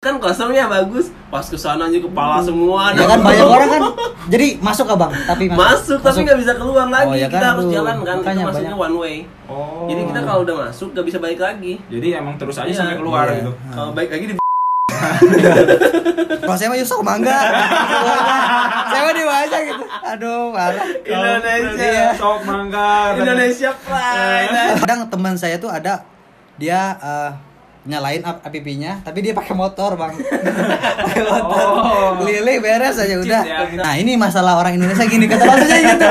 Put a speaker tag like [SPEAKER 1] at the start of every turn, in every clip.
[SPEAKER 1] kan kosongnya bagus pas kesana aja kepala semua
[SPEAKER 2] Ya
[SPEAKER 1] ada
[SPEAKER 2] kan banyak orang kan. Jadi masuk abang, tapi
[SPEAKER 1] masuk tapi nggak bisa keluar lagi
[SPEAKER 2] Oh, ya
[SPEAKER 1] kita
[SPEAKER 2] kan,
[SPEAKER 1] harus
[SPEAKER 2] aduh.
[SPEAKER 1] jalan kan kita
[SPEAKER 2] Makanya
[SPEAKER 1] masuknya
[SPEAKER 2] banyak.
[SPEAKER 1] one way
[SPEAKER 3] Oh.
[SPEAKER 1] jadi kita kalau udah masuk nggak bisa balik lagi
[SPEAKER 3] jadi emang terus aja
[SPEAKER 1] Iya.
[SPEAKER 3] sampai keluar
[SPEAKER 2] Iya.
[SPEAKER 3] gitu.
[SPEAKER 1] kalau balik lagi di
[SPEAKER 2] Kalau saya mah Yusuf mangga. saya mah dewasa gitu. Aduh, parah.
[SPEAKER 1] Indonesia.
[SPEAKER 2] Iya.
[SPEAKER 3] Sok mangga.
[SPEAKER 1] Indonesia Pride
[SPEAKER 2] Kadang teman saya tuh ada dia eh, nyalain ap- APP-nya, tapi dia pakai motor, Bang. pakai motor.
[SPEAKER 3] Oh.
[SPEAKER 2] Lili beres aja udah.
[SPEAKER 3] ya.
[SPEAKER 2] Nah, ini masalah orang Indonesia gini, kata langsungnya gitu.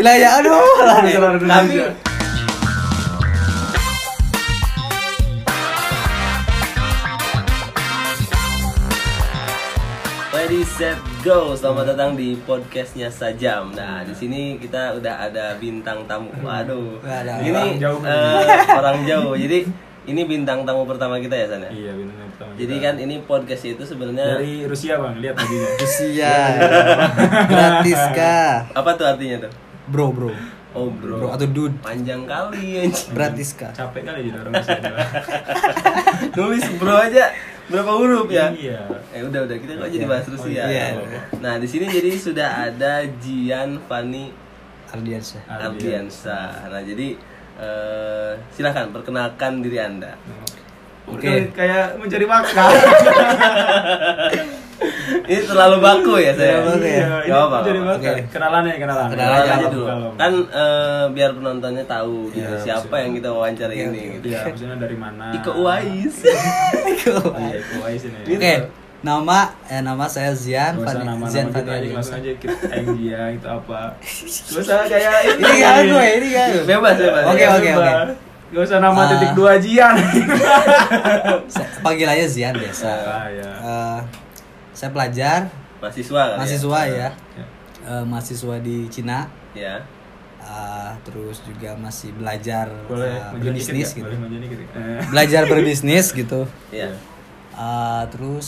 [SPEAKER 2] Gila ya, aduh. lah.
[SPEAKER 3] Indonesia.
[SPEAKER 1] tapi Ready set go. Selamat datang di podcastnya Sajam. Nah, di sini kita udah ada bintang tamu. Waduh.
[SPEAKER 2] Waduh.
[SPEAKER 1] Ini
[SPEAKER 3] Orang jauh.
[SPEAKER 1] eh, orang jauh. Jadi ini bintang tamu pertama kita ya sana.
[SPEAKER 3] Iya benar pertama.
[SPEAKER 1] Jadi
[SPEAKER 3] kita.
[SPEAKER 1] kan ya. ini podcast itu sebenarnya
[SPEAKER 3] dari Rusia bang lihat tadi.
[SPEAKER 2] Rusia. Gratis kah?
[SPEAKER 1] apa tuh artinya tuh?
[SPEAKER 2] Bro, bro.
[SPEAKER 1] Oh, bro.
[SPEAKER 2] Bro atau dude.
[SPEAKER 1] Panjang kali anjing.
[SPEAKER 2] Gratis kah?
[SPEAKER 3] Capek kali jadi orang Rusia.
[SPEAKER 1] Nulis bro aja berapa huruf ya?
[SPEAKER 3] Iya.
[SPEAKER 1] Eh udah udah kita kok jadi bahas Rusia.
[SPEAKER 2] Iya.
[SPEAKER 1] Nah di sini jadi sudah ada Jian Fani
[SPEAKER 2] Ardiansyah.
[SPEAKER 1] Ardiansa. Nah jadi eh, silahkan perkenalkan diri anda.
[SPEAKER 3] Oke,
[SPEAKER 2] Oke.
[SPEAKER 3] kayak mencari makan.
[SPEAKER 1] Ini terlalu baku ya saya.
[SPEAKER 2] Terlalu baku ya.
[SPEAKER 3] Iya, ini
[SPEAKER 1] Gak apa-apa.
[SPEAKER 3] mencari makan.
[SPEAKER 2] Oke.
[SPEAKER 3] Kenalan ya kenalan.
[SPEAKER 1] Kenalan aja
[SPEAKER 3] Salam,
[SPEAKER 1] dulu.
[SPEAKER 3] salam.
[SPEAKER 1] Kan eh, biar penontonnya tahu gitu
[SPEAKER 3] Iya,
[SPEAKER 1] siapa
[SPEAKER 3] betul.
[SPEAKER 1] yang kita wawancara
[SPEAKER 2] Iya,
[SPEAKER 1] ini.
[SPEAKER 2] iya.
[SPEAKER 1] Gitu.
[SPEAKER 3] Iya, maksudnya dari mana?
[SPEAKER 1] Iko Uwais. Gitu.
[SPEAKER 3] Iya, Iko Uwais ini.
[SPEAKER 2] Oke, nama eh, nama saya Zian
[SPEAKER 3] Gak Gitu. usah
[SPEAKER 2] Fani
[SPEAKER 3] nama-nama
[SPEAKER 2] Zian
[SPEAKER 3] kita aja,
[SPEAKER 2] Fani
[SPEAKER 3] langsung aja kita M dia itu apa Gak usah kayak
[SPEAKER 2] Ini
[SPEAKER 3] Iya,
[SPEAKER 2] kan gue, ini kan.
[SPEAKER 1] Bebas bebas.
[SPEAKER 2] Oke,
[SPEAKER 1] ya.
[SPEAKER 2] oke, oke.
[SPEAKER 3] Gak usah nama
[SPEAKER 2] Ah.
[SPEAKER 3] titik dua Jian
[SPEAKER 2] Saya- Panggil aja Zian biasa.
[SPEAKER 3] Ah, ya.
[SPEAKER 2] Eh, saya pelajar,
[SPEAKER 1] Mahasiswa
[SPEAKER 3] iya.
[SPEAKER 1] kan.
[SPEAKER 2] mahasiswa ya.
[SPEAKER 3] Ah,
[SPEAKER 2] Eh, mahasiswa di Cina.
[SPEAKER 1] Ya.
[SPEAKER 2] Eh, terus juga masih belajar
[SPEAKER 3] Boleh
[SPEAKER 2] eh,
[SPEAKER 3] maju dikit
[SPEAKER 2] berbisnis
[SPEAKER 3] nggak?
[SPEAKER 2] gitu.
[SPEAKER 3] Boleh maju dikit nggak? Eh,
[SPEAKER 2] Belajar berbisnis gitu.
[SPEAKER 1] Iya.
[SPEAKER 2] Eh, terus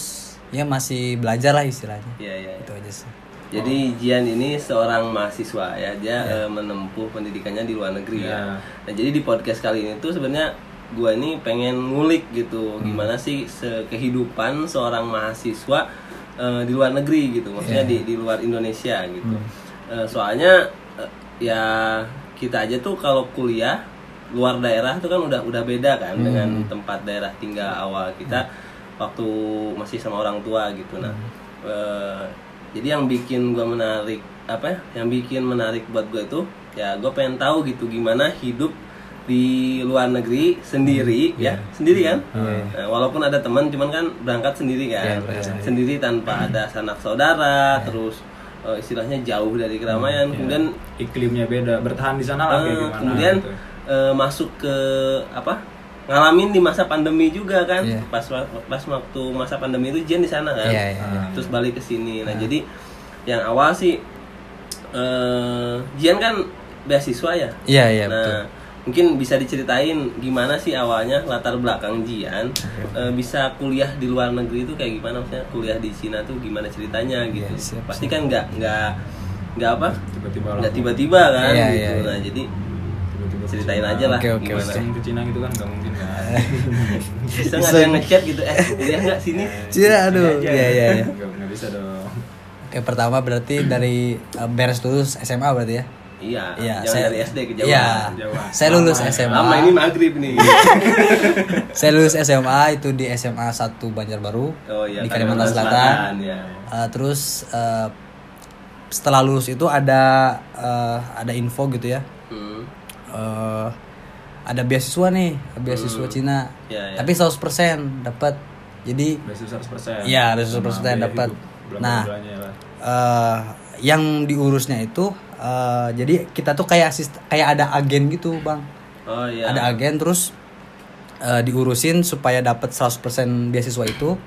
[SPEAKER 2] ya masih belajar lah istilahnya.
[SPEAKER 1] Iya iya. iya.
[SPEAKER 2] Itu aja sih.
[SPEAKER 1] Jadi Jian ini seorang mahasiswa ya, dia eh, menempuh pendidikannya di luar negeri ya.
[SPEAKER 3] Iya.
[SPEAKER 1] Nah, jadi di podcast kali ini tuh sebenarnya gua ini pengen ngulik gitu gimana sih se- kehidupan seorang mahasiswa eh, di luar negeri gitu, maksudnya di di luar Indonesia gitu. Eh, soalnya eh, ya kita aja tuh kalau kuliah luar daerah tuh kan udah udah beda kan dengan tempat daerah tinggal awal kita waktu masih sama orang tua gitu nah eh, jadi yang bikin gua menarik apa ya yang bikin menarik buat gue itu ya gue pengen tahu gitu gimana hidup di luar negeri sendiri ya sendiri kan Nah, walaupun ada teman cuman kan berangkat sendiri kan sendiri tanpa ada sanak saudara terus eh, istilahnya jauh dari keramaian kemudian
[SPEAKER 3] Iya. Iklimnya beda, bertahan di sana lah
[SPEAKER 1] Eh,
[SPEAKER 3] kayak gimana
[SPEAKER 1] kemudian
[SPEAKER 3] gitu.
[SPEAKER 1] eh, masuk ke apa ngalamin di masa pandemi juga kan
[SPEAKER 2] Iya.
[SPEAKER 1] pas pas waktu masa pandemi itu Jen di sana kan
[SPEAKER 2] Iya, iya, iya.
[SPEAKER 1] terus balik ke sini nah jadi yang awal sih eh Jian kan beasiswa ya
[SPEAKER 2] Iya, iya,
[SPEAKER 1] nah
[SPEAKER 2] betul.
[SPEAKER 1] mungkin bisa diceritain gimana sih awalnya latar belakang Jian
[SPEAKER 2] Iya.
[SPEAKER 1] eh, bisa kuliah di luar negeri itu kayak gimana maksudnya kuliah di Cina tuh gimana ceritanya gitu
[SPEAKER 2] Iya, siap,
[SPEAKER 1] pasti kan nggak nggak nggak apa
[SPEAKER 3] Tiba-tiba lah
[SPEAKER 1] nggak tiba-tiba kan
[SPEAKER 2] Iya,
[SPEAKER 1] gitu
[SPEAKER 2] iya, iya.
[SPEAKER 1] nah jadi
[SPEAKER 3] tiba-tiba ke
[SPEAKER 1] ceritain
[SPEAKER 3] Cina.
[SPEAKER 1] aja lah
[SPEAKER 2] Oke, oke,
[SPEAKER 1] gimana
[SPEAKER 2] oke.
[SPEAKER 3] Langsung ke Cina gitu kan nggak mungkin kan
[SPEAKER 1] bisa nggak ada yang ngechat gitu eh kuliah nggak sini
[SPEAKER 2] Cina, aduh.
[SPEAKER 3] Aja.
[SPEAKER 2] Iya, iya, iya.
[SPEAKER 3] Nggak nggak bisa dong
[SPEAKER 2] Oke, pertama berarti dari eh, beres lulus SMA berarti ya?
[SPEAKER 1] iya
[SPEAKER 2] Iya,
[SPEAKER 1] jangan dari SD ke Jawa
[SPEAKER 2] Iya,
[SPEAKER 3] Kejauhan.
[SPEAKER 2] saya lulus
[SPEAKER 3] Lama ya.
[SPEAKER 2] SMA.
[SPEAKER 1] lama ini maghrib nih
[SPEAKER 2] Saya lulus SMA itu di SMA 1 Banjarbaru
[SPEAKER 1] oh iya
[SPEAKER 2] di Kalimantan Selatan.
[SPEAKER 1] ya
[SPEAKER 2] Eh, terus eh, setelah lulus itu ada eh, ada info gitu ya.
[SPEAKER 1] hmm.
[SPEAKER 2] Eh, ada beasiswa nih, beasiswa Cina.
[SPEAKER 1] Iya, iya.
[SPEAKER 2] Tapi 100% dapat. Jadi
[SPEAKER 3] Basis 100%
[SPEAKER 2] Iya, basis
[SPEAKER 3] Sama
[SPEAKER 2] 100%
[SPEAKER 3] biaya
[SPEAKER 2] dapat.
[SPEAKER 3] hidup,
[SPEAKER 2] Nah.
[SPEAKER 3] belanja-belanjanya lah.
[SPEAKER 2] eh, yang diurusnya itu eh, jadi kita tuh kayak asist kayak ada agen gitu, Bang.
[SPEAKER 1] oh iya
[SPEAKER 2] ada agen terus eh, diurusin supaya dapat 100% beasiswa itu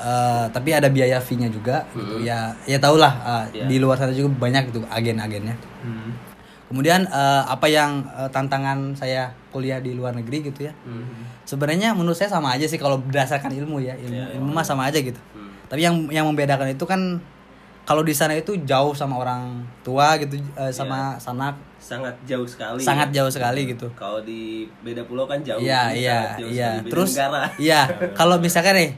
[SPEAKER 2] Eh, tapi ada biaya fee-nya juga gitu ya ya tau lah eh, di luar sana juga banyak gitu agen-agennya
[SPEAKER 3] Hmm.
[SPEAKER 2] kemudian eh, apa yang eh, tantangan saya kuliah di luar negeri gitu ya sebenarnya menurut saya sama aja sih kalau berdasarkan ilmu ya ilmu ilmu mah sama aja gitu tapi yang yang membedakan itu kan kalau di sana itu jauh sama orang tua gitu eh, sama sanak
[SPEAKER 1] sangat jauh sekali
[SPEAKER 2] sangat
[SPEAKER 1] ya.
[SPEAKER 2] jauh sekali gitu
[SPEAKER 1] kalau di beda pulau kan jauh
[SPEAKER 2] Iya
[SPEAKER 1] Ini
[SPEAKER 2] iya
[SPEAKER 1] sangat jauh
[SPEAKER 2] iya.
[SPEAKER 1] sekali. Beda
[SPEAKER 2] Terus
[SPEAKER 1] negara
[SPEAKER 2] iya kalau misalkan nih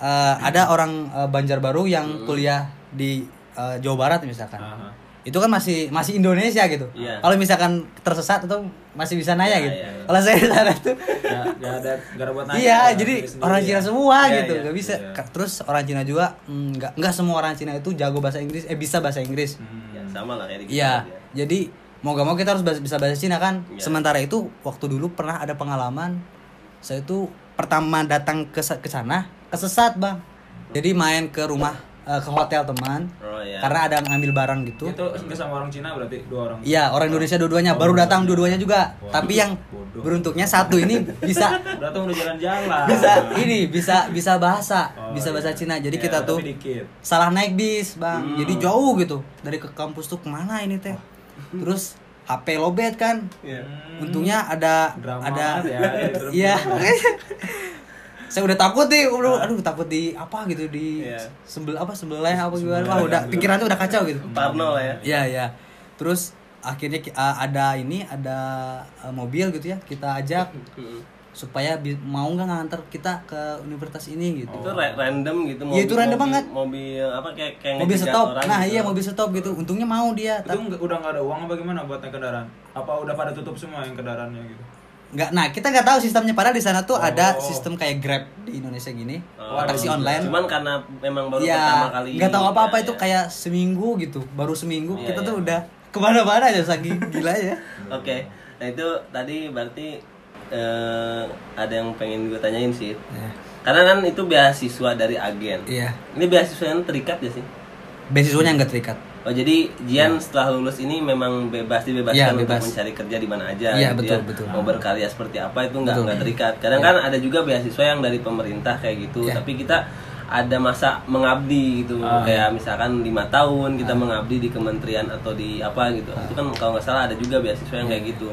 [SPEAKER 2] eh, ada orang eh, Banjarbaru yang kuliah di eh, Jawa Barat misalkan.
[SPEAKER 3] Hmm. Aha.
[SPEAKER 2] Itu kan masih masih Indonesia gitu.
[SPEAKER 1] Iya.
[SPEAKER 2] Kalau misalkan tersesat itu masih bisa nanya
[SPEAKER 1] Iya,
[SPEAKER 2] gitu.
[SPEAKER 1] iya, iya.
[SPEAKER 2] Kalau saya di sana tuh
[SPEAKER 3] Nggak nggak ada nggak ada buat nanya.
[SPEAKER 2] Iya,
[SPEAKER 3] Orang
[SPEAKER 2] jadi
[SPEAKER 3] sendiri sendiri
[SPEAKER 2] orang
[SPEAKER 3] ya.
[SPEAKER 2] Cina semua
[SPEAKER 3] Iya,
[SPEAKER 2] gitu,
[SPEAKER 3] iya,
[SPEAKER 2] nggak bisa.
[SPEAKER 3] iya.
[SPEAKER 2] Ka- Terus orang Cina juga mm, nggak nggak semua orang Cina itu jago bahasa Inggris, eh bisa bahasa Inggris.
[SPEAKER 3] Hmm.
[SPEAKER 1] Ya, sama lah kayak di ya. kita
[SPEAKER 2] Iya,
[SPEAKER 1] aja.
[SPEAKER 2] jadi mau gak mau kita harus bahas- bisa bahasa Cina kan.
[SPEAKER 1] Iya.
[SPEAKER 2] Sementara itu waktu dulu pernah ada pengalaman saya itu pertama datang ke sa- ke sana kesesat bang. Jadi main ke rumah eh, ke hotel teman
[SPEAKER 1] Oh
[SPEAKER 3] Iya.
[SPEAKER 1] ya.
[SPEAKER 2] karena ada ngambil barang gitu.
[SPEAKER 3] Itu itu sama orang Cina berarti dua orang.
[SPEAKER 2] Iya orang Indonesia dua-duanya baru datang dua-duanya juga.
[SPEAKER 3] Wah,
[SPEAKER 2] Tapi yang
[SPEAKER 3] Oh, bodoh.
[SPEAKER 2] beruntungnya satu ini bisa
[SPEAKER 3] Berarti udah jalan-jalan.
[SPEAKER 2] bisa ini bisa bisa bahasa
[SPEAKER 3] Oh,
[SPEAKER 2] bisa
[SPEAKER 3] iya.
[SPEAKER 2] bahasa Cina jadi
[SPEAKER 3] Iya,
[SPEAKER 2] kita
[SPEAKER 3] tapi
[SPEAKER 2] tuh
[SPEAKER 3] dikit.
[SPEAKER 2] salah naik bis bang jadi jauh gitu dari ke kampus tuh kemana ini teh terus HP lobet kan
[SPEAKER 1] Iya.
[SPEAKER 3] Hmm,
[SPEAKER 2] untungnya ada
[SPEAKER 3] Drama
[SPEAKER 2] ada
[SPEAKER 3] ya, drama.
[SPEAKER 2] iya saya udah takut nih udah aduh takut di apa gitu di
[SPEAKER 1] Iya.
[SPEAKER 2] sembel apa sembelih apa gimana wah udah pikirannya udah kacau gitu
[SPEAKER 1] Parno lah ya.
[SPEAKER 2] Iya iya. Terus akhirnya ki- uh, ada ini ada uh, mobil gitu ya kita ajak supaya bi- mau nggak nganter kita ke universitas ini gitu.
[SPEAKER 1] Itu ra- random gitu
[SPEAKER 2] Iya, itu random banget.
[SPEAKER 1] Mobil apa kayak kayak
[SPEAKER 2] mobil
[SPEAKER 1] ngejejak
[SPEAKER 2] stop.
[SPEAKER 1] orang
[SPEAKER 2] Nah
[SPEAKER 1] gitu.
[SPEAKER 2] iya mobil stop gitu. Untungnya mau dia.
[SPEAKER 3] Itu
[SPEAKER 2] Tapi
[SPEAKER 3] nggak- udah nggak ada uang apa gimana buat naik kendaraan? Apa udah pada tutup semua yang kendaraannya gitu?
[SPEAKER 2] nggak. Nah kita nggak tahu sistemnya. Padahal di sana tuh ada sistem kayak Grab di Indonesia gini.
[SPEAKER 1] Oh, ada
[SPEAKER 2] taksi
[SPEAKER 1] juga.
[SPEAKER 2] online.
[SPEAKER 1] Cuman karena memang baru pertama
[SPEAKER 2] Iya.
[SPEAKER 1] kali.
[SPEAKER 2] Nggak tahu
[SPEAKER 1] ini,
[SPEAKER 2] apa-apa
[SPEAKER 1] ya,
[SPEAKER 2] itu
[SPEAKER 1] ya.
[SPEAKER 2] kayak seminggu gitu. Baru seminggu
[SPEAKER 1] Iya,
[SPEAKER 2] kita
[SPEAKER 1] iya.
[SPEAKER 2] tuh udah kemana-mana aja saking gila ya.
[SPEAKER 1] Oke, nah itu tadi berarti eh, ada yang pengen gue tanyain sih. Karena kan itu beasiswa dari agen.
[SPEAKER 2] Iya.
[SPEAKER 1] Ini beasiswa yang terikat ya sih?
[SPEAKER 2] Beasiswanya nggak terikat.
[SPEAKER 1] Oh jadi Jian setelah lulus ini memang bebas dibebaskan
[SPEAKER 2] Iya, Ya. bebas.
[SPEAKER 1] untuk mencari kerja di mana aja.
[SPEAKER 2] Iya,
[SPEAKER 1] gitu ya.
[SPEAKER 2] betul, Ya. betul.
[SPEAKER 1] Mau berkarya seperti apa itu nggak nggak terikat. Kadang kan ada juga beasiswa yang dari pemerintah kayak gitu,
[SPEAKER 2] Iya.
[SPEAKER 1] tapi kita ada masa mengabdi gitu
[SPEAKER 2] Ah, ya.
[SPEAKER 1] kayak misalkan lima tahun kita mengabdi di kementerian atau di apa gitu
[SPEAKER 2] Ah.
[SPEAKER 1] itu kan kalau nggak salah ada juga beasiswa yang kayak gitu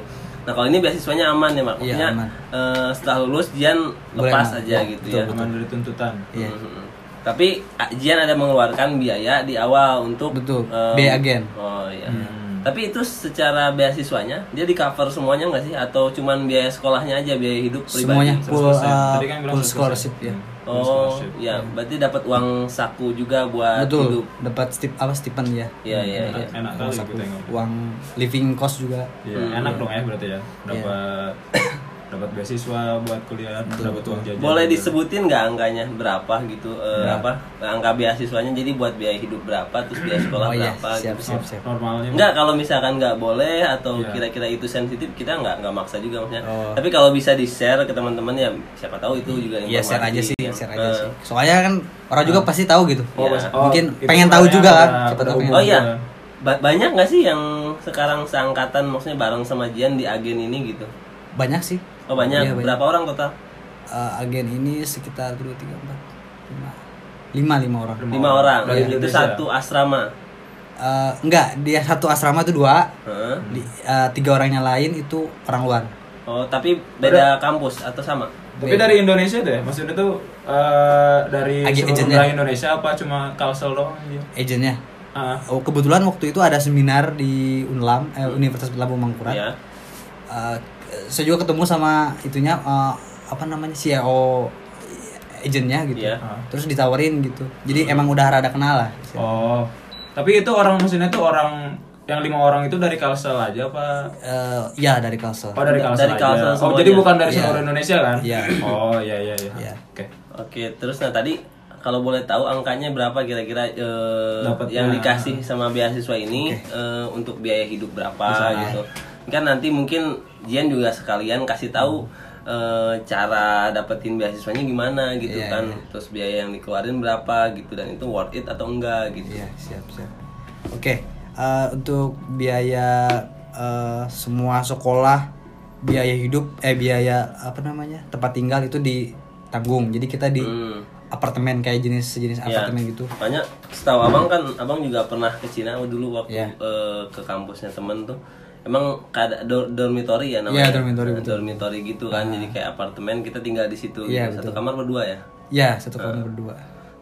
[SPEAKER 1] nah kalau ini beasiswanya aman ya Mak?
[SPEAKER 2] Iya,
[SPEAKER 1] maksudnya
[SPEAKER 2] Ya. aman.
[SPEAKER 1] eh, setelah lulus Jian
[SPEAKER 2] Boleh,
[SPEAKER 1] lepas
[SPEAKER 2] Mak.
[SPEAKER 1] aja
[SPEAKER 2] Iya,
[SPEAKER 1] gitu
[SPEAKER 2] betul,
[SPEAKER 1] ya
[SPEAKER 3] Aman dari tuntutan.
[SPEAKER 2] Iya.
[SPEAKER 1] Mhm. Tapi A- Jian ada mengeluarkan biaya di awal untuk
[SPEAKER 2] Betul,
[SPEAKER 1] em,
[SPEAKER 2] biaya agen. Mm-hmm.
[SPEAKER 1] Oh iya. Tapi itu secara beasiswanya dia di cover semuanya nggak sih atau cuman biaya sekolahnya aja biaya hidup pribadi?
[SPEAKER 2] Semuanya full, uh,
[SPEAKER 3] Tadi kan bilang Hmm.
[SPEAKER 2] full
[SPEAKER 3] 100%.
[SPEAKER 2] scholarship ya.
[SPEAKER 1] Oh iya, berarti dapat uang saku juga buat hidup.
[SPEAKER 2] Betul. Dapat stip apa stipend ya.
[SPEAKER 1] Iya iya iya.
[SPEAKER 3] Enak kali
[SPEAKER 2] uang saku,
[SPEAKER 3] gue tengok.
[SPEAKER 2] uang living cost juga
[SPEAKER 3] Iya, enak dong ya berarti ya. Dapat dapat beasiswa buat kuliah, dapat uang jajan.
[SPEAKER 1] Boleh disebutin nggak angkanya berapa gitu? eh, apa angka beasiswanya? Jadi buat biaya hidup berapa, terus biaya sekolah
[SPEAKER 2] Oh iya,
[SPEAKER 1] berapa?
[SPEAKER 2] siap,
[SPEAKER 1] gitu.
[SPEAKER 2] siap, siap.
[SPEAKER 3] Normalnya
[SPEAKER 1] Enggak, kalau misalkan nggak boleh atau
[SPEAKER 3] Iya.
[SPEAKER 1] kira-kira itu sensitif, kita nggak nggak maksa juga maksudnya.
[SPEAKER 2] Oh.
[SPEAKER 1] Tapi kalau bisa di share ke teman-teman ya, siapa tahu itu juga
[SPEAKER 2] Iya share aja
[SPEAKER 1] informasi.
[SPEAKER 2] sih, share aja
[SPEAKER 1] Eh,
[SPEAKER 2] sih. Soalnya kan orang juga pasti tahu gitu.
[SPEAKER 3] Oh,
[SPEAKER 1] Iya.
[SPEAKER 3] bahasa- oh,
[SPEAKER 2] Mungkin
[SPEAKER 3] itu
[SPEAKER 2] pengen tahu
[SPEAKER 3] sebenarnya
[SPEAKER 2] juga kan,
[SPEAKER 3] ada-
[SPEAKER 2] siapa
[SPEAKER 3] ada
[SPEAKER 2] tahu pengen
[SPEAKER 1] Oh
[SPEAKER 3] hubungan
[SPEAKER 1] iya,
[SPEAKER 3] juga.
[SPEAKER 1] Ba- banyak nggak sih yang sekarang seangkatan maksudnya bareng sama Jian di agen ini gitu?
[SPEAKER 2] Banyak sih.
[SPEAKER 1] Oh banyak.
[SPEAKER 2] Iya,
[SPEAKER 1] Berapa orang total?
[SPEAKER 2] Eh, agen ini sekitar 2 3 4 5 5 lima orang.
[SPEAKER 1] Lima orang.
[SPEAKER 3] Dari
[SPEAKER 1] itu
[SPEAKER 3] Indonesia.
[SPEAKER 1] satu asrama.
[SPEAKER 2] Eh, enggak, dia satu asrama itu dua.
[SPEAKER 1] Heeh.
[SPEAKER 2] Di, eh, tiga orangnya lain itu orang luar.
[SPEAKER 1] Oh tapi beda kampus atau sama?
[SPEAKER 3] Tapi
[SPEAKER 2] Iya.
[SPEAKER 3] dari Indonesia deh, maksudnya tuh eh, dari
[SPEAKER 2] Agen-
[SPEAKER 3] seluruh
[SPEAKER 2] agennya.
[SPEAKER 3] wilayah Indonesia apa cuma Kalsel doang aja?
[SPEAKER 2] Agennya.
[SPEAKER 3] Ah,
[SPEAKER 2] Oh, kebetulan waktu itu ada seminar di Unlam, eh, Universitas Lampung Mangkurat.
[SPEAKER 1] Iya.
[SPEAKER 2] Uh, saya juga ketemu sama itunya uh, apa namanya CEO agentnya gitu
[SPEAKER 1] Iya. Hmm.
[SPEAKER 2] terus ditawarin gitu jadi emang udah rada kenal lah
[SPEAKER 3] oh. Tapi itu orang maksudnya tuh orang yang lima orang itu dari Kalsel aja apa?
[SPEAKER 2] Eh, ya dari Kalsel
[SPEAKER 3] Oh dari
[SPEAKER 1] Dari
[SPEAKER 3] Kalsel,
[SPEAKER 1] Kalsel
[SPEAKER 3] aja. Oh
[SPEAKER 1] semuanya.
[SPEAKER 3] jadi bukan dari
[SPEAKER 2] Iya.
[SPEAKER 3] seluruh Indonesia kan?
[SPEAKER 2] Iya.
[SPEAKER 3] Oh iya iya iya.
[SPEAKER 2] Iya.
[SPEAKER 3] Oke.
[SPEAKER 1] Oke, terus nah tadi kalau boleh tahu angkanya berapa kira-kira eh,
[SPEAKER 3] Dapatnya.
[SPEAKER 1] yang
[SPEAKER 2] ya.
[SPEAKER 1] dikasih sama beasiswa ini eh, untuk biaya hidup berapa
[SPEAKER 2] ya.
[SPEAKER 1] gitu. Kan nanti mungkin Jian juga sekalian kasih tahu eh, cara dapetin beasiswanya gimana gitu
[SPEAKER 2] Iya,
[SPEAKER 1] kan. Terus biaya yang dikeluarin berapa gitu dan itu worth it atau enggak gitu.
[SPEAKER 2] Iya, siap siap oke eh, untuk biaya eh, semua sekolah biaya hidup eh biaya apa namanya tempat tinggal itu ditanggung jadi kita di
[SPEAKER 1] Hmm.
[SPEAKER 2] apartemen kayak jenis sejenis
[SPEAKER 1] Iya.
[SPEAKER 2] apartemen gitu
[SPEAKER 1] Makanya setahu abang kan abang juga pernah ke Cina dulu waktu
[SPEAKER 2] Iya.
[SPEAKER 1] eh, ke kampusnya temen tuh. Emang kada dor- dormitory ya namanya.
[SPEAKER 2] Iya, dormitory,
[SPEAKER 1] Nah, dormitory gitu kan. Jadi kayak apartemen kita tinggal di situ
[SPEAKER 2] Iya,
[SPEAKER 1] gitu. Satu kamar berdua ya.
[SPEAKER 2] ya satu kamar berdua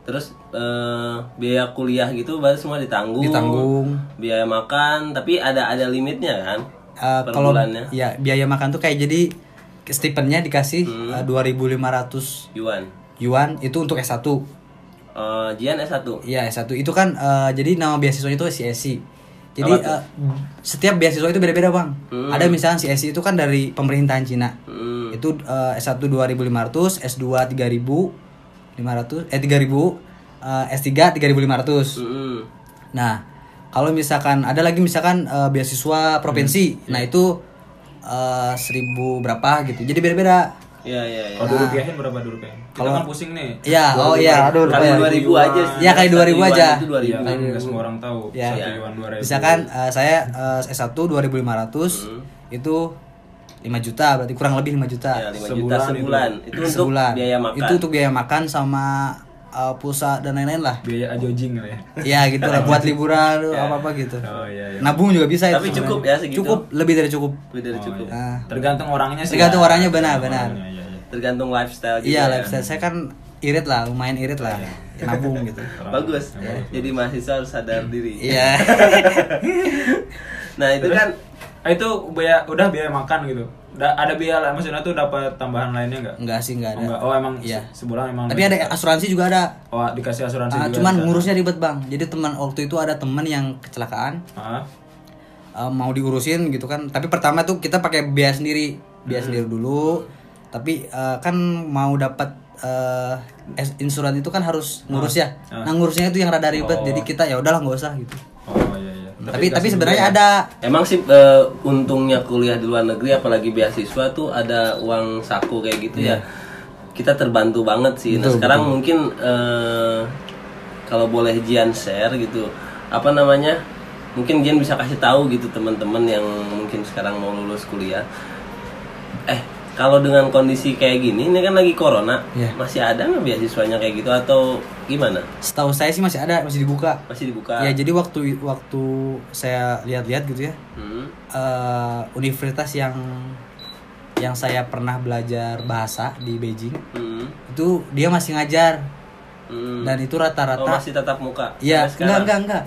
[SPEAKER 1] Terus eh, biaya kuliah gitu baru semua ditanggung.
[SPEAKER 2] ditanggung
[SPEAKER 1] Biaya makan tapi ada ada limitnya kan.
[SPEAKER 2] Eh,
[SPEAKER 1] per
[SPEAKER 2] kalau
[SPEAKER 1] bulannya.
[SPEAKER 2] ya biaya makan tuh kayak jadi
[SPEAKER 1] Hmm.
[SPEAKER 2] stipendnya dikasih eh, 2.500
[SPEAKER 1] Yuan.
[SPEAKER 2] yuan itu untuk S1.
[SPEAKER 1] eh, Jian S1.
[SPEAKER 2] Iya S1 itu kan eh, jadi nama beasiswa itu CSI. Jadi
[SPEAKER 1] Apa tuh?
[SPEAKER 2] eh, setiap beasiswa itu beda-beda bang. Ada misalnya CSI itu kan dari pemerintahan Cina.
[SPEAKER 1] Hmm.
[SPEAKER 2] Itu eh, S1 2500, S2 3500, eh 3000, eh, S3 3500.
[SPEAKER 1] Mm-mm.
[SPEAKER 2] Nah, kalau misalkan ada lagi misalkan eh, beasiswa provinsi,
[SPEAKER 1] Hmm.
[SPEAKER 2] nah itu eh, seribu berapa gitu. Jadi beda-beda.
[SPEAKER 1] Iya, iya, iya.
[SPEAKER 2] Oh,
[SPEAKER 3] Kalau dirupiahin Oh, berapa dirupiahin? Kita kan pusing nih.
[SPEAKER 2] Nah. Iya, oh iya, aduh lupa
[SPEAKER 1] Kali
[SPEAKER 2] ya.
[SPEAKER 1] 2000 aja. sih.
[SPEAKER 2] Iya, kali
[SPEAKER 1] Satu
[SPEAKER 2] 2000
[SPEAKER 1] yuan
[SPEAKER 2] aja.
[SPEAKER 1] Itu
[SPEAKER 3] Iya,
[SPEAKER 1] 2000.
[SPEAKER 3] kan nggak semua orang tahu.
[SPEAKER 2] Iya.
[SPEAKER 3] Satu yuan dua ribu.
[SPEAKER 2] Misalkan eh, saya eh, S1 2500 itu 5 juta berarti kurang lebih 5 juta.
[SPEAKER 1] Ya, 5 juta
[SPEAKER 3] Sebulan itu.
[SPEAKER 1] sebulan. Itu, untuk
[SPEAKER 2] sebulan.
[SPEAKER 1] biaya makan.
[SPEAKER 2] Itu untuk biaya makan sama eh, pulsa dan lain-lain lah.
[SPEAKER 3] biaya ajojing lah ya.
[SPEAKER 2] ya gitu lah buat liburan apa-apa gitu.
[SPEAKER 3] Oh iya. iya.
[SPEAKER 2] Nabung juga bisa
[SPEAKER 1] Tapi
[SPEAKER 2] itu.
[SPEAKER 1] cukup
[SPEAKER 2] sebenarnya.
[SPEAKER 1] ya segitu?
[SPEAKER 2] Cukup, lebih dari cukup.
[SPEAKER 1] Lebih dari cukup.
[SPEAKER 2] Nah,
[SPEAKER 3] Tergantung orangnya sih.
[SPEAKER 2] tergantung
[SPEAKER 3] ya.
[SPEAKER 2] orangnya benar-benar.
[SPEAKER 3] Orangnya, iya, iya.
[SPEAKER 1] Tergantung lifestyle juga.
[SPEAKER 2] Iya,
[SPEAKER 1] ya.
[SPEAKER 2] lifestyle saya kan irit lah, lumayan irit lah. Nabung gitu.
[SPEAKER 3] Orang-
[SPEAKER 1] Bagus. Jadi mahasiswa harus sadar diri.
[SPEAKER 2] Iya.
[SPEAKER 1] Nah, itu
[SPEAKER 3] Terus,
[SPEAKER 1] kan
[SPEAKER 3] ah, itu biaya udah biaya makan gitu. Da- ada biaya lah maksudnya tuh dapat tambahan lainnya nggak?
[SPEAKER 2] Enggak sih, enggak
[SPEAKER 3] Oh,
[SPEAKER 2] ada.
[SPEAKER 3] enggak. Oh emang
[SPEAKER 2] Iya.
[SPEAKER 3] se- sebulan emang.
[SPEAKER 2] Tapi ada asuransi juga ada.
[SPEAKER 3] Oh dikasih asuransi
[SPEAKER 2] Ah,
[SPEAKER 3] juga.
[SPEAKER 2] cuman
[SPEAKER 3] di sana.
[SPEAKER 2] ngurusnya ribet, Bang. Jadi teman waktu itu ada teman yang kecelakaan
[SPEAKER 3] Ah,
[SPEAKER 2] eh, mau diurusin gitu kan. Tapi pertama tuh kita pakai biaya sendiri, biaya
[SPEAKER 1] Hmm.
[SPEAKER 2] sendiri dulu. Tapi eh, kan mau dapat eh, es- insuransi itu kan harus
[SPEAKER 1] Ah.
[SPEAKER 2] ngurus ya. Nah, ngurusnya itu yang rada
[SPEAKER 1] Oh.
[SPEAKER 2] ribet. Jadi kita ya udahlah nggak usah gitu.
[SPEAKER 3] Oh iya iya.
[SPEAKER 2] Tapi tapi
[SPEAKER 1] ya?
[SPEAKER 2] sebenarnya ada
[SPEAKER 1] Emang sih eh, untungnya kuliah di luar negeri apalagi beasiswa tuh ada uang saku kayak gitu ya.
[SPEAKER 2] Iya.
[SPEAKER 1] Kita terbantu banget sih. nah, sekarang mungkin eh, kalau boleh Jian share gitu, apa namanya? Mungkin Jian bisa kasih tahu gitu teman-teman yang mungkin sekarang mau lulus kuliah. Eh, kalau dengan kondisi kayak gini, ini kan lagi corona,
[SPEAKER 2] Iya.
[SPEAKER 1] masih ada nggak beasiswanya kayak gitu atau gimana?
[SPEAKER 2] setahu saya sih masih ada, masih dibuka.
[SPEAKER 1] Masih dibuka?
[SPEAKER 2] Ya jadi waktu waktu saya lihat-lihat gitu ya
[SPEAKER 1] Hmm.
[SPEAKER 2] eh, universitas yang yang saya pernah belajar bahasa di Beijing
[SPEAKER 1] Hmm.
[SPEAKER 2] itu dia masih ngajar
[SPEAKER 1] Hmm.
[SPEAKER 2] dan itu
[SPEAKER 1] Oh,
[SPEAKER 2] rata-rata
[SPEAKER 1] masih tatap muka? Sampai
[SPEAKER 2] ya enggak
[SPEAKER 1] sekarang?
[SPEAKER 2] enggak enggak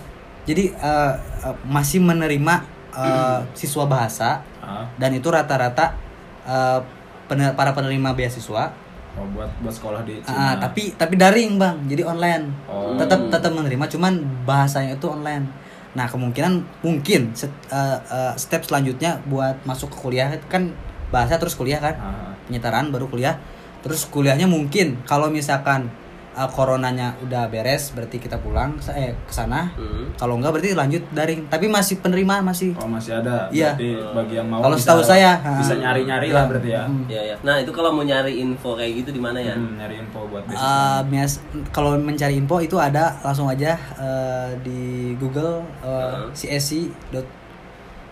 [SPEAKER 2] jadi eh, eh, masih menerima
[SPEAKER 1] Hmm.
[SPEAKER 2] eh, siswa bahasa
[SPEAKER 3] Ah,
[SPEAKER 2] dan itu rata-rata eh, pener- para penerima beasiswa
[SPEAKER 3] oh, buat buat sekolah di Cina.
[SPEAKER 2] Ah, tapi tapi daring bang jadi online
[SPEAKER 3] Oh.
[SPEAKER 2] tetap tetap menerima cuman bahasanya itu online nah kemungkinan mungkin set- eh, eh, step selanjutnya buat masuk ke kuliah kan bahasa terus kuliah kan
[SPEAKER 3] Ah,
[SPEAKER 2] penyetaraan baru kuliah terus kuliahnya mungkin kalau misalkan eh, coronanya udah beres berarti kita pulang sa- eh ke sana
[SPEAKER 1] Hmm.
[SPEAKER 2] kalau enggak berarti lanjut daring tapi masih penerimaan masih
[SPEAKER 3] oh masih ada.
[SPEAKER 2] Iya.
[SPEAKER 3] Berarti bagi yang mau
[SPEAKER 2] Kalau
[SPEAKER 3] bisa-
[SPEAKER 2] setahu saya, ah.
[SPEAKER 3] bisa nyari-nyari lah berarti ya.
[SPEAKER 1] Ya, ya. Nah itu kalau mau nyari info kayak gitu di mana ya?
[SPEAKER 2] Iya.
[SPEAKER 3] Hmm, nyari info buat
[SPEAKER 2] Eh,
[SPEAKER 3] besok.
[SPEAKER 2] bias- kalau mencari info itu ada langsung aja eh, di Google eh, CSI dot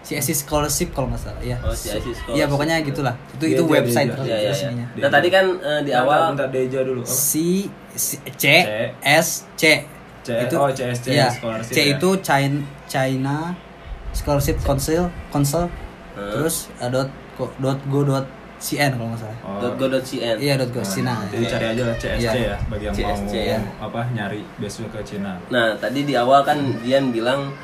[SPEAKER 2] CSI scholarship kalau nggak salah ya.
[SPEAKER 1] Oh, CSI scholarship.
[SPEAKER 2] Iya pokoknya gitulah. Itu
[SPEAKER 3] Dia
[SPEAKER 2] itu
[SPEAKER 3] aja, dia
[SPEAKER 2] website gitu
[SPEAKER 3] aja.
[SPEAKER 1] Ya, ya, ya.
[SPEAKER 2] resminya.
[SPEAKER 1] Nah tadi kan eh, di
[SPEAKER 3] Bentar,
[SPEAKER 1] awal
[SPEAKER 3] bentar Deja dulu. Oh,
[SPEAKER 2] C, C- C, S C.
[SPEAKER 3] C- oh, CSC,
[SPEAKER 2] iya.
[SPEAKER 3] scholarship
[SPEAKER 2] C
[SPEAKER 3] ya.
[SPEAKER 2] itu China, China Scholarship Council Council terus eh, dot co- dot go dot cn kalau nggak salah.
[SPEAKER 3] oh. Nah,
[SPEAKER 1] .go.cn.
[SPEAKER 2] Iya dot go Cina.
[SPEAKER 3] Jadi cari Oh, aja lah CSC
[SPEAKER 2] Iya.
[SPEAKER 3] ya bagi yang
[SPEAKER 1] CSC,
[SPEAKER 3] mau
[SPEAKER 1] ya.
[SPEAKER 3] apa nyari beasiswa ke Cina.
[SPEAKER 1] Nah tadi di awal kan Dian bilang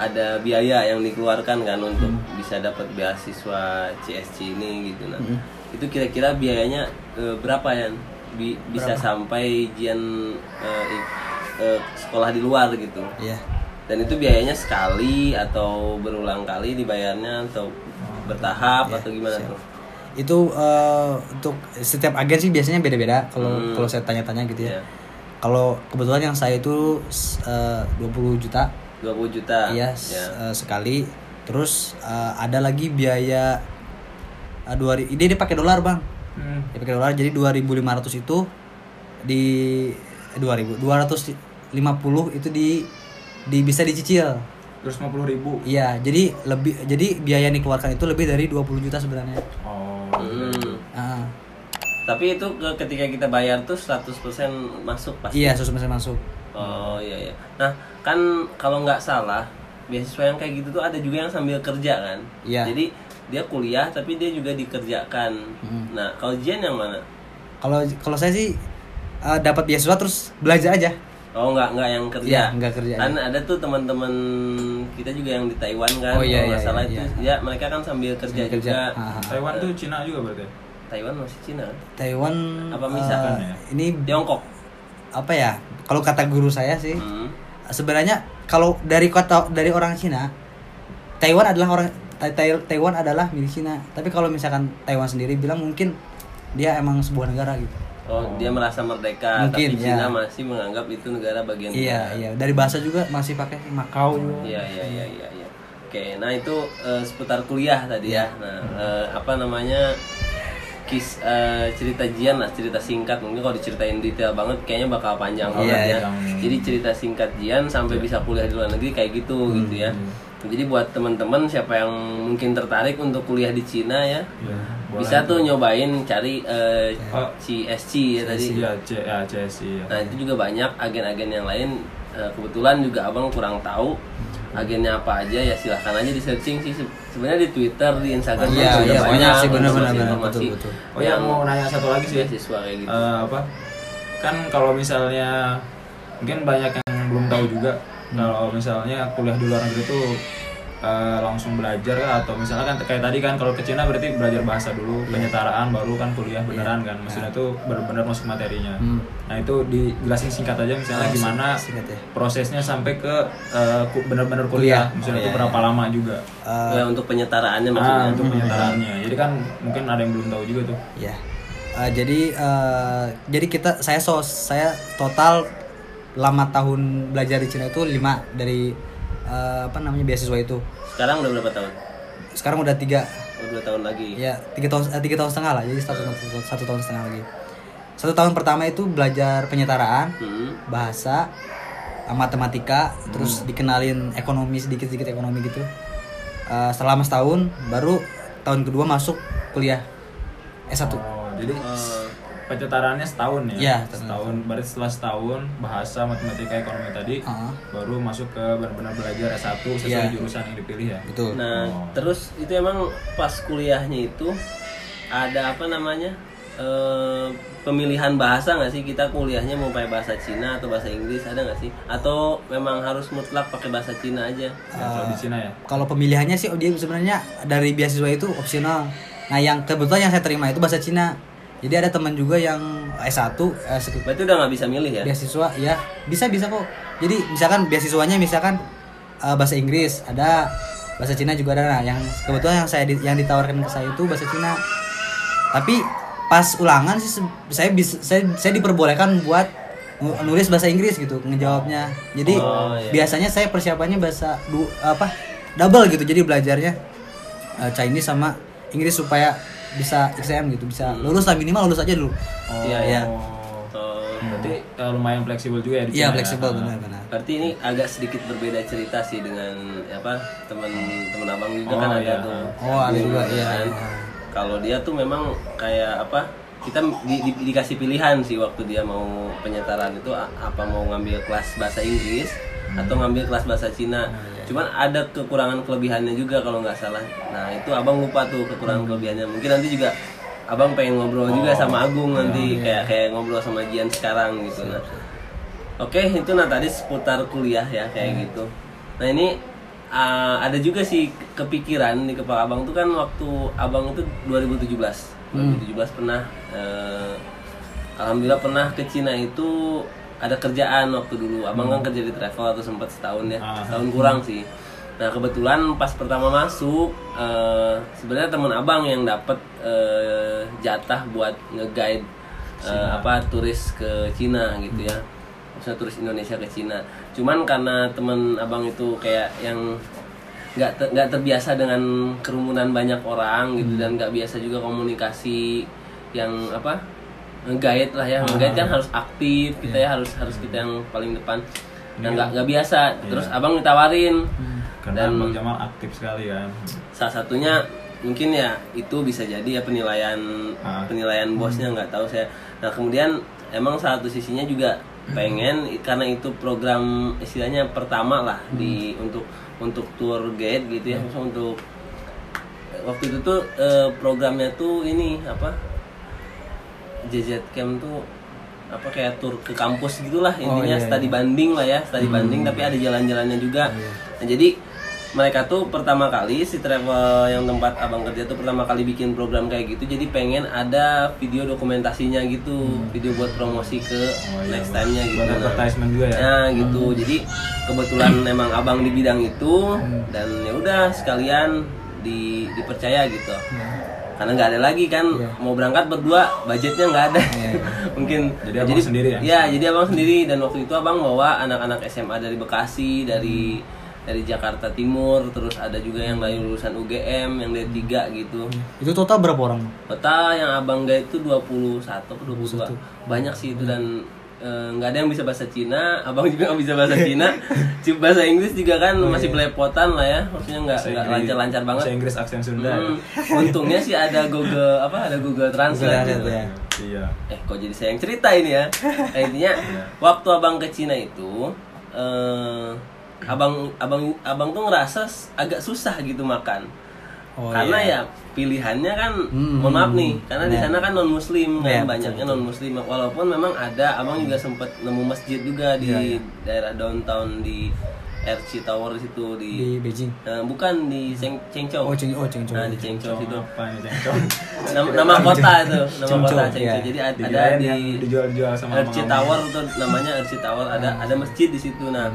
[SPEAKER 1] ada biaya yang dikeluarkan kan untuk
[SPEAKER 2] Hmm.
[SPEAKER 1] bisa dapat beasiswa CSC ini gitu. Nah
[SPEAKER 2] Hmm.
[SPEAKER 1] itu kira-kira biayanya eh, berapa ya? Bi- bisa sampai Dian eh, i- eh, sekolah di luar gitu.
[SPEAKER 2] Iya.
[SPEAKER 1] Dan itu biayanya sekali atau berulang kali dibayarnya atau
[SPEAKER 2] Iya,
[SPEAKER 1] bertahap atau gimana tuh?
[SPEAKER 2] itu eh, untuk setiap agen sih biasanya beda-beda kalau
[SPEAKER 3] Hmm.
[SPEAKER 2] kalau saya tanya-tanya gitu ya.
[SPEAKER 1] Iya.
[SPEAKER 2] Kalau kebetulan yang saya itu s- eh, 20 juta
[SPEAKER 1] 20 juta. Ya.
[SPEAKER 2] iya s- eh, sekali. Terus eh, ada lagi biaya eh, dua ri- ini dia pakai dolar, Bang.
[SPEAKER 3] Hmm.
[SPEAKER 2] Dia pakai dolar jadi 2.500 itu di eh, 2.000 250 itu di di bisa dicicil.
[SPEAKER 3] Terus 50 ribu.
[SPEAKER 2] Iya, jadi lebih jadi biaya yang dikeluarkan itu lebih dari 20 juta sebenarnya.
[SPEAKER 3] Oh.
[SPEAKER 1] Hmm.
[SPEAKER 2] Ah,
[SPEAKER 1] Tapi itu ke- ketika kita bayar tuh 100% masuk pasti.
[SPEAKER 2] iya, susah masuk.
[SPEAKER 1] Oh iya iya. Nah, kan kalau nggak salah beasiswa yang kayak gitu tuh ada juga yang sambil kerja kan.
[SPEAKER 2] Iya.
[SPEAKER 1] Jadi dia kuliah tapi dia juga dikerjakan.
[SPEAKER 2] Hmm.
[SPEAKER 1] Nah, kalau Jian yang mana?
[SPEAKER 2] Kalau kalau saya sih eh, dapat beasiswa terus belajar aja.
[SPEAKER 1] Oh nggak nggak yang kerja.
[SPEAKER 2] Iya, nggak kerja,
[SPEAKER 1] Kan ada tuh teman-teman kita juga yang di Taiwan kan.
[SPEAKER 2] Oh, iya,
[SPEAKER 1] kalau nggak
[SPEAKER 2] iya,
[SPEAKER 1] salah
[SPEAKER 2] iya,
[SPEAKER 1] itu ya mereka kan sambil kerja
[SPEAKER 2] Sambil kerja.
[SPEAKER 1] juga.
[SPEAKER 2] Ah.
[SPEAKER 3] Taiwan tuh Cina juga berarti.
[SPEAKER 1] Taiwan masih Cina. kan?
[SPEAKER 2] Taiwan
[SPEAKER 1] Apa
[SPEAKER 2] eh,
[SPEAKER 1] misalkan
[SPEAKER 3] ya?
[SPEAKER 2] ini
[SPEAKER 1] Tiongkok.
[SPEAKER 2] apa ya kalau kata guru saya sih
[SPEAKER 1] Hmm.
[SPEAKER 2] sebenarnya kalau dari kota dari orang Cina Taiwan adalah orang Tai- Tai- Taiwan adalah milik Cina tapi kalau misalkan Taiwan sendiri bilang mungkin dia emang sebuah negara gitu
[SPEAKER 1] Oh, dia merasa merdeka,
[SPEAKER 2] Mungkin,
[SPEAKER 1] tapi
[SPEAKER 2] ya.
[SPEAKER 1] Cina masih menganggap itu negara bagian
[SPEAKER 2] iya
[SPEAKER 1] negara.
[SPEAKER 2] iya dari bahasa juga masih pakai Makau juga
[SPEAKER 1] Iya, iya, iya, iya, iya. Oke, nah itu eh, seputar kuliah tadi ya. Nah, eh, apa namanya? Kis eh, cerita Jian lah, cerita singkat. Mungkin kalau diceritain detail banget kayaknya bakal panjang banget
[SPEAKER 2] Iya,
[SPEAKER 1] ya. Jadi cerita singkat Jian sampai
[SPEAKER 3] Iya.
[SPEAKER 1] bisa kuliah di luar negeri kayak gitu
[SPEAKER 3] Hmm.
[SPEAKER 1] gitu ya. Jadi buat teman-teman siapa yang mungkin tertarik untuk kuliah di Cina ya,
[SPEAKER 3] Iya, boleh.
[SPEAKER 1] bisa tuh nyobain cari eh, CSC ya tadi.
[SPEAKER 3] Iya, C, ya, CSI ya.
[SPEAKER 1] Nah itu juga banyak agen-agen yang lain Eh, kebetulan juga abang kurang tahu agennya apa aja ya silahkan aja di searching sih Se- sebenarnya di Twitter di Instagram juga
[SPEAKER 2] Iya, iya, banyak sih, benar, benar,
[SPEAKER 1] informasi-
[SPEAKER 2] benar.
[SPEAKER 1] informasi
[SPEAKER 2] Betul, betul.
[SPEAKER 3] Oh ya, mau nanya satu lagi sih.
[SPEAKER 1] beasiswa kayak gitu.
[SPEAKER 3] Eh, apa kan kalau misalnya mungkin banyak yang belum tahu juga
[SPEAKER 2] Hmm.
[SPEAKER 3] kalau misalnya kuliah di luar negeri itu eh, langsung belajar kah? atau misalnya kan kayak tadi kan kalau ke Cina berarti belajar bahasa dulu
[SPEAKER 2] Iya.
[SPEAKER 3] penyetaraan baru kan kuliah beneran kan maksudnya itu benar-benar masuk materinya nah itu dijelasin singkat aja misalnya gimana
[SPEAKER 2] Hmm. singkat ya.
[SPEAKER 3] prosesnya sampai ke eh, ku- benar-benar kuliah, misalnya
[SPEAKER 2] Oh, iya,
[SPEAKER 3] itu berapa lama juga
[SPEAKER 1] Ya, untuk
[SPEAKER 2] Ah,
[SPEAKER 1] penyetaraannya
[SPEAKER 2] hmm,
[SPEAKER 1] maksudnya.
[SPEAKER 3] nah untuk penyetaraannya jadi kan mungkin ada yang belum tahu juga tuh
[SPEAKER 2] Ya. Eh, jadi eh, jadi kita saya sos saya total lama tahun belajar di Cina itu 5 dari eh, apa namanya beasiswa itu.
[SPEAKER 1] Sekarang udah berapa tahun?
[SPEAKER 2] Sekarang udah tiga
[SPEAKER 1] Oh, dua tahun lagi.
[SPEAKER 2] ya tiga tahun eh, tiga tahun setengah lah jadi satu, satu, satu tahun setengah lagi. Satu tahun pertama itu belajar penyetaraan,
[SPEAKER 1] Hmm.
[SPEAKER 2] bahasa, eh, matematika, terus dikenalin ekonomi sedikit-sedikit ekonomi gitu. Eh, selama setahun baru tahun kedua masuk kuliah S1.
[SPEAKER 3] Oh, jadi pencetarannya setahun ya?
[SPEAKER 2] Gitu. Iya,
[SPEAKER 3] setahun. Berarti setelah setahun bahasa, matematika, ekonomi tadi
[SPEAKER 2] Ah.
[SPEAKER 3] baru masuk ke benar-benar belajar S1 sesuai
[SPEAKER 2] Iya.
[SPEAKER 3] jurusan yang dipilih ya.
[SPEAKER 2] Betul.
[SPEAKER 1] Nah terus itu emang pas kuliahnya itu ada apa namanya Eh, pemilihan bahasa nggak sih kita kuliahnya mau pakai bahasa Cina atau bahasa Inggris ada nggak sih? Atau memang harus mutlak pakai bahasa Cina aja?
[SPEAKER 2] Ah.
[SPEAKER 3] Ya, kalau di Cina ya.
[SPEAKER 2] kalau pemilihannya sih oh, dia sebenarnya dari beasiswa itu opsional. Nah, yang kebetulan yang saya terima itu bahasa Cina. Jadi ada teman juga yang S1 eh, sek-
[SPEAKER 1] Berarti udah nggak bisa milih ya?
[SPEAKER 2] beasiswa ya bisa bisa kok. Jadi misalkan beasiswanya misalkan eh, bahasa Inggris, ada bahasa Cina juga ada. Nah, yang kebetulan yang saya di- yang ditawarkan ke saya itu bahasa Cina. Tapi pas ulangan sih se- saya bisa saya, saya diperbolehkan buat nu- nulis bahasa Inggris gitu ngejawabnya. Jadi
[SPEAKER 1] Oh, iya.
[SPEAKER 2] biasanya saya persiapannya bahasa du, apa double gitu jadi belajarnya eh, Chinese sama Inggris supaya bisa XM gitu bisa
[SPEAKER 1] Hmm.
[SPEAKER 2] lulus lah minimal lulus aja dulu
[SPEAKER 1] Iya,
[SPEAKER 2] iya. Hmm.
[SPEAKER 3] Oh,
[SPEAKER 1] Oh,
[SPEAKER 3] Berarti eh, lumayan fleksibel juga ya di Cina.
[SPEAKER 2] iya
[SPEAKER 3] ya?
[SPEAKER 2] fleksibel
[SPEAKER 3] Ah.
[SPEAKER 2] benar-benar
[SPEAKER 1] Berarti ini agak sedikit berbeda cerita sih dengan apa teman-teman abang juga
[SPEAKER 3] Oh,
[SPEAKER 1] kan ada
[SPEAKER 3] iya.
[SPEAKER 1] tuh.
[SPEAKER 2] Oh, ada
[SPEAKER 1] Gitu
[SPEAKER 2] juga,
[SPEAKER 1] kan.
[SPEAKER 2] iya.
[SPEAKER 1] Kalau dia tuh memang kayak apa? Kita di- di- dikasih pilihan sih waktu dia mau penyetaraan itu a- apa mau ngambil kelas bahasa Inggris
[SPEAKER 2] Hmm.
[SPEAKER 1] atau ngambil kelas bahasa
[SPEAKER 2] Oh, iya,
[SPEAKER 1] Cina. Cuman ada kekurangan kelebihannya juga kalau nggak salah. Nah itu abang lupa tuh kekurangan
[SPEAKER 2] Hmm.
[SPEAKER 1] kelebihannya. Mungkin nanti juga abang pengen ngobrol
[SPEAKER 2] Oh,
[SPEAKER 1] juga sama Agung
[SPEAKER 2] iya,
[SPEAKER 1] nanti kayak kayak ngobrol sama Jian sekarang gitu. Nah Oke, itu nah tadi seputar kuliah ya kayak gitu. Nah ini uh, ada juga sih kepikiran di kepala abang tuh kan waktu abang itu 2017, 2017 pernah, eh, alhamdulillah pernah ke Cina itu ada kerjaan waktu dulu. Abang kan kerja di travel atau sempat setahun ya, setahun kurang sih. Nah kebetulan pas pertama masuk, eh, sebenarnya teman abang yang dapat eh, jatah buat nge-guide eh, apa turis ke Cina gitu ya maksudnya turis Indonesia ke Cina cuman karena teman abang itu kayak yang nggak ter- nggak terbiasa dengan kerumunan banyak orang gitu dan nggak biasa juga komunikasi yang apa ngegait lah ya ngegait kan harus aktif kita ya harus harus kita yang paling depan dan nggak nggak biasa terus abang ditawarin
[SPEAKER 3] Karena Bang Jamal aktif sekali kan.
[SPEAKER 1] salah satunya mungkin ya itu bisa jadi ya penilaian
[SPEAKER 3] Ah.
[SPEAKER 1] penilaian bosnya nggak tahu saya nah kemudian emang satu sisinya juga pengen i- karena itu program istilahnya pertama lah di untuk untuk tour guide gitu ya maksudnya untuk waktu itu tuh eh, programnya tuh ini apa JZ Camp tuh apa kayak tur ke kampus gitulah intinya study banding lah ya study banding tapi ada jalan-jalannya juga Nah, jadi mereka tuh pertama kali si travel yang tempat abang kerja tuh pertama kali bikin program kayak gitu jadi pengen ada video dokumentasinya gitu video buat promosi ke next time nya gitu
[SPEAKER 3] buat
[SPEAKER 1] nah.
[SPEAKER 3] advertisement juga ya
[SPEAKER 1] Nah gitu, jadi kebetulan memang abang di bidang itu
[SPEAKER 3] Hmm.
[SPEAKER 1] dan ya udah sekalian di, dipercaya gitu.
[SPEAKER 3] Iya.
[SPEAKER 1] Karena nggak ada lagi kan mau berangkat berdua budgetnya nggak ada mungkin.
[SPEAKER 3] Iya, Jadi abang sendiri ya?
[SPEAKER 1] Iya jadi abang sendiri dan waktu itu abang bawa anak-anak SMA dari Bekasi dari
[SPEAKER 3] Hmm.
[SPEAKER 1] dari Jakarta Timur terus ada juga yang dari lulusan UGM yang dari tiga gitu.
[SPEAKER 3] Iya.
[SPEAKER 2] Itu total berapa orang?
[SPEAKER 1] Total yang abang gak itu 21 atau 22 Banyak sih itu dan eh, nggak ada yang bisa bahasa Cina Abang juga nggak bisa bahasa Cina Cip- Bahasa Inggris juga kan masih belepotan lah ya Maksudnya nggak nggak lancar-lancar banget
[SPEAKER 3] Bahasa Inggris aksen Sunda ya?
[SPEAKER 1] Hmm, Untungnya sih ada Google apa ada Google Translate gitu.
[SPEAKER 2] Translate, ya.
[SPEAKER 3] iya
[SPEAKER 1] Eh kok jadi saya yang cerita ini ya Nah, Intinya waktu abang ke Cina itu eh, Abang abang abang tuh ngerasa s- agak susah gitu makan
[SPEAKER 2] Oh, Hmm.
[SPEAKER 1] karena ya pilihannya kan mohon maaf nih karena di sana kan non muslim kan
[SPEAKER 2] Iya,
[SPEAKER 1] banyaknya non muslim walaupun memang ada abang juga sempet nemu masjid juga di
[SPEAKER 2] Iya,
[SPEAKER 1] daerah downtown di RC Tower di situ di,
[SPEAKER 2] Di Beijing.
[SPEAKER 1] eh, bukan di Cheng- Chengchou
[SPEAKER 2] Oh, Cheng- oh, Chengchou.
[SPEAKER 1] nah di Chengchou itu
[SPEAKER 3] apa ini cengkong
[SPEAKER 1] nama, nama kota itu nama
[SPEAKER 2] Chengchou,
[SPEAKER 1] kota Chengchou
[SPEAKER 2] iya.
[SPEAKER 1] jadi ad- ada
[SPEAKER 3] dikirain yang
[SPEAKER 1] di
[SPEAKER 3] dijual-jual sama
[SPEAKER 1] RC
[SPEAKER 3] abang-abang.
[SPEAKER 1] Tower tuh namanya RC Tower ada
[SPEAKER 2] Ah.
[SPEAKER 1] ada masjid di situ nah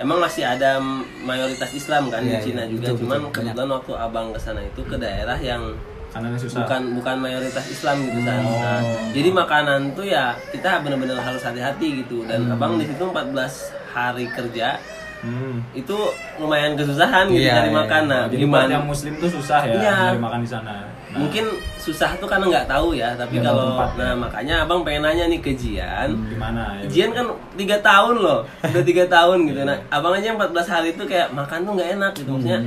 [SPEAKER 1] emang masih ada mayoritas Islam kan
[SPEAKER 2] Oh.
[SPEAKER 1] di
[SPEAKER 2] Iya,
[SPEAKER 1] Cina
[SPEAKER 2] iya,
[SPEAKER 1] juga
[SPEAKER 2] betul,
[SPEAKER 1] cuman
[SPEAKER 2] betul,
[SPEAKER 1] kebetulan waktu abang kesana itu ke daerah yang
[SPEAKER 3] Kanannya
[SPEAKER 2] Ah.
[SPEAKER 3] susah
[SPEAKER 1] bukan bukan mayoritas Islam gitu kan
[SPEAKER 2] Oh.
[SPEAKER 1] Nah, jadi makanan tuh ya kita bener-bener harus hati-hati gitu dan
[SPEAKER 2] Hmm.
[SPEAKER 1] abang di situ 14 hari kerja
[SPEAKER 3] hmm.
[SPEAKER 1] itu lumayan kesusahan gitu
[SPEAKER 2] Iya,
[SPEAKER 1] cari
[SPEAKER 2] iya,
[SPEAKER 1] makan Nah,
[SPEAKER 3] jadi buat
[SPEAKER 1] gimana
[SPEAKER 3] yang muslim tuh susah ya
[SPEAKER 1] Iya.
[SPEAKER 3] nyari makan di sana Nah,
[SPEAKER 1] mungkin susah tuh karena nggak tahu ya tapi
[SPEAKER 3] Nggak tahu
[SPEAKER 1] kalau
[SPEAKER 3] tempat.
[SPEAKER 1] nah makanya abang pengen nanya nih ke Jian
[SPEAKER 3] gimana ya
[SPEAKER 1] Jian kan tiga tahun loh, udah tiga tahun gitu. Nah, abang aja yang 14 hari itu kayak makan tuh nggak enak gitu. Maksudnya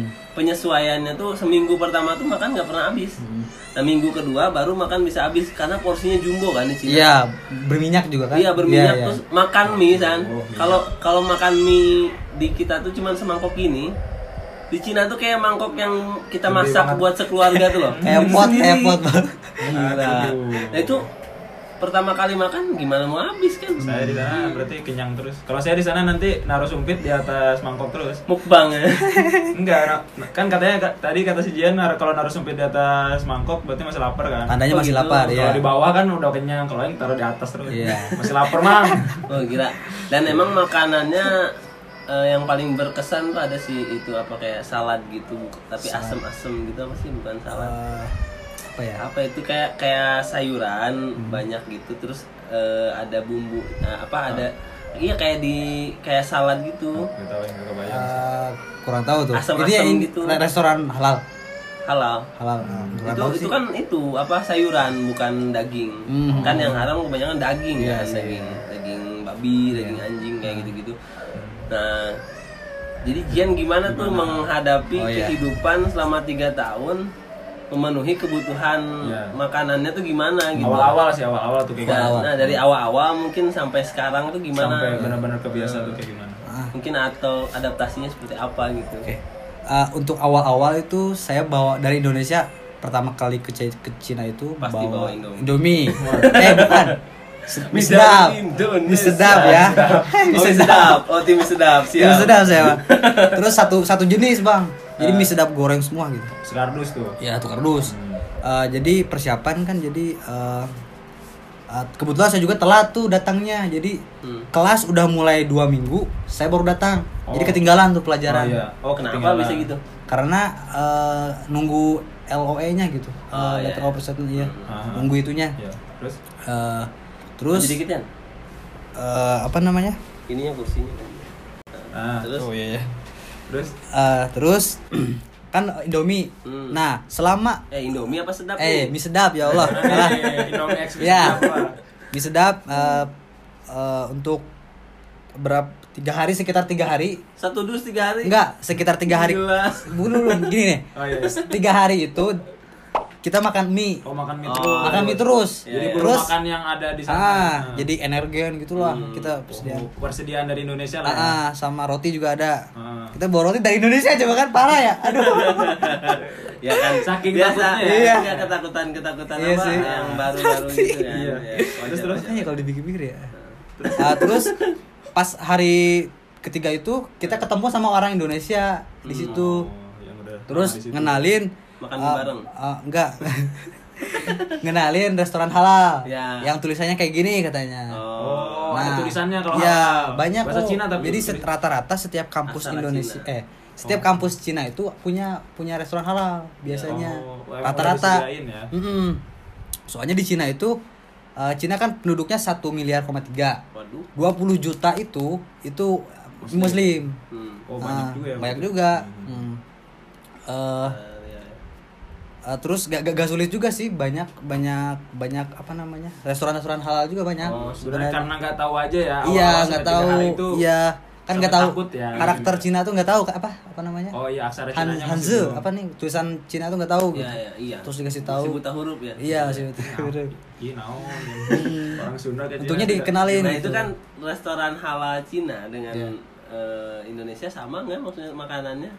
[SPEAKER 1] penyesuaiannya tuh seminggu pertama tuh makan nggak pernah habis. Nah, minggu kedua baru makan bisa habis karena porsinya jumbo kan di Cina.
[SPEAKER 2] Iya, berminyak juga kan?
[SPEAKER 1] Iya berminyak
[SPEAKER 2] Iya, iya.
[SPEAKER 1] terus makan mie san. Kalau kalau makan mie di kita tuh cuman semangkok ini. Di Cina tuh kayak mangkok yang kita masak buat sekeluarga tuh loh.
[SPEAKER 2] Kayak pot, kayak pot, Bang.
[SPEAKER 1] Gila. Nah itu pertama kali makan gimana mau habis kan?
[SPEAKER 3] saya di sana berarti kenyang terus kalau saya di sana nanti naruh sumpit di atas mangkok terus
[SPEAKER 1] Mukbang ya.
[SPEAKER 3] enggak na- kan katanya ka- tadi kata si Jian nar- kalau naruh sumpit di atas mangkok berarti masih lapar kan
[SPEAKER 1] Oh,
[SPEAKER 2] Tandanya masih
[SPEAKER 1] gitu.
[SPEAKER 2] lapar
[SPEAKER 3] kalau
[SPEAKER 2] ya.
[SPEAKER 3] di bawah kan udah kenyang kalau yang taruh di atas terus
[SPEAKER 2] Iya.
[SPEAKER 3] masih lapar mang
[SPEAKER 1] Oh gila. Dan emang makanannya eh, yang paling berkesan tuh ada sih itu apa kayak salad gitu, bu- tapi asem-asem gitu apa sih bukan salad.
[SPEAKER 2] Eh, apa ya?
[SPEAKER 1] Apa itu kayak kayak sayuran
[SPEAKER 3] Hmm.
[SPEAKER 1] banyak gitu terus eh, ada bumbu nah, apa ada
[SPEAKER 3] Ah.
[SPEAKER 1] iya kayak di kayak salad gitu.
[SPEAKER 3] Gak tahu yang gak kebayang
[SPEAKER 2] Eh, kurang tahu tuh.
[SPEAKER 1] Asam-asam
[SPEAKER 2] Ini ya, ini
[SPEAKER 1] gitu.
[SPEAKER 2] re- restoran halal.
[SPEAKER 1] Halal.
[SPEAKER 2] Halal. Nah, kurang
[SPEAKER 1] itu
[SPEAKER 2] tahu
[SPEAKER 1] itu
[SPEAKER 2] sih. Mhm.
[SPEAKER 1] kan itu apa sayuran bukan daging kan yang haram kebanyakan daging
[SPEAKER 2] Iya,
[SPEAKER 1] kan daging daging babi daging anjing kayak gitu gitu nah jadi Jian gimana, tuh menghadapi
[SPEAKER 2] Oh, iya.
[SPEAKER 1] kehidupan selama tiga tahun memenuhi kebutuhan
[SPEAKER 3] Iya.
[SPEAKER 1] makanannya tuh gimana gitu
[SPEAKER 3] awal-awal sih awal-awal tuh
[SPEAKER 2] iya.
[SPEAKER 3] kayak
[SPEAKER 1] nah,
[SPEAKER 3] gimana
[SPEAKER 1] nah, dari awal-awal mungkin sampai sekarang tuh gimana
[SPEAKER 3] sampai benar-benar kebiasaan tuh kayak gimana
[SPEAKER 1] mungkin atau adaptasinya seperti apa gitu
[SPEAKER 2] Oke. Eh, untuk awal-awal itu saya bawa dari Indonesia pertama kali ke, C- ke Cina itu
[SPEAKER 1] Pasti bawa Indomie.
[SPEAKER 2] eh bukan. Se- Mie sedap.
[SPEAKER 1] Indonesia.
[SPEAKER 2] Mie sedap ya.
[SPEAKER 1] Oh, mie sedap, oh tim mie sedap, siap.
[SPEAKER 2] Mie sedap saya. Bang. Terus satu satu jenis, Bang. Jadi mie sedap goreng semua gitu.
[SPEAKER 3] sekardus tuh
[SPEAKER 2] Ah. Ya tukar dus. Eh, jadi persiapan kan jadi eh, eh, kebetulan saya juga telat tuh datangnya. Jadi kelas udah mulai dua minggu, saya baru datang. Jadi ketinggalan tuh pelajaran.
[SPEAKER 3] oh, iya. oh
[SPEAKER 1] Kenapa
[SPEAKER 3] ketinggalan.
[SPEAKER 1] bisa gitu?
[SPEAKER 2] Karena eh, nunggu LOE-nya gitu. Eh, letter of acceptance iya.
[SPEAKER 3] Aha.
[SPEAKER 2] Nunggu itunya.
[SPEAKER 3] Iya. terus
[SPEAKER 2] Eh, terus
[SPEAKER 1] Terus dikit ya?
[SPEAKER 2] eh, apa namanya?
[SPEAKER 1] Ininya kursinya.
[SPEAKER 3] nah
[SPEAKER 1] Terus
[SPEAKER 3] terus
[SPEAKER 2] Eh, terus kan Indomie.
[SPEAKER 1] Hmm.
[SPEAKER 2] Nah, selama
[SPEAKER 1] eh Indomie apa sedap? nih?
[SPEAKER 2] eh mie sedap ya Allah.
[SPEAKER 3] Iya,
[SPEAKER 2] Salah.
[SPEAKER 3] Indomie Express
[SPEAKER 2] Ya.
[SPEAKER 3] kenapa?
[SPEAKER 2] Mie sedap eh, eh, untuk berapa tiga hari sekitar tiga hari
[SPEAKER 1] satu dus tiga hari.
[SPEAKER 2] enggak sekitar tiga hari
[SPEAKER 1] Gila.
[SPEAKER 2] belum belum. gini nih
[SPEAKER 3] Oh, iya.
[SPEAKER 2] tiga hari itu kita makan mie
[SPEAKER 3] Oh makan mie
[SPEAKER 1] Oh,
[SPEAKER 3] terus.
[SPEAKER 2] makan mie terus
[SPEAKER 3] Jadi belum
[SPEAKER 2] terus
[SPEAKER 3] makan yang ada di sana.
[SPEAKER 2] ah
[SPEAKER 3] Nah.
[SPEAKER 2] jadi energen gitulah kita persediaan
[SPEAKER 3] Oh, persediaan dari Indonesia lah.
[SPEAKER 2] Ah,
[SPEAKER 3] ya.
[SPEAKER 2] ah, sama roti juga ada
[SPEAKER 3] Ah.
[SPEAKER 2] kita bawa roti dari Indonesia coba kan parah ya aduh
[SPEAKER 1] Ya kan
[SPEAKER 3] Saking
[SPEAKER 1] biasa.
[SPEAKER 3] takutnya
[SPEAKER 1] Iya.
[SPEAKER 2] ya.
[SPEAKER 1] ketakutan ketakutan
[SPEAKER 2] Iya
[SPEAKER 1] apa
[SPEAKER 2] sih.
[SPEAKER 1] yang baru-baru gitu kan.
[SPEAKER 3] Iya.
[SPEAKER 1] Ya,
[SPEAKER 3] Terus,
[SPEAKER 2] gitu.
[SPEAKER 1] wajar.
[SPEAKER 2] Iya, kalau dipikir-pikir ya Ah, terus pas hari ketiga itu kita ketemu sama orang Indonesia
[SPEAKER 3] Hmm.
[SPEAKER 2] di situ.
[SPEAKER 3] yang Oh, iya, udah Nah,
[SPEAKER 2] Terus ngenalin
[SPEAKER 1] Makan
[SPEAKER 2] eh,
[SPEAKER 1] bareng.
[SPEAKER 2] eh, enggak. ngenalin restoran halal.
[SPEAKER 1] Ya.
[SPEAKER 2] Yang tulisannya kayak gini katanya.
[SPEAKER 3] Oh, ada tulisannya kalau
[SPEAKER 2] ya
[SPEAKER 3] halal.
[SPEAKER 2] banyak
[SPEAKER 3] bahasa
[SPEAKER 2] kok.
[SPEAKER 3] Cina tapi
[SPEAKER 2] jadi set- rata-rata setiap kampus
[SPEAKER 1] Aksara
[SPEAKER 2] Indonesia
[SPEAKER 1] Cina.
[SPEAKER 2] eh setiap
[SPEAKER 3] Oh.
[SPEAKER 2] kampus Cina itu punya punya restoran halal biasanya
[SPEAKER 3] Oh, emang udah
[SPEAKER 2] rata-rata
[SPEAKER 3] disediain ya?
[SPEAKER 2] Mm-mm. soalnya di Cina itu eh, Cina kan penduduknya satu miliar koma tiga
[SPEAKER 1] Waduh.
[SPEAKER 2] 20 juta itu itu muslim,
[SPEAKER 1] Hmm.
[SPEAKER 3] oh,
[SPEAKER 2] Ah,
[SPEAKER 3] banyak juga ya.
[SPEAKER 2] banyak
[SPEAKER 3] berarti.
[SPEAKER 2] juga. Hmm. Eh,
[SPEAKER 1] Eh, ya, ya.
[SPEAKER 2] eh, terus gak, gak, gak sulit juga sih banyak banyak banyak apa namanya restoran-restoran halal juga banyak
[SPEAKER 3] Oh, sebenarnya karena nggak tahu aja ya.
[SPEAKER 2] iya
[SPEAKER 3] awal-awal
[SPEAKER 2] nggak
[SPEAKER 3] sampai tiga
[SPEAKER 2] tahu
[SPEAKER 3] hari itu.
[SPEAKER 2] iya kan
[SPEAKER 3] sampai
[SPEAKER 2] nggak tahu
[SPEAKER 3] takut ya.
[SPEAKER 2] karakter Cina tuh nggak tahu apa apa namanya
[SPEAKER 3] Oh iya, aksara
[SPEAKER 2] Han,
[SPEAKER 3] Cinanya masih
[SPEAKER 2] Hanzi
[SPEAKER 3] belum.
[SPEAKER 2] apa nih tulisan Cina tuh nggak tahu
[SPEAKER 1] Iya,
[SPEAKER 2] gitu.
[SPEAKER 1] iya, iya.
[SPEAKER 2] terus dikasih tahu
[SPEAKER 1] Masih buta huruf ya.
[SPEAKER 2] iya sih betul
[SPEAKER 3] Iya, naon. Orang Sunda kayak
[SPEAKER 2] Hmm. Untungnya
[SPEAKER 3] Cina juga.
[SPEAKER 2] dikenalin
[SPEAKER 1] Nah,
[SPEAKER 2] gitu.
[SPEAKER 1] itu kan restoran halal Cina dengan
[SPEAKER 2] Iya.
[SPEAKER 1] eh, Indonesia sama nggak maksudnya makanannya?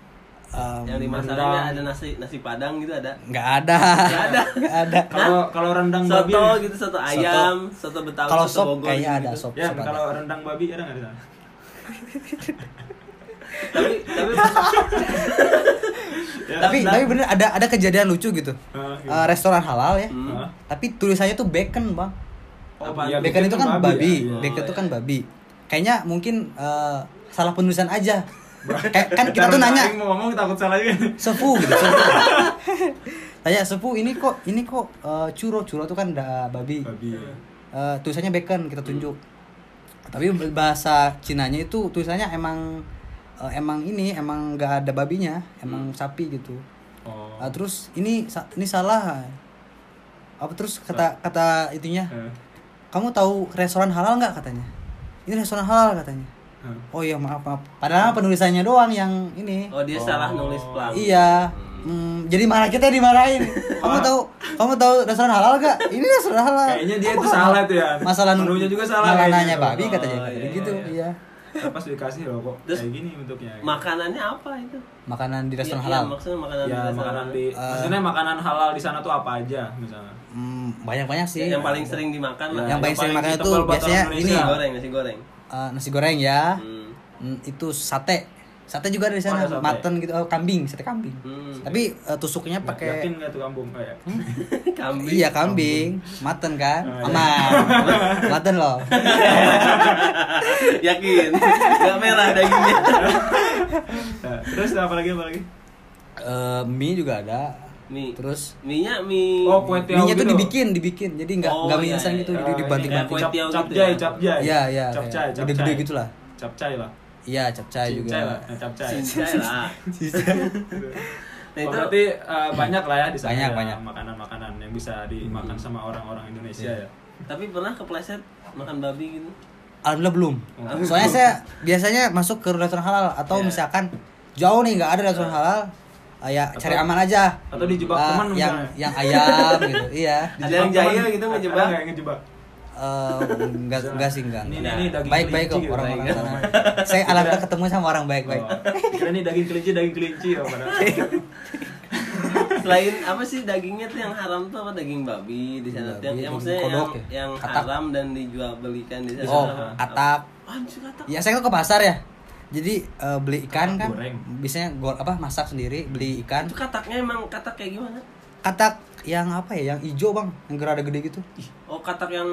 [SPEAKER 2] Em,
[SPEAKER 1] Yang dimasaknya ada nasi nasi Padang gitu ada.
[SPEAKER 2] nggak ada
[SPEAKER 1] ada.
[SPEAKER 2] nggak ada
[SPEAKER 3] Kalau kalau rendang babi.
[SPEAKER 1] Soto gitu, soto ayam, soto, Betawi,
[SPEAKER 2] kalau
[SPEAKER 1] soto
[SPEAKER 2] sop
[SPEAKER 1] Bogor
[SPEAKER 2] kayaknya ada
[SPEAKER 1] gitu.
[SPEAKER 2] sop
[SPEAKER 3] Ya,
[SPEAKER 2] sop ada.
[SPEAKER 3] kalau rendang babi ada nggak di sana?
[SPEAKER 1] Tapi tapi
[SPEAKER 3] Ya,
[SPEAKER 2] tapi
[SPEAKER 1] Nah.
[SPEAKER 2] tapi bener ada ada kejadian lucu gitu
[SPEAKER 3] Ah, iya.
[SPEAKER 2] Eh, restoran halal ya
[SPEAKER 3] Hah?
[SPEAKER 2] tapi tulisannya tuh bacon bang
[SPEAKER 3] Oh,
[SPEAKER 1] Apa?
[SPEAKER 3] iya,
[SPEAKER 2] bacon itu kan babi,
[SPEAKER 3] ya.
[SPEAKER 2] bacon
[SPEAKER 1] Oh,
[SPEAKER 2] itu
[SPEAKER 1] iya.
[SPEAKER 2] kan babi kayaknya mungkin eh, salah penulisan aja kayak kan kita
[SPEAKER 3] Bentar,
[SPEAKER 2] tuh
[SPEAKER 3] bentar,
[SPEAKER 2] nanya
[SPEAKER 3] Aing mau ngomong takut salah juga.
[SPEAKER 2] sepu gitu sepu. tanya sepu ini kok ini kok eh, curo curo tuh kan da, babi
[SPEAKER 3] Babi. ya.
[SPEAKER 2] Eh, tulisannya bacon kita tunjuk tapi bahasa Cinanya itu tulisannya emang eh, emang ini emang nggak ada babinya emang sapi gitu
[SPEAKER 3] Hmm. Oh.
[SPEAKER 2] Ah, terus ini sa- ini salah apa terus kata kata itunya
[SPEAKER 3] Eh,
[SPEAKER 2] kamu tahu restoran halal nggak katanya ini restoran halal katanya
[SPEAKER 3] eh.
[SPEAKER 2] oh iya maaf maaf
[SPEAKER 3] Hmm.
[SPEAKER 2] padahal penulisannya doang yang ini
[SPEAKER 1] oh dia salah nulis pelan.
[SPEAKER 2] iya Hmm, jadi marah kita dimarahin kamu tahu kamu tahu restoran halal gak ini restoran halal
[SPEAKER 3] Kayaknya dia itu
[SPEAKER 2] Kamu nggak
[SPEAKER 3] salah
[SPEAKER 2] tahu.
[SPEAKER 3] tuh ya.
[SPEAKER 2] masalah
[SPEAKER 3] Menunya juga salah
[SPEAKER 2] malah
[SPEAKER 3] kayaknya.
[SPEAKER 2] nanya babi
[SPEAKER 3] Oh,
[SPEAKER 2] katanya
[SPEAKER 1] iya,
[SPEAKER 2] katanya
[SPEAKER 1] iya,
[SPEAKER 2] gitu
[SPEAKER 1] iya.
[SPEAKER 2] iya
[SPEAKER 3] Pas dikasih loh kok
[SPEAKER 1] Terus-
[SPEAKER 3] kayak gini bentuknya.
[SPEAKER 1] Makanannya apa itu?
[SPEAKER 2] makanan di
[SPEAKER 1] Iya,
[SPEAKER 2] restoran halal
[SPEAKER 1] Iya, maksudnya makanan di
[SPEAKER 3] Ya
[SPEAKER 1] restoran.
[SPEAKER 3] makanan di
[SPEAKER 2] Ah.
[SPEAKER 3] maksudnya makanan halal di sana tuh apa aja misalnya?
[SPEAKER 2] banyak banyak Hmm, sih
[SPEAKER 1] yang paling sering dimakan lah.
[SPEAKER 2] Iya. yang paling sering
[SPEAKER 3] paling
[SPEAKER 2] makan itu
[SPEAKER 3] ditebal batang
[SPEAKER 2] biasanya
[SPEAKER 3] Indonesia.
[SPEAKER 2] ini
[SPEAKER 1] nasi goreng, nasi goreng.
[SPEAKER 2] eh, nasi goreng ya
[SPEAKER 1] Hmm.
[SPEAKER 2] Hmm, itu sate sate juga ada di sana
[SPEAKER 3] ada sate.
[SPEAKER 2] mutton gitu oh, kambing sate kambing
[SPEAKER 1] Hmm.
[SPEAKER 2] tapi eh, tusuknya pakai
[SPEAKER 3] Ya,
[SPEAKER 2] Hmm.
[SPEAKER 3] Yakin nggak tuh kampung Oh, ya. kayak?
[SPEAKER 1] Kambing.
[SPEAKER 2] Iya kambing, mutton kan,
[SPEAKER 3] Ah, iya.
[SPEAKER 2] aman, mutton loh.
[SPEAKER 1] Yakin. Gak merah dagingnya.
[SPEAKER 3] Nah, Terus apa lagi apa lagi?
[SPEAKER 2] Eh, mie juga ada.
[SPEAKER 1] Mie.
[SPEAKER 2] Terus
[SPEAKER 1] Mie-nya mie.
[SPEAKER 3] Oh kue tiaw
[SPEAKER 2] mie nya
[SPEAKER 3] gitu.
[SPEAKER 2] tuh dibikin, dibikin. Jadi nggak
[SPEAKER 1] Oh,
[SPEAKER 2] nggak mie
[SPEAKER 1] iya,
[SPEAKER 2] instan
[SPEAKER 1] iya,
[SPEAKER 2] gitu,
[SPEAKER 1] iya.
[SPEAKER 2] jadi
[SPEAKER 3] Eh,
[SPEAKER 2] dibanting-banting.
[SPEAKER 1] kayak kue tiaw gitu
[SPEAKER 3] Capcay,
[SPEAKER 1] ya?
[SPEAKER 3] capcay.
[SPEAKER 2] Iya iya.
[SPEAKER 3] Capcay,
[SPEAKER 2] kayak
[SPEAKER 3] capcay.
[SPEAKER 2] Gede-gede gitu lah.
[SPEAKER 3] Capcay lah.
[SPEAKER 2] Iya, capcay juga.
[SPEAKER 3] Cincay lah, eh, capcay.
[SPEAKER 1] Cincai lah. Nah,
[SPEAKER 3] Oh,
[SPEAKER 1] itu
[SPEAKER 3] berarti eh, banyak lah ya di sana
[SPEAKER 2] Banyak,
[SPEAKER 3] ya,
[SPEAKER 2] banyak. Hmm. Iya.
[SPEAKER 3] makanan-makanan yang bisa dimakan sama orang-orang Indonesia ya.
[SPEAKER 1] tapi pernah kepleset makan babi gitu.
[SPEAKER 2] Alhamdulillah belum.
[SPEAKER 3] Oh.
[SPEAKER 2] Soalnya saya biasanya masuk ke restoran halal atau
[SPEAKER 1] Iya.
[SPEAKER 2] misalkan jauh nih nggak ada restoran halal, eh, ya cari aman aja.
[SPEAKER 3] Atau dijebak
[SPEAKER 2] Eh,
[SPEAKER 3] teman
[SPEAKER 2] yang
[SPEAKER 3] misalnya.
[SPEAKER 2] yang ayam gitu, iya.
[SPEAKER 1] Ada yang jahil gitu ngejebak.
[SPEAKER 3] Ada yang ngejebak.
[SPEAKER 2] Eh, enggak, enggak sih enggak.
[SPEAKER 3] Ini, ini, ini daging
[SPEAKER 2] Baik-baik kok
[SPEAKER 3] kelinci gitu.
[SPEAKER 2] orang-orang
[SPEAKER 3] Baik.
[SPEAKER 2] sana. Saya alhamdulillah ketemu sama orang baik-baik.
[SPEAKER 3] Oh, Kira ini daging kelinci, daging kelinci ya padahal.
[SPEAKER 1] Selain apa sih dagingnya tuh yang haram tuh apa daging babi di sana tuh yang,
[SPEAKER 2] Babi,
[SPEAKER 1] yang
[SPEAKER 2] daging
[SPEAKER 1] maksudnya yang
[SPEAKER 2] kodok ya?
[SPEAKER 1] yang
[SPEAKER 2] Katak.
[SPEAKER 1] haram dan dijual belikan di sana.
[SPEAKER 2] Oh,
[SPEAKER 1] apa? Ah,
[SPEAKER 2] atap.
[SPEAKER 1] Anjir kata.
[SPEAKER 2] Ya saya kan ke pasar ya. Jadi eh, beli ikan kan,
[SPEAKER 3] Goreng.
[SPEAKER 2] biasanya gor apa masak sendiri, beli ikan.
[SPEAKER 1] Itu kataknya emang katak kayak gimana?
[SPEAKER 2] Katak yang apa ya, yang hijau bang, yang gerada gede gitu.
[SPEAKER 1] Oh, katak yang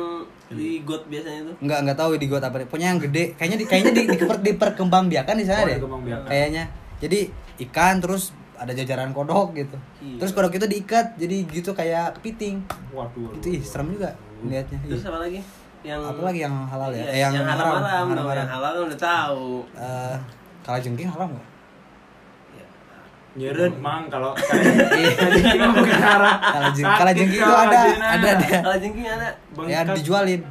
[SPEAKER 2] Iya.
[SPEAKER 1] di got biasanya tuh.
[SPEAKER 2] Enggak enggak tahu di gua apa. Punya yang gede, kayaknya di kayaknya di, diper- diperkembangbiakan di
[SPEAKER 3] Oh,
[SPEAKER 2] sana deh.
[SPEAKER 3] dikembangbiakan.
[SPEAKER 2] Kayaknya. Jadi ikan terus ada jajaran kodok gitu.
[SPEAKER 1] Iya.
[SPEAKER 2] Terus kodok itu diikat, jadi gitu kayak kepiting.
[SPEAKER 3] Waduh.
[SPEAKER 2] Itu ih serem juga lihatnya.
[SPEAKER 1] Terus apa lagi? Yang
[SPEAKER 2] Iya. Apa lagi yang halal ya?
[SPEAKER 1] Iya,
[SPEAKER 2] Eh,
[SPEAKER 1] yang, haram, haram, dong.
[SPEAKER 2] haram-haram.
[SPEAKER 1] yang halal kan udah tahu.
[SPEAKER 2] Eh, kalajengking haram nggak?
[SPEAKER 3] Nyeret mang kalau
[SPEAKER 1] Iya,
[SPEAKER 2] Iya.
[SPEAKER 3] kalajengking mah bukan arah.
[SPEAKER 2] Kalajeng-
[SPEAKER 3] Sakit
[SPEAKER 2] kalajengking itu
[SPEAKER 3] kalau
[SPEAKER 2] ada,
[SPEAKER 3] kalajengking
[SPEAKER 2] ada, ada.
[SPEAKER 1] Kalau jengking ada
[SPEAKER 2] Ya
[SPEAKER 3] Bengkak.
[SPEAKER 2] dijualin.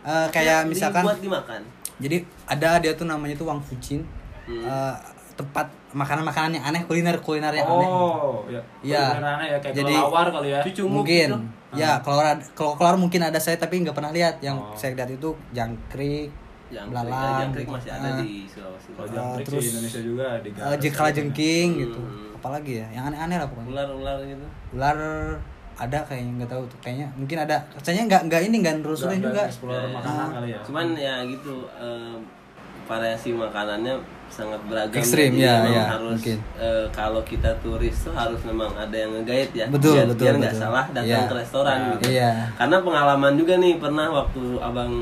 [SPEAKER 2] Eh, kayak
[SPEAKER 1] Di-
[SPEAKER 2] misalkan
[SPEAKER 1] buat dimakan.
[SPEAKER 2] jadi ada dia tuh namanya tuh Wang Fucin.
[SPEAKER 1] Hmm.
[SPEAKER 2] Eh, tempat makanan-makanan yang aneh, kuliner-kuliner yang aneh.
[SPEAKER 3] Oh, ya.
[SPEAKER 2] Iya.
[SPEAKER 3] Beneran ya kayak
[SPEAKER 2] Jadi- Ah,
[SPEAKER 3] kelelawar kali ya.
[SPEAKER 1] Cucunguk gitu.
[SPEAKER 2] Mungkin. Ya, kalau ada- kalau keluar mungkin ada saya tapi nggak pernah lihat. Yang saya lihat itu jangkrik,
[SPEAKER 1] Oh. Jangkrik, ya,
[SPEAKER 2] belalang,
[SPEAKER 1] jangkrik masih ada
[SPEAKER 2] eh,
[SPEAKER 1] di Sulawesi.
[SPEAKER 3] Kalau jangkrik
[SPEAKER 2] terus-
[SPEAKER 3] sih Indonesia juga ada.
[SPEAKER 2] eh, je- kalajengking
[SPEAKER 1] Hmm.
[SPEAKER 2] gitu. Apalagi ya, yang aneh-aneh lah pokoknya.
[SPEAKER 1] Ular-ular gitu.
[SPEAKER 2] ular ada kayaknya nggak tahu tuh kayaknya mungkin ada
[SPEAKER 1] Iya.
[SPEAKER 2] kayaknya nggak nggak ini nggak nerusin juga Ah.
[SPEAKER 3] Explorer makanan kali ya.
[SPEAKER 1] Cuman ya gitu eh, variasi makanannya sangat beragam
[SPEAKER 2] Ekstrim,
[SPEAKER 1] Jadi
[SPEAKER 2] ya,
[SPEAKER 1] memang
[SPEAKER 2] ya,
[SPEAKER 1] harus
[SPEAKER 2] mungkin.
[SPEAKER 1] eh, kalau kita turis tuh harus memang ada yang ngegait ya
[SPEAKER 2] Betul,
[SPEAKER 1] biar,
[SPEAKER 2] betul,
[SPEAKER 1] biar nggak
[SPEAKER 2] betul.
[SPEAKER 1] salah datang
[SPEAKER 2] Ya.
[SPEAKER 1] ke restoran gitu
[SPEAKER 2] Iya.
[SPEAKER 1] karena pengalaman juga nih pernah waktu abang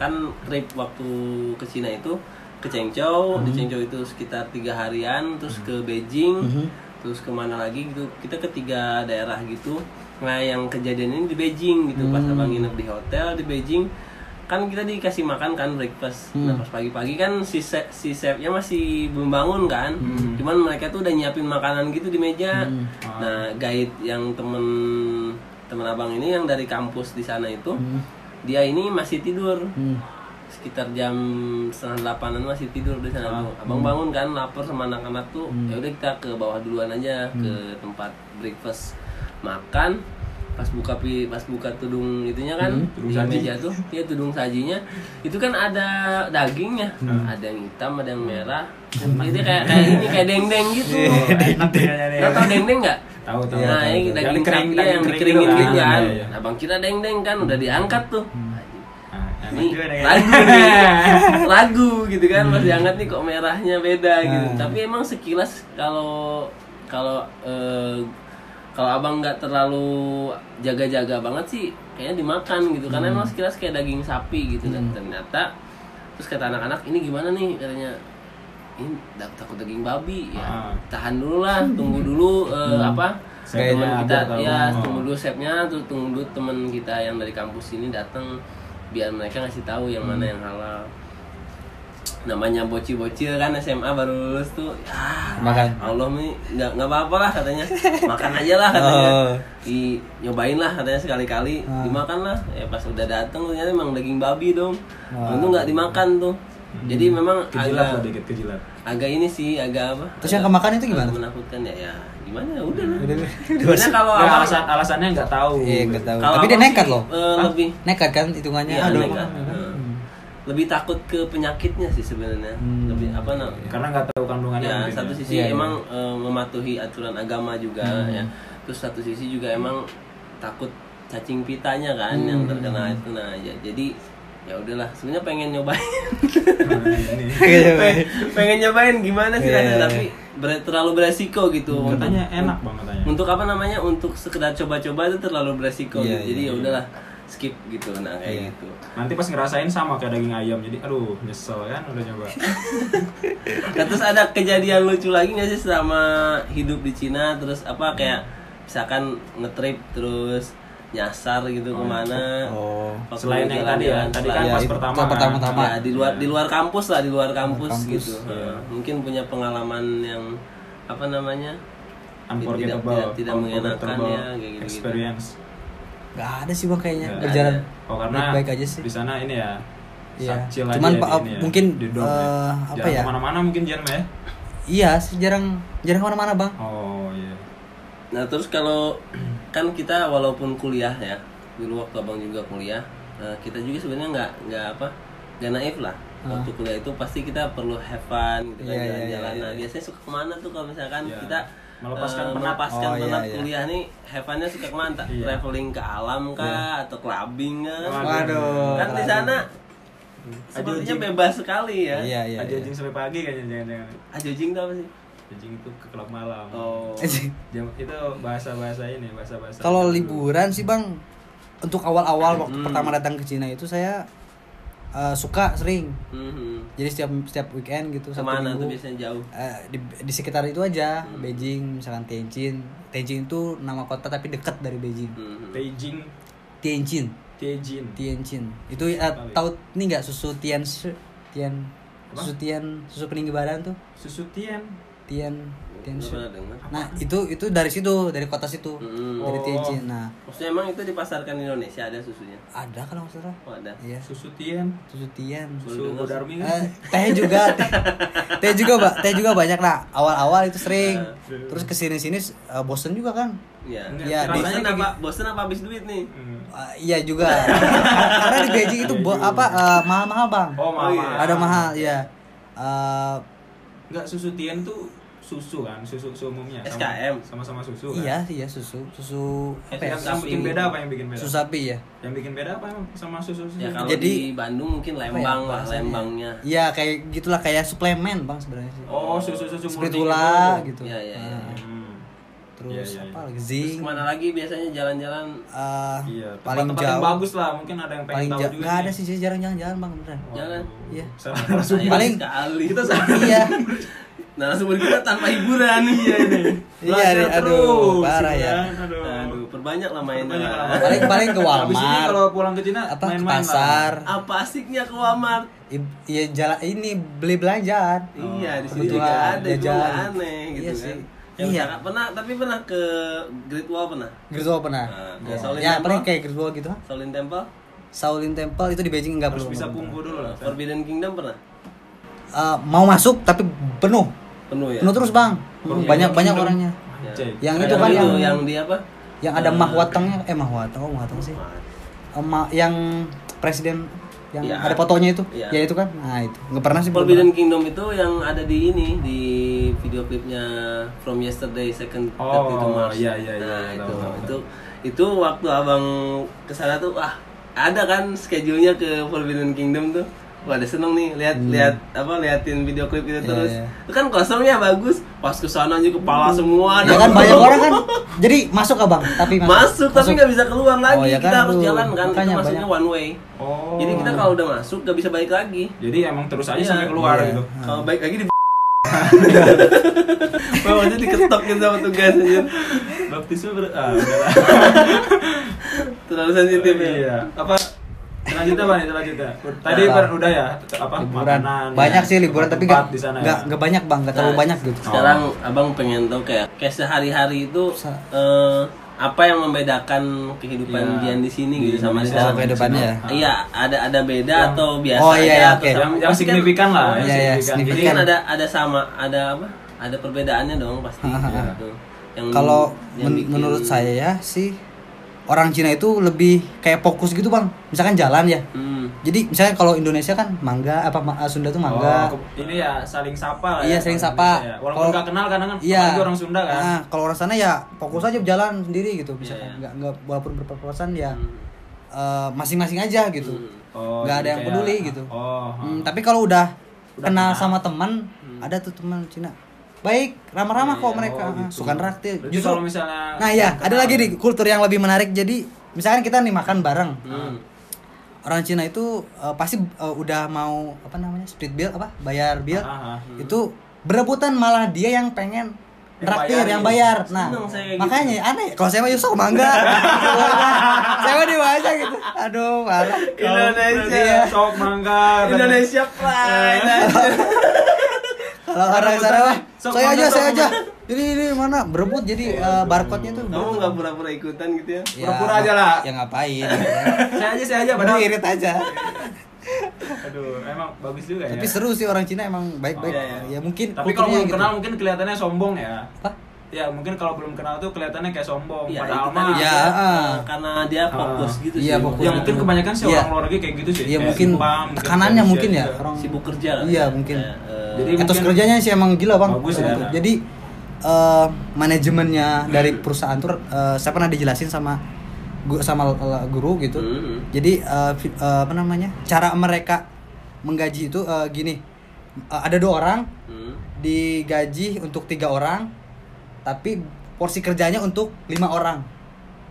[SPEAKER 1] kan trip waktu ke Cina itu ke Chengzhou di Chengzhou itu sekitar tiga harian terus ke Beijing terus kemana lagi gitu kita ke tiga daerah gitu nah yang kejadian ini di Beijing gitu pas abang nginep di hotel di Beijing kan kita dikasih makan kan breakfast nah pas pagi-pagi kan si se- si chefnya masih belum bangun kan cuman mereka tuh udah nyiapin makanan gitu di meja nah guide yang temen teman abang ini yang dari kampus di sana itu dia ini masih tidur
[SPEAKER 2] Hmm,
[SPEAKER 1] sekitar jam setengah delapanan masih tidur di sana
[SPEAKER 3] Hmm.
[SPEAKER 1] tuh. abang bangun kan lapar sama anak-anak tuh ya udah kita ke bawah duluan aja
[SPEAKER 3] Hmm.
[SPEAKER 1] ke tempat breakfast makan pas buka pi pas buka tudung itunya kan
[SPEAKER 3] Hmm,
[SPEAKER 1] di meja tuh dia tudung sajinya itu kan ada dagingnya
[SPEAKER 3] Hmm.
[SPEAKER 1] ada yang hitam ada yang merah itu kayak kayak ini kayak deng deng gitu
[SPEAKER 3] enak kayaknya nih
[SPEAKER 1] Lo tau dendeng nggak?
[SPEAKER 3] Tahu, Iya, tahu,
[SPEAKER 2] Iya,
[SPEAKER 1] Nah,
[SPEAKER 3] tahu,
[SPEAKER 1] ini
[SPEAKER 3] tahu.
[SPEAKER 1] daging
[SPEAKER 3] Yang kering,
[SPEAKER 1] kering,
[SPEAKER 3] daging
[SPEAKER 1] yang
[SPEAKER 3] kering
[SPEAKER 1] dikeringin
[SPEAKER 3] gitu
[SPEAKER 1] gitu kan.
[SPEAKER 3] kan. Iya, Hmm. iya.
[SPEAKER 1] Nah, Bang Kira dendeng kan udah diangkat tuh.
[SPEAKER 3] Nah, enak
[SPEAKER 1] Ini
[SPEAKER 3] juga Hmm. nih.
[SPEAKER 1] lagu nih. Lagu gitu kan pas diangkat nih kok merahnya beda
[SPEAKER 3] Nah.
[SPEAKER 1] gitu. Tapi emang sekilas kalau kalau eh, kalau abang nggak terlalu jaga-jaga banget sih kayaknya dimakan gitu
[SPEAKER 3] Hmm.
[SPEAKER 1] karena emang sekilas kayak daging sapi gitu dan ternyata terus kata anak-anak ini gimana nih katanya ini da- takut daging babi ya
[SPEAKER 3] Ah. Hmm.
[SPEAKER 1] tahan dulu lah tunggu dulu eh, apa
[SPEAKER 3] Gayanya
[SPEAKER 1] teman kita
[SPEAKER 3] ada atau-
[SPEAKER 1] ya
[SPEAKER 3] oh.
[SPEAKER 1] tunggu dulu chefnya tuh tunggu dulu teman kita yang dari kampus ini datang biar mereka ngasih tahu yang
[SPEAKER 2] Hmm.
[SPEAKER 1] mana yang halal namanya bocil-bocil kan SMA baru lulus tuh ah
[SPEAKER 2] Makan.
[SPEAKER 1] Allah nih nggak nggak apa-apa lah katanya makan aja lah katanya
[SPEAKER 2] Oh. Ah.
[SPEAKER 1] I, nyobain lah katanya sekali-kali dimakan lah ya pas udah dateng ternyata emang daging babi dong untung nggak dimakan tuh
[SPEAKER 2] Hmm.
[SPEAKER 1] jadi memang
[SPEAKER 3] Kejilat
[SPEAKER 1] agak
[SPEAKER 3] lah dikit kejilat.
[SPEAKER 1] agak ini sih agak apa
[SPEAKER 2] Terus yang kemakan itu gimana?
[SPEAKER 1] agak menakutkan ya ya gimana ya udah lah
[SPEAKER 2] Udah, udah.
[SPEAKER 1] sebenarnya kalau
[SPEAKER 3] Nggak,
[SPEAKER 1] abang
[SPEAKER 3] alasan alasannya nggak tahu.
[SPEAKER 2] Iya, nggak tahu.
[SPEAKER 1] kalau
[SPEAKER 2] Tapi dia
[SPEAKER 1] abang
[SPEAKER 2] nekat
[SPEAKER 1] sih,
[SPEAKER 2] loh.
[SPEAKER 1] eh, lebih
[SPEAKER 2] Nekat kan hitungannya.
[SPEAKER 1] Iya,
[SPEAKER 2] Aduh.
[SPEAKER 1] nekat. Heeh. lebih takut ke penyakitnya sih sebenarnya
[SPEAKER 2] Hmm.
[SPEAKER 1] lebih apa namanya
[SPEAKER 2] Iya.
[SPEAKER 3] Karena nggak tahu kandungannya.
[SPEAKER 1] ya
[SPEAKER 3] mungkin
[SPEAKER 1] satu
[SPEAKER 3] ya.
[SPEAKER 1] sisi emang eh, mematuhi aturan agama juga
[SPEAKER 2] Hmm.
[SPEAKER 1] ya terus satu sisi juga emang takut cacing pitanya kan
[SPEAKER 2] Hmm.
[SPEAKER 1] yang terkena itu nah ya jadi ya udahlah sebenarnya pengen nyobain
[SPEAKER 3] Nah, Ini.
[SPEAKER 2] Iya,
[SPEAKER 1] Pengen- pengen nyobain gimana sih rasanya, tapi ber- terlalu beresiko gitu untuk
[SPEAKER 3] Katanya enak banget katanya.
[SPEAKER 1] untuk apa namanya untuk sekedar coba-coba itu terlalu beresiko
[SPEAKER 2] Iya,
[SPEAKER 1] gitu. jadi ya udahlah skip gitu nah kayak gitu
[SPEAKER 3] Nanti pas ngerasain sama kayak daging ayam jadi aduh nyesel kan udah nyoba.
[SPEAKER 1] Nah, terus ada kejadian lucu lagi nggak sih selama hidup di Cina terus apa kayak misalkan ngetrip terus nyasar gitu kemana
[SPEAKER 2] Oh.
[SPEAKER 1] Waktu
[SPEAKER 3] Selain yang tadi ya,
[SPEAKER 1] jalan-jalan,
[SPEAKER 3] tadi
[SPEAKER 1] selain-
[SPEAKER 3] kan
[SPEAKER 2] Iya,
[SPEAKER 3] pas
[SPEAKER 2] itu
[SPEAKER 3] pertama.
[SPEAKER 2] pas pertama-tama.
[SPEAKER 1] Ya, di luar di luar kampus lah di luar kampus, gitu
[SPEAKER 2] iya.
[SPEAKER 1] Nah, mungkin punya pengalaman yang apa namanya
[SPEAKER 3] Unforgettable,
[SPEAKER 1] tidak- tidak mengenakan
[SPEAKER 3] unforgettable
[SPEAKER 1] ya, kayak gitu-gitu.
[SPEAKER 3] Experience.
[SPEAKER 2] Gak ada sih bang kayaknya
[SPEAKER 3] Nggak
[SPEAKER 2] berjalan.
[SPEAKER 3] Oh karena
[SPEAKER 2] baik-baik aja sih.
[SPEAKER 3] di sana ini ya.
[SPEAKER 2] Iya.
[SPEAKER 3] sakcil
[SPEAKER 2] Cuman
[SPEAKER 3] aja
[SPEAKER 2] Pak,
[SPEAKER 3] di ini ya,
[SPEAKER 2] mungkin,
[SPEAKER 3] di dorm ya.
[SPEAKER 2] eh, apa
[SPEAKER 3] Jarang
[SPEAKER 2] ya?
[SPEAKER 3] Kemana-mana mungkin jangan ya.
[SPEAKER 2] Iya, sih jarang jarang kemana-mana bang.
[SPEAKER 3] Oh iya.
[SPEAKER 1] Nah terus kalau kan kita walaupun kuliah ya dulu waktu abang juga kuliah eh, kita juga sebenarnya nggak nggak apa nggak naif lah waktu kuliah itu pasti kita perlu have fun gitu kan
[SPEAKER 2] Ah. Iya, iya,
[SPEAKER 1] jalan-jalan
[SPEAKER 2] iya,
[SPEAKER 1] nah biasanya suka kemana tuh kalau misalkan
[SPEAKER 3] Iya.
[SPEAKER 1] kita
[SPEAKER 3] Melepaskan
[SPEAKER 1] eh,
[SPEAKER 3] penat.
[SPEAKER 1] melepaskan
[SPEAKER 2] Oh, iya,
[SPEAKER 1] penat
[SPEAKER 2] iya.
[SPEAKER 1] kuliah nih have funnya suka kemana tak?
[SPEAKER 3] Iya.
[SPEAKER 1] traveling ke alam kah atau clubbing kah
[SPEAKER 2] Iya. Waduh.
[SPEAKER 1] kan di sana sepertinya bebas sekali ya
[SPEAKER 2] Iya iya.
[SPEAKER 3] Aja
[SPEAKER 2] iya.
[SPEAKER 3] jing sampai pagi kayaknya jangan-jangan.
[SPEAKER 1] ajojing tuh apa sih
[SPEAKER 3] Jing itu ke klub malam.
[SPEAKER 1] oh
[SPEAKER 3] Jam- itu bahasa-bahasa ini, bahasa-bahasa.
[SPEAKER 2] Kalau
[SPEAKER 3] dulu.
[SPEAKER 2] liburan sih bang, untuk awal-awal waktu
[SPEAKER 1] Hmm.
[SPEAKER 2] pertama datang ke Cina itu saya eh, suka sering.
[SPEAKER 1] Mhm.
[SPEAKER 2] Jadi setiap setiap weekend gitu satu
[SPEAKER 1] kemana tuh
[SPEAKER 2] minggu,
[SPEAKER 1] biasanya Hmm. jauh
[SPEAKER 2] eh, di, di sekitar itu aja Beijing misalkan Tianjin. Tianjin itu nama kota tapi dekat dari Beijing.
[SPEAKER 1] Mhm.
[SPEAKER 3] Beijing,
[SPEAKER 2] Tianjin,
[SPEAKER 3] Tianjin.
[SPEAKER 2] Tianjin. Itu eh, tahu ini nggak susu Tian Tian susu Tian susu peninggi badan tuh
[SPEAKER 3] Susu Tian.
[SPEAKER 2] Tian Tian
[SPEAKER 1] Nggak pernah dengar
[SPEAKER 2] Nah itu itu dari situ dari kota situ
[SPEAKER 1] Mhm.
[SPEAKER 2] dari
[SPEAKER 3] Oh.
[SPEAKER 2] Tianjin. Nah
[SPEAKER 1] Maksudnya emang itu dipasarkan di Indonesia ada susunya?
[SPEAKER 2] ada kalau nggak salah.
[SPEAKER 1] Oh ada.
[SPEAKER 2] Iya
[SPEAKER 3] Susu Tian.
[SPEAKER 2] susu Tian.
[SPEAKER 3] Susu Godarmi kan?
[SPEAKER 2] Eh, teh juga teh, teh juga mbak teh juga banyak lah awal-awal itu sering
[SPEAKER 3] Iya,
[SPEAKER 2] terus kesini-sini eh, bosen juga kan
[SPEAKER 1] Iya.
[SPEAKER 3] Enggak,
[SPEAKER 2] Iya, di-
[SPEAKER 1] Rasanya apa? Bosen apa habis duit nih?
[SPEAKER 3] Hmm.
[SPEAKER 2] Eh, iya juga karena di Beijing
[SPEAKER 3] Iya
[SPEAKER 2] itu bo- apa eh, mahal-mahal bang iya.
[SPEAKER 3] Oh, mahal.
[SPEAKER 2] ada mahal ya Eh,
[SPEAKER 3] Enggak susu Tian tuh susu kan susu seumumnya
[SPEAKER 1] SKM.
[SPEAKER 3] sama-sama susu kan?
[SPEAKER 2] Iya, iya susu, susu apa
[SPEAKER 3] Eh,
[SPEAKER 2] ya?
[SPEAKER 3] yang, yang bikin beda apa yang bikin beda
[SPEAKER 2] Susu sapi ya.
[SPEAKER 3] yang bikin beda apa yang sama susu susu
[SPEAKER 1] Ya kalau di
[SPEAKER 2] Jadi- ya,
[SPEAKER 1] Bandung mungkin lembang lah, lembangnya.
[SPEAKER 2] Iya, kayak gitulah kayak suplemen Bang sebenarnya sih.
[SPEAKER 3] oh susu susu
[SPEAKER 2] Spiritula gitu.
[SPEAKER 1] Iya, iya, iya.
[SPEAKER 2] Nah,
[SPEAKER 3] Hmm.
[SPEAKER 2] Terus
[SPEAKER 3] Iya, iya,
[SPEAKER 2] apa
[SPEAKER 3] iya.
[SPEAKER 2] lagi?
[SPEAKER 1] Terus
[SPEAKER 2] Zinc.
[SPEAKER 1] kemana lagi biasanya jalan-jalan
[SPEAKER 2] eh,
[SPEAKER 3] Iya,
[SPEAKER 2] paling
[SPEAKER 3] tempat-tempat yang
[SPEAKER 2] jauh.
[SPEAKER 3] bagus lah, mungkin ada yang pengen
[SPEAKER 2] Paling
[SPEAKER 3] tahu
[SPEAKER 2] jauh.
[SPEAKER 3] juga. Oh, ya,
[SPEAKER 2] Enggak ada
[SPEAKER 3] nih.
[SPEAKER 2] sih, saya jarang jalan-jalan Bang beneran.
[SPEAKER 1] Jangan.
[SPEAKER 2] Iya.
[SPEAKER 3] Sama
[SPEAKER 1] Sayang
[SPEAKER 2] Paling-
[SPEAKER 1] sekali.
[SPEAKER 3] Kita sama.
[SPEAKER 2] Iya.
[SPEAKER 1] Nah, langsung kita tanpa hiburan iya ini.
[SPEAKER 2] Iya,
[SPEAKER 3] Belajar terus,
[SPEAKER 2] aduh, parah
[SPEAKER 3] gitu
[SPEAKER 2] ya.
[SPEAKER 3] kan. Aduh.
[SPEAKER 1] Aduh, perbanyak lah mainan.
[SPEAKER 3] Banyak lah.
[SPEAKER 2] Paling paling ke
[SPEAKER 3] Habis ini
[SPEAKER 2] Walmart.
[SPEAKER 3] kalau pulang ke Cina
[SPEAKER 2] Apa ke
[SPEAKER 3] main-main
[SPEAKER 2] pasar?
[SPEAKER 3] Lah.
[SPEAKER 1] Apa asiknya ke Walmart?
[SPEAKER 2] I- Iya jalan ini beli belanjaan.
[SPEAKER 1] iya, di sini
[SPEAKER 2] kebetulan
[SPEAKER 1] juga ada itu
[SPEAKER 2] jajan.
[SPEAKER 1] nggak aneh gitu
[SPEAKER 2] Iya
[SPEAKER 1] kan.
[SPEAKER 2] sih.
[SPEAKER 1] Yang
[SPEAKER 2] Iya.
[SPEAKER 1] misalkan- pernah tapi pernah ke Great Wall pernah?
[SPEAKER 2] Gerzo pernah?
[SPEAKER 1] Nah,
[SPEAKER 2] Iya.
[SPEAKER 1] Shaolin
[SPEAKER 2] ya,
[SPEAKER 1] Temple?
[SPEAKER 2] paling kayak Gerzo gitu.
[SPEAKER 1] Shaolin Temple?
[SPEAKER 2] Shaolin Temple itu di Beijing enggak
[SPEAKER 3] Harus
[SPEAKER 2] perlu.
[SPEAKER 3] bisa
[SPEAKER 2] nggak perlu.
[SPEAKER 3] punggu dulu lah.
[SPEAKER 1] Forbidden Kingdom pernah?
[SPEAKER 2] Eh, mau masuk tapi penuh.
[SPEAKER 1] Penuh ya?
[SPEAKER 2] Penuh terus, Bang. Banyak-banyak orangnya.
[SPEAKER 3] Cek.
[SPEAKER 2] Yang
[SPEAKER 1] Ada
[SPEAKER 2] itu kan
[SPEAKER 1] dulu
[SPEAKER 2] yang
[SPEAKER 1] yang di apa?
[SPEAKER 2] yang ada
[SPEAKER 1] Hmm.
[SPEAKER 2] mahwatangnya eh mahwatang oh mahwatang sih. Eh, ma- yang presiden yang
[SPEAKER 1] Iya.
[SPEAKER 2] ada fotonya itu.
[SPEAKER 1] Iya.
[SPEAKER 2] Ya itu kan. Nah, itu. Enggak pernah sih. belum
[SPEAKER 1] Forbidden Kingdom itu yang ada di ini di video klipnya From Yesterday Second
[SPEAKER 3] Oh,
[SPEAKER 1] Third itu Mars.
[SPEAKER 3] iya, iya, iya,
[SPEAKER 1] Nah,
[SPEAKER 3] iya,
[SPEAKER 1] itu,
[SPEAKER 3] tahu, tahu,
[SPEAKER 1] itu itu waktu abang kesana tuh ah ada kan schedule-nya ke Forbidden Kingdom tuh. Wah, ada seneng nih lihat
[SPEAKER 2] Hmm.
[SPEAKER 1] lihat apa liatin video klip
[SPEAKER 2] Iya,
[SPEAKER 1] itu terus. Itu kan kosongnya bagus. Pas kesana aja kepala semua.
[SPEAKER 2] pernah. Ya
[SPEAKER 1] ada-
[SPEAKER 2] kan banyak orang kan. Jadi masuk Abang, tapi
[SPEAKER 1] masuk,
[SPEAKER 2] masuk.
[SPEAKER 1] tapi nggak bisa keluar lagi.
[SPEAKER 2] Oh, ya
[SPEAKER 1] kita
[SPEAKER 2] kan,
[SPEAKER 1] harus
[SPEAKER 2] aduh.
[SPEAKER 1] jalan kan. Itu
[SPEAKER 2] Makanya
[SPEAKER 1] masuknya one way.
[SPEAKER 3] Oh.
[SPEAKER 1] Jadi kita kalau udah masuk nggak bisa balik lagi.
[SPEAKER 3] Jadi emang terus
[SPEAKER 1] Iya.
[SPEAKER 3] aja sampai keluar
[SPEAKER 2] Iya.
[SPEAKER 3] gitu.
[SPEAKER 1] Kalau baik lagi di Wah, waktu itu diketokin sama tugas aja.
[SPEAKER 3] Baptisme ber ah, udah lah.
[SPEAKER 1] Terlalu sensitif ya.
[SPEAKER 3] Iya. Apa selanjutnya Bang, selanjutnya. Tadi
[SPEAKER 2] Apa?
[SPEAKER 3] Bang, udah ya apa
[SPEAKER 2] liburan.
[SPEAKER 3] makanan.
[SPEAKER 2] banyak
[SPEAKER 3] ya,
[SPEAKER 2] sih liburan tapi
[SPEAKER 3] tempat
[SPEAKER 2] nggak
[SPEAKER 3] di sana
[SPEAKER 2] nggak
[SPEAKER 3] ya.
[SPEAKER 2] nggak banyak bang nggak terlalu
[SPEAKER 1] Nah,
[SPEAKER 2] banyak gitu
[SPEAKER 1] Sekarang Abang pengen tahu kayak kayak sehari-hari itu
[SPEAKER 2] Sa-
[SPEAKER 1] eh, apa yang membedakan kehidupan
[SPEAKER 3] Iya.
[SPEAKER 1] Dian di sini
[SPEAKER 3] Di
[SPEAKER 1] gitu sama di
[SPEAKER 3] Indonesia.
[SPEAKER 1] sana?
[SPEAKER 2] Oh, kehidupannya ya?
[SPEAKER 1] Iya, ada ada beda atau biasa
[SPEAKER 2] Oh,
[SPEAKER 1] aja
[SPEAKER 2] iya, iya,
[SPEAKER 1] atau
[SPEAKER 2] oke.
[SPEAKER 1] sama-
[SPEAKER 3] Yang, yang
[SPEAKER 1] Pasti kan-
[SPEAKER 3] signifikan lah, ya. yang
[SPEAKER 2] Iya, iya,
[SPEAKER 1] Jadi
[SPEAKER 2] signifikan.
[SPEAKER 3] signifikan.
[SPEAKER 1] kan ada ada sama, ada apa? Ada perbedaannya dong pasti. gitu. Yang-
[SPEAKER 2] kalau
[SPEAKER 1] yang
[SPEAKER 2] men-
[SPEAKER 1] bikin-
[SPEAKER 2] menurut saya ya sih orang Cina itu lebih kayak fokus gitu bang misalkan jalan ya
[SPEAKER 1] Hmm.
[SPEAKER 2] jadi misalnya kalau Indonesia kan mangga apa ma- Sunda tuh mangga
[SPEAKER 3] Oh, ke- ini ya saling sapa lah
[SPEAKER 2] Iya,
[SPEAKER 3] ya.
[SPEAKER 2] saling
[SPEAKER 3] orang
[SPEAKER 2] sapa.
[SPEAKER 3] Indonesia ya. Walaupun
[SPEAKER 2] Kalau-
[SPEAKER 3] nggak kenal kadang kan
[SPEAKER 2] Iya.
[SPEAKER 3] apalagi orang Sunda kan.
[SPEAKER 2] Nah, kalau orang sana ya fokus aja jalan sendiri gitu. Bisa
[SPEAKER 1] Iya, iya.
[SPEAKER 2] nggak nggak walaupun berpapasan ya
[SPEAKER 1] Hmm.
[SPEAKER 2] eh, masing-masing aja gitu.
[SPEAKER 3] Oh,
[SPEAKER 2] Nggak ada
[SPEAKER 3] jadi
[SPEAKER 2] yang
[SPEAKER 3] kayak-
[SPEAKER 2] peduli gitu.
[SPEAKER 3] Oh.
[SPEAKER 2] Hmm, tapi kalau udah,
[SPEAKER 3] Udah kenal.
[SPEAKER 2] kenal sama teman, ada tuh teman Cina. Baik, ramah-ramah kok
[SPEAKER 3] oh,
[SPEAKER 2] mereka. Ah,
[SPEAKER 3] gitu.
[SPEAKER 2] Suka neraktir.
[SPEAKER 3] Berarti
[SPEAKER 2] Justru
[SPEAKER 3] kalau misalnya gitu.
[SPEAKER 2] Nah, iya, ada lagi di kultur yang lebih menarik. Jadi, misalkan kita nih makan bareng.
[SPEAKER 1] Hmm.
[SPEAKER 2] Orang Cina itu eh, pasti eh, udah mau apa namanya? split bill apa? Bayar bill.
[SPEAKER 3] Ah, ah,
[SPEAKER 2] Itu berebutan malah dia yang pengen
[SPEAKER 3] Yang
[SPEAKER 2] Traktir
[SPEAKER 3] bayarin.
[SPEAKER 2] yang bayar. Nah,
[SPEAKER 1] Seneng saya kayak
[SPEAKER 2] makanya aneh. Kalau saya mah Yusuf mangga. saya mah dibaca gitu. Aduh, parah.
[SPEAKER 3] Indonesia sok ya, mangga.
[SPEAKER 1] Indonesia pride.
[SPEAKER 3] Eh.
[SPEAKER 2] Kalau
[SPEAKER 3] Karena
[SPEAKER 2] orang sana
[SPEAKER 3] bukan-
[SPEAKER 2] mah,
[SPEAKER 3] sok
[SPEAKER 2] saya
[SPEAKER 3] mana,
[SPEAKER 2] aja,
[SPEAKER 3] sok
[SPEAKER 2] saya aja.
[SPEAKER 3] mana.
[SPEAKER 2] Jadi ini mana berebut jadi eh, barcode-nya tuh.
[SPEAKER 1] Kamu
[SPEAKER 2] berebut.
[SPEAKER 1] nggak pura-pura ikutan gitu ya?
[SPEAKER 2] Ya,
[SPEAKER 3] pura-pura aja lah.
[SPEAKER 2] Ya ngapain?
[SPEAKER 1] Iya,
[SPEAKER 3] Saya aja saya aja
[SPEAKER 2] Padahal
[SPEAKER 3] padahal.
[SPEAKER 2] irit aja.
[SPEAKER 3] Aduh, emang bagus juga ya.
[SPEAKER 2] Tapi seru sih orang Cina emang baik-baik.
[SPEAKER 1] Oh, iya,
[SPEAKER 2] Ya mungkin
[SPEAKER 3] Tapi kalau
[SPEAKER 2] kulturnya
[SPEAKER 3] belum
[SPEAKER 2] gitu.
[SPEAKER 3] kenal mungkin kelihatannya sombong ya.
[SPEAKER 2] Apa?
[SPEAKER 3] Ya mungkin kalau belum kenal tuh kelihatannya kayak sombong.
[SPEAKER 1] Iya,
[SPEAKER 3] Padahal
[SPEAKER 1] itu
[SPEAKER 3] mah
[SPEAKER 1] tadi.
[SPEAKER 2] Ya, ah.
[SPEAKER 1] karena dia fokus
[SPEAKER 3] Ah.
[SPEAKER 1] gitu
[SPEAKER 2] Iya,
[SPEAKER 1] sih.
[SPEAKER 2] fokus.
[SPEAKER 3] Ya mungkin kebanyakan sih
[SPEAKER 2] Iya.
[SPEAKER 3] orang luar negeri kayak gitu sih.
[SPEAKER 2] Iya
[SPEAKER 3] Kayak
[SPEAKER 2] mungkin
[SPEAKER 3] Jepang, mungkin
[SPEAKER 2] tekanannya
[SPEAKER 3] Indonesia gitu.
[SPEAKER 2] mungkin ya
[SPEAKER 3] juga.
[SPEAKER 2] orang
[SPEAKER 1] sibuk kerja lah
[SPEAKER 2] Iya,
[SPEAKER 1] ya.
[SPEAKER 2] mungkin.
[SPEAKER 1] Kayak, eh,
[SPEAKER 3] Jadi
[SPEAKER 2] etos
[SPEAKER 3] mungkin-
[SPEAKER 2] kerjanya sih emang gila bang.
[SPEAKER 3] Bagus
[SPEAKER 2] Keren
[SPEAKER 3] ya. Hmm.
[SPEAKER 2] tuh. Jadi eh, manajemennya dari perusahaan tuh eh, saya pernah dijelasin sama gu- sama l- guru gitu.
[SPEAKER 3] Hmm.
[SPEAKER 1] Mhm.
[SPEAKER 2] Jadi eh, fi- eh, apa namanya cara mereka menggaji itu eh, gini Eh, ada dua orang
[SPEAKER 1] hmm.
[SPEAKER 2] digaji untuk tiga orang tapi porsi kerjanya untuk lima orang.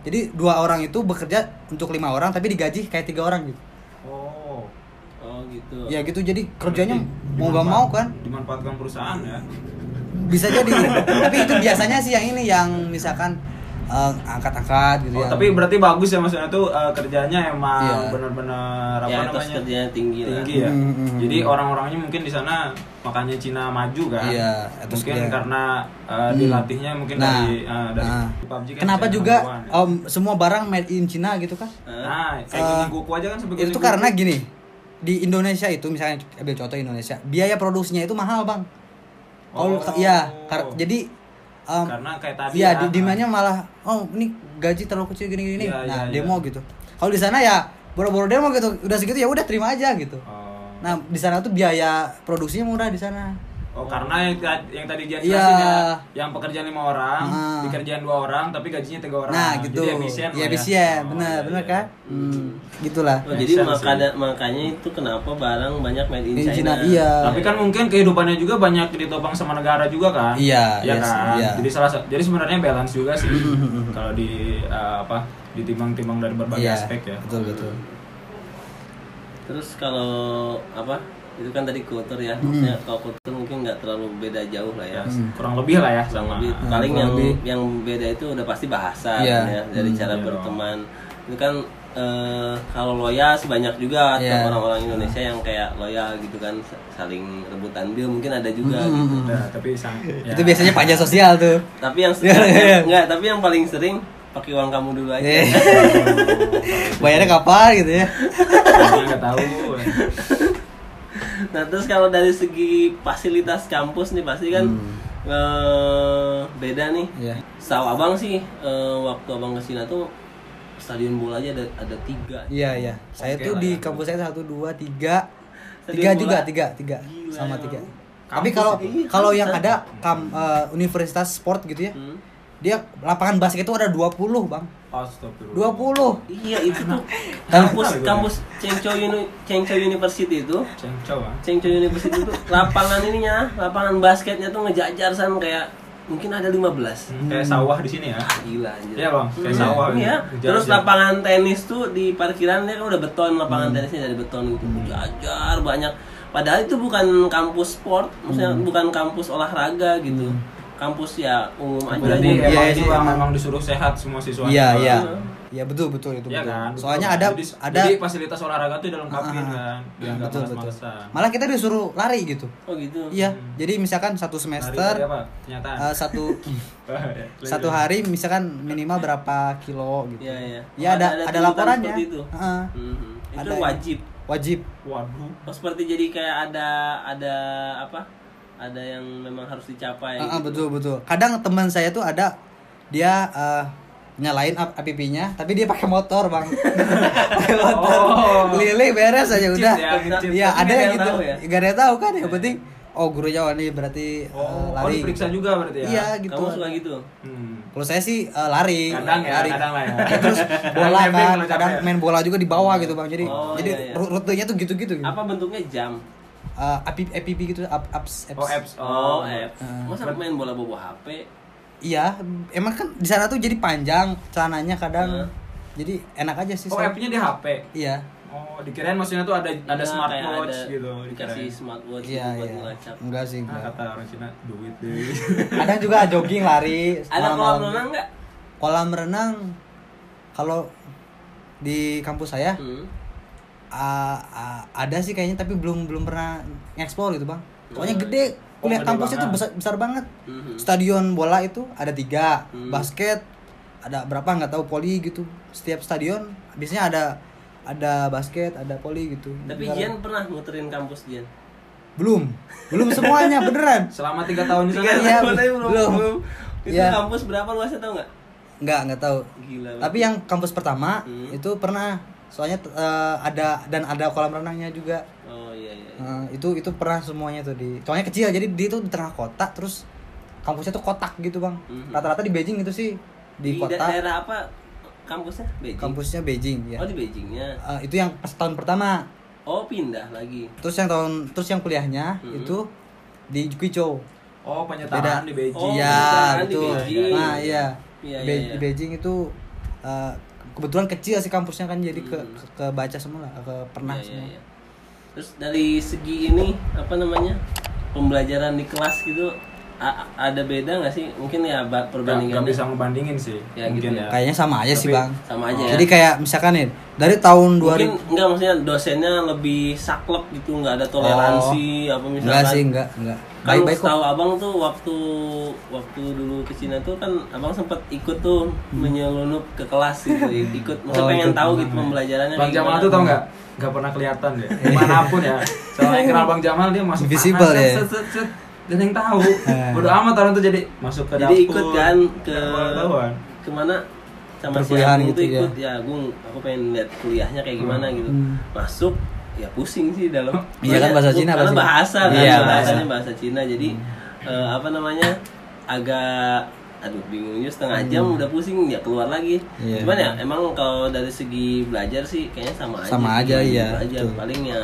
[SPEAKER 2] Jadi dua orang itu bekerja untuk lima orang tapi digaji kayak tiga orang gitu.
[SPEAKER 3] Oh.
[SPEAKER 1] oh gitu.
[SPEAKER 2] Ya gitu jadi kerjanya
[SPEAKER 3] Berarti
[SPEAKER 2] mau gak mau kan
[SPEAKER 3] Dimanfaatkan perusahaan ya.
[SPEAKER 2] bisa jadi tapi itu biasanya sih yang ini yang misalkan eh, angkat-angkat
[SPEAKER 3] Oh,
[SPEAKER 2] gitu ya
[SPEAKER 3] tapi berarti bagus ya maksudnya tuh eh, kerjanya emang
[SPEAKER 2] Iya.
[SPEAKER 3] bener-bener apa
[SPEAKER 1] ya, etos
[SPEAKER 3] namanya?
[SPEAKER 1] kerjanya tinggi,
[SPEAKER 3] tinggi
[SPEAKER 1] lah.
[SPEAKER 3] ya.
[SPEAKER 2] Hmm, hmm, hmm.
[SPEAKER 3] Jadi orang-orangnya mungkin di sana makanya Cina maju kan.
[SPEAKER 2] Iya, itu
[SPEAKER 3] mungkin
[SPEAKER 2] sebenarnya.
[SPEAKER 3] karena uh,
[SPEAKER 2] Hmm.
[SPEAKER 3] dilatihnya mungkin
[SPEAKER 2] Nah,
[SPEAKER 3] dari uh, dari
[SPEAKER 2] nah.
[SPEAKER 3] PUBG kan
[SPEAKER 2] kenapa
[SPEAKER 3] Cina
[SPEAKER 2] juga
[SPEAKER 3] duluan ya.
[SPEAKER 2] em, semua barang made in Cina gitu kan
[SPEAKER 1] Hah?
[SPEAKER 3] Nah, kayak
[SPEAKER 2] Eh,
[SPEAKER 3] gini Goku aja kan sebagai
[SPEAKER 2] itu tuh karena gini di Indonesia itu misalnya ambil contoh Indonesia biaya produksinya itu mahal bang kalau
[SPEAKER 3] Oh.
[SPEAKER 2] ya kar- jadi em,
[SPEAKER 3] karena kayak tadi ya.
[SPEAKER 2] Iya, di demandnya malah oh ini gaji terlalu kecil gini gini.
[SPEAKER 3] Iya,
[SPEAKER 2] nah,
[SPEAKER 3] iya,
[SPEAKER 2] demo gitu. Kalau di sana ya boro-boro demo gitu, udah segitu ya udah terima aja gitu.
[SPEAKER 3] Oh.
[SPEAKER 2] Nah, di sana tuh biaya produksinya murah di sana.
[SPEAKER 3] Oh, karena yang, ta- yang tadi dia
[SPEAKER 2] Iya.
[SPEAKER 3] jelasin ya, yang pekerjaan lima orang,
[SPEAKER 2] Ah.
[SPEAKER 3] dikerjain dua orang, tapi gajinya tiga orang.
[SPEAKER 2] Nah, gitu.
[SPEAKER 3] Jadi efisien. lah
[SPEAKER 2] ya
[SPEAKER 3] ya.
[SPEAKER 2] efisien,
[SPEAKER 3] Oh,
[SPEAKER 2] benar,
[SPEAKER 3] iya,
[SPEAKER 2] benar
[SPEAKER 3] iya.
[SPEAKER 2] kan? Hmm, gitulah.
[SPEAKER 1] Oh, jadi
[SPEAKER 3] Make sense,
[SPEAKER 1] makanya makanya itu kenapa barang banyak made in
[SPEAKER 2] Ini Cina,
[SPEAKER 1] China.
[SPEAKER 2] iya.
[SPEAKER 3] Tapi kan mungkin kehidupannya juga banyak ditopang sama negara juga kan?
[SPEAKER 2] Iya,
[SPEAKER 3] Iya
[SPEAKER 2] iya sih,
[SPEAKER 3] kan?
[SPEAKER 2] iya.
[SPEAKER 3] Jadi salah satu- jadi sebenarnya balance juga sih kalau di eh, apa ditimbang-timbang dari berbagai
[SPEAKER 2] Iya.
[SPEAKER 3] aspek ya.
[SPEAKER 2] Betul, betul.
[SPEAKER 1] Terus kalau apa? Itu kan tadi kultur ya.
[SPEAKER 2] Hmm.
[SPEAKER 1] Maksudnya kalau kultur mungkin nggak terlalu beda jauh lah ya.
[SPEAKER 3] Ya, kurang lebih lah ya
[SPEAKER 1] Kurang
[SPEAKER 3] sama.
[SPEAKER 1] lebih paling
[SPEAKER 2] Nah, kurang
[SPEAKER 1] yang
[SPEAKER 2] lebih.
[SPEAKER 1] yang beda itu udah pasti bahasa
[SPEAKER 2] Iya.
[SPEAKER 1] kan ya, dari cara
[SPEAKER 3] iya
[SPEAKER 1] berteman. Itu kan eh, kalau loyal banyak juga
[SPEAKER 2] Iya.
[SPEAKER 1] tuh orang-orang Indonesia yang kayak loyal gitu kan sa- saling rebutan bill mungkin ada juga
[SPEAKER 2] Hmm.
[SPEAKER 1] gitu.
[SPEAKER 3] Nah, tapi sang, ya.
[SPEAKER 2] Itu biasanya pajak sosial tuh.
[SPEAKER 1] Tapi yang
[SPEAKER 2] Iya, iya, iya.
[SPEAKER 1] enggak, tapi yang paling sering pakai uang kamu dulu aja.
[SPEAKER 2] Eh. Bayarnya kapan gitu ya?
[SPEAKER 3] Saya nggak tahu.
[SPEAKER 1] Nah terus kalau dari segi fasilitas kampus nih pasti kan
[SPEAKER 2] Hmm.
[SPEAKER 1] eh, beda nih.
[SPEAKER 2] Iya.
[SPEAKER 1] Setahu abang sih eh, waktu abang ke Cina tuh stadion bola aja ada ada tiga.
[SPEAKER 2] Iya, iya. Saya
[SPEAKER 3] Oke
[SPEAKER 2] tuh
[SPEAKER 3] lah
[SPEAKER 2] di
[SPEAKER 3] ya.
[SPEAKER 2] kampus saya satu dua tiga tiga
[SPEAKER 1] Stadion
[SPEAKER 2] juga
[SPEAKER 1] bola.
[SPEAKER 2] tiga tiga
[SPEAKER 1] Gila,
[SPEAKER 2] sama
[SPEAKER 1] emang.
[SPEAKER 2] tiga.
[SPEAKER 1] Kampus
[SPEAKER 2] Tapi kalau
[SPEAKER 1] ini
[SPEAKER 2] kalau
[SPEAKER 1] kampus
[SPEAKER 2] yang
[SPEAKER 1] kan?
[SPEAKER 2] ada kam, eh, universitas sport gitu ya,
[SPEAKER 1] Hmm.
[SPEAKER 2] dia lapangan basket itu ada 20 bang,
[SPEAKER 3] Astagfirullah.
[SPEAKER 2] 20
[SPEAKER 1] Iya itu tuh kampus kampus Chengcho Uni- Chengcho University itu
[SPEAKER 3] Cengcau ah.
[SPEAKER 1] Chengcho University itu lapangan ininya lapangan basketnya tuh ngejajar san kayak mungkin ada 15
[SPEAKER 3] Kayak sawah di sini ya.
[SPEAKER 1] gila anjir
[SPEAKER 3] Iya bang, kayak
[SPEAKER 1] Iya,
[SPEAKER 3] sawah.
[SPEAKER 1] iya.
[SPEAKER 3] gitu.
[SPEAKER 1] Terus
[SPEAKER 3] Jalan-jalan.
[SPEAKER 1] lapangan tenis tuh di parkirannya kan udah beton, lapangan
[SPEAKER 3] Hmm.
[SPEAKER 1] tenisnya dari beton gitu. Jajar banyak. Padahal itu bukan kampus sport, maksudnya
[SPEAKER 3] Hmm.
[SPEAKER 1] bukan kampus olahraga gitu. Kampus ya umum aja.
[SPEAKER 3] Berarti
[SPEAKER 2] Iya,
[SPEAKER 1] gitu.
[SPEAKER 3] emang
[SPEAKER 2] iya,
[SPEAKER 3] itu
[SPEAKER 2] iya.
[SPEAKER 3] bang, memang disuruh sehat semua siswa.
[SPEAKER 2] Iya iya. Iya betul betul itu
[SPEAKER 3] Iya
[SPEAKER 2] betul.
[SPEAKER 3] kan?
[SPEAKER 2] Soalnya
[SPEAKER 3] Betul.
[SPEAKER 2] ada
[SPEAKER 3] jadi,
[SPEAKER 2] ada Ah,
[SPEAKER 3] jadi fasilitas olahraga tuh dilengkapin kan. Biar enggak
[SPEAKER 2] Iya, betul betul.
[SPEAKER 3] males-malesan.
[SPEAKER 2] Malah kita disuruh lari gitu.
[SPEAKER 1] Oh gitu.
[SPEAKER 2] Iya. Jadi misalkan satu
[SPEAKER 3] Hari
[SPEAKER 2] semester
[SPEAKER 3] tadi apa? Kenyataan.
[SPEAKER 2] eh, satu satu hari misalkan minimal berapa kilo gitu.
[SPEAKER 1] Iya, iya.
[SPEAKER 2] Ya ada ada,
[SPEAKER 1] tuntutan
[SPEAKER 2] laporannya.
[SPEAKER 1] seperti itu.
[SPEAKER 2] Heeh.
[SPEAKER 1] Mhm. Itu
[SPEAKER 2] Ada-
[SPEAKER 1] wajib.
[SPEAKER 2] Wajib.
[SPEAKER 3] Waduh.
[SPEAKER 2] Eh,
[SPEAKER 1] Oh, seperti jadi kayak ada ada apa? Ada yang memang harus dicapai.
[SPEAKER 2] Heeh,
[SPEAKER 1] gitu.
[SPEAKER 2] betul betul. Kadang teman saya tuh ada dia eh, nyalain ap- APP-nya tapi dia pakai motor, Bang. pakai motor.
[SPEAKER 3] Oh.
[SPEAKER 2] Keliling beres aja
[SPEAKER 3] Cheat
[SPEAKER 2] udah.
[SPEAKER 3] ya,
[SPEAKER 1] Tapi
[SPEAKER 3] cheat.
[SPEAKER 2] Iya, ada
[SPEAKER 1] nggak
[SPEAKER 2] yang
[SPEAKER 1] ada yang
[SPEAKER 2] gitu.
[SPEAKER 1] tahu ya?
[SPEAKER 2] Gak ada yang tahu kan yang penting oh gurunya oh ini berarti eh,
[SPEAKER 3] Oh, oh,
[SPEAKER 2] lari.
[SPEAKER 3] diperiksa juga berarti ya.
[SPEAKER 2] Iya gitu.
[SPEAKER 1] Kamu suka gitu?
[SPEAKER 3] Hmm.
[SPEAKER 2] Kalau saya sih eh, lari,
[SPEAKER 3] Kadang ya,
[SPEAKER 2] lari. Iya,
[SPEAKER 3] kadang lah ya.
[SPEAKER 2] Terus
[SPEAKER 3] Kadang
[SPEAKER 2] bola
[SPEAKER 3] camping
[SPEAKER 2] kan,
[SPEAKER 3] kalau
[SPEAKER 2] kadang
[SPEAKER 3] capek. ya.
[SPEAKER 2] main bola juga di bawah gitu bang. Jadi
[SPEAKER 1] Oh,
[SPEAKER 2] jadi
[SPEAKER 1] iya, iya.
[SPEAKER 2] ru- rutenya tuh gitu-gitu. Gitu.
[SPEAKER 1] Apa bentuknya jam?
[SPEAKER 2] Eh, APP, APP gitu, up, ups, apps.
[SPEAKER 3] Oh, apps.
[SPEAKER 1] Oh, eh. Masa main bola bobo HP?
[SPEAKER 2] Iya, emang kan di sana tuh jadi panjang celananya kadang. Jadi enak aja sih.
[SPEAKER 3] Oh,
[SPEAKER 2] saya.
[SPEAKER 3] app-nya di HP.
[SPEAKER 2] Iya.
[SPEAKER 3] Oh, dikirain maksudnya tuh ada
[SPEAKER 1] Iya,
[SPEAKER 3] ada
[SPEAKER 1] kayak
[SPEAKER 3] smartwatch
[SPEAKER 1] ada
[SPEAKER 3] gitu.
[SPEAKER 1] dikasih
[SPEAKER 3] Dikirain.
[SPEAKER 1] smartwatch
[SPEAKER 2] Iya,
[SPEAKER 1] buat
[SPEAKER 2] iya.
[SPEAKER 1] ngelacak
[SPEAKER 2] Enggak sih.
[SPEAKER 3] Ah,
[SPEAKER 2] Enggak.
[SPEAKER 3] kata orang Cina duit deh.
[SPEAKER 2] Kadang juga jogging lari
[SPEAKER 1] ada kolam
[SPEAKER 2] malam-malam.
[SPEAKER 1] renang nggak
[SPEAKER 2] Kolam renang kalau di kampus saya
[SPEAKER 1] hmm.
[SPEAKER 2] Ah, ah, ada sih kayaknya tapi belum belum pernah ngeksplor gitu bang pokoknya
[SPEAKER 1] Oh,
[SPEAKER 2] gede
[SPEAKER 3] Oh,
[SPEAKER 2] kuliah
[SPEAKER 3] gede
[SPEAKER 2] kampusnya tuh
[SPEAKER 3] banget.
[SPEAKER 2] besar, besar banget
[SPEAKER 1] Mhm.
[SPEAKER 2] stadion bola itu ada tiga
[SPEAKER 1] Hmm.
[SPEAKER 2] basket ada berapa nggak tahu poli gitu setiap stadion biasanya ada ada basket ada poli gitu
[SPEAKER 1] tapi
[SPEAKER 2] Negara-
[SPEAKER 1] Jian pernah muterin kampus Jian
[SPEAKER 2] Iya, belum belum semuanya beneran
[SPEAKER 3] Selama 3 tahun di sana.
[SPEAKER 2] Tiga Iya,
[SPEAKER 1] Tapi
[SPEAKER 2] belum.
[SPEAKER 1] itu
[SPEAKER 2] Iya.
[SPEAKER 1] kampus berapa luasnya tau nggak
[SPEAKER 2] nggak nggak tahu
[SPEAKER 1] gila
[SPEAKER 2] tapi yang kampus pertama
[SPEAKER 1] Hmm.
[SPEAKER 2] itu pernah soalnya eh, ada dan ada kolam renangnya juga
[SPEAKER 1] oh iya iya iya.
[SPEAKER 2] Heeh, Eh, itu itu pernah semuanya tuh di soalnya kecil jadi dia tuh di tengah kota terus kampusnya tuh kotak gitu bang
[SPEAKER 1] Mhm.
[SPEAKER 2] rata-rata di Beijing itu sih di,
[SPEAKER 1] di
[SPEAKER 2] kota
[SPEAKER 1] da- daerah apa kampusnya Beijing
[SPEAKER 2] kampusnya Beijing ya
[SPEAKER 1] oh di Beijingnya
[SPEAKER 2] Eh, itu yang pas tahun pertama
[SPEAKER 1] oh pindah lagi
[SPEAKER 2] terus yang tahun terus yang kuliahnya
[SPEAKER 1] Mhm.
[SPEAKER 2] itu di Guizhou
[SPEAKER 3] Oh, penyetaan di Beijing.
[SPEAKER 1] Oh,
[SPEAKER 2] iya
[SPEAKER 1] di
[SPEAKER 2] betul
[SPEAKER 1] Beijing.
[SPEAKER 2] nah iya
[SPEAKER 1] Iya,
[SPEAKER 2] Be-
[SPEAKER 1] iya, iya.
[SPEAKER 2] di Beijing itu eh, kebetulan kecil sih kampusnya kan jadi ke ke- kebaca semua lah ke pernah
[SPEAKER 1] Mhm. Iya, iya,
[SPEAKER 2] semua
[SPEAKER 1] iya. terus dari segi ini apa namanya pembelajaran di kelas gitu a- a- ada beda nggak sih mungkin ya ba-
[SPEAKER 3] Gak, gak
[SPEAKER 1] perbandingannya
[SPEAKER 3] bisa ngebandingin sih.
[SPEAKER 1] Ya,
[SPEAKER 3] mungkin
[SPEAKER 1] gitu ya.
[SPEAKER 3] ya.
[SPEAKER 2] kayaknya sama aja sih
[SPEAKER 3] Tapi-
[SPEAKER 2] bang
[SPEAKER 1] sama aja ya
[SPEAKER 2] jadi kayak misalkan nih dari tahun 2000
[SPEAKER 1] mungkin enggak maksudnya dosennya lebih saklek gitu nggak ada toleransi apa misalkan
[SPEAKER 2] Oh. Enggak sih, enggak, enggak.
[SPEAKER 1] kalau
[SPEAKER 2] Baik-baik kok.
[SPEAKER 1] tahu abang tuh waktu waktu dulu ke Cina tuh kan abang sempat ikut tuh menyelunup ke kelas gitu ikut maksudnya
[SPEAKER 2] Hmm. Oh,
[SPEAKER 1] pengen
[SPEAKER 2] ikut.
[SPEAKER 1] tahu gitu pembelajarannya
[SPEAKER 3] Bang
[SPEAKER 1] kayak
[SPEAKER 3] Jamal
[SPEAKER 1] gimana.
[SPEAKER 3] tuh tau nggak? Gak pernah kelihatan deh. Dimanapun ya. Soalnya yang kenal Bang Jamal dia masuk
[SPEAKER 2] Invisible
[SPEAKER 3] panas,
[SPEAKER 2] ya. Eh.
[SPEAKER 3] Set, set, set, dan yang tahu. Bodoh amat orang tuh jadi masuk ke
[SPEAKER 1] jadi
[SPEAKER 3] dapur. Iya,
[SPEAKER 1] ikut kan ke
[SPEAKER 3] Nggak ketahuan.
[SPEAKER 1] kemana sama si
[SPEAKER 2] Perkuliahan
[SPEAKER 1] Agung tuh
[SPEAKER 2] gitu ya.
[SPEAKER 1] ikut ya gung aku pengen lihat kuliahnya kayak gimana gitu masuk ya pusing sih dalam
[SPEAKER 2] Iya kan, bahasa Cina
[SPEAKER 1] karena
[SPEAKER 2] pasti.
[SPEAKER 1] bahasa kan
[SPEAKER 2] Iya, Hmm.
[SPEAKER 1] bahasanya bahasa Cina jadi eh, apa namanya agak aduh bingungnya setengah jam udah pusing ya keluar lagi
[SPEAKER 2] Hmm. Iya.
[SPEAKER 1] cuman ya emang kalau dari segi belajar sih kayaknya sama aja
[SPEAKER 2] Sama
[SPEAKER 1] sih,
[SPEAKER 2] aja,
[SPEAKER 1] belajar.
[SPEAKER 2] iya,
[SPEAKER 1] belajar
[SPEAKER 2] betul.
[SPEAKER 1] paling ya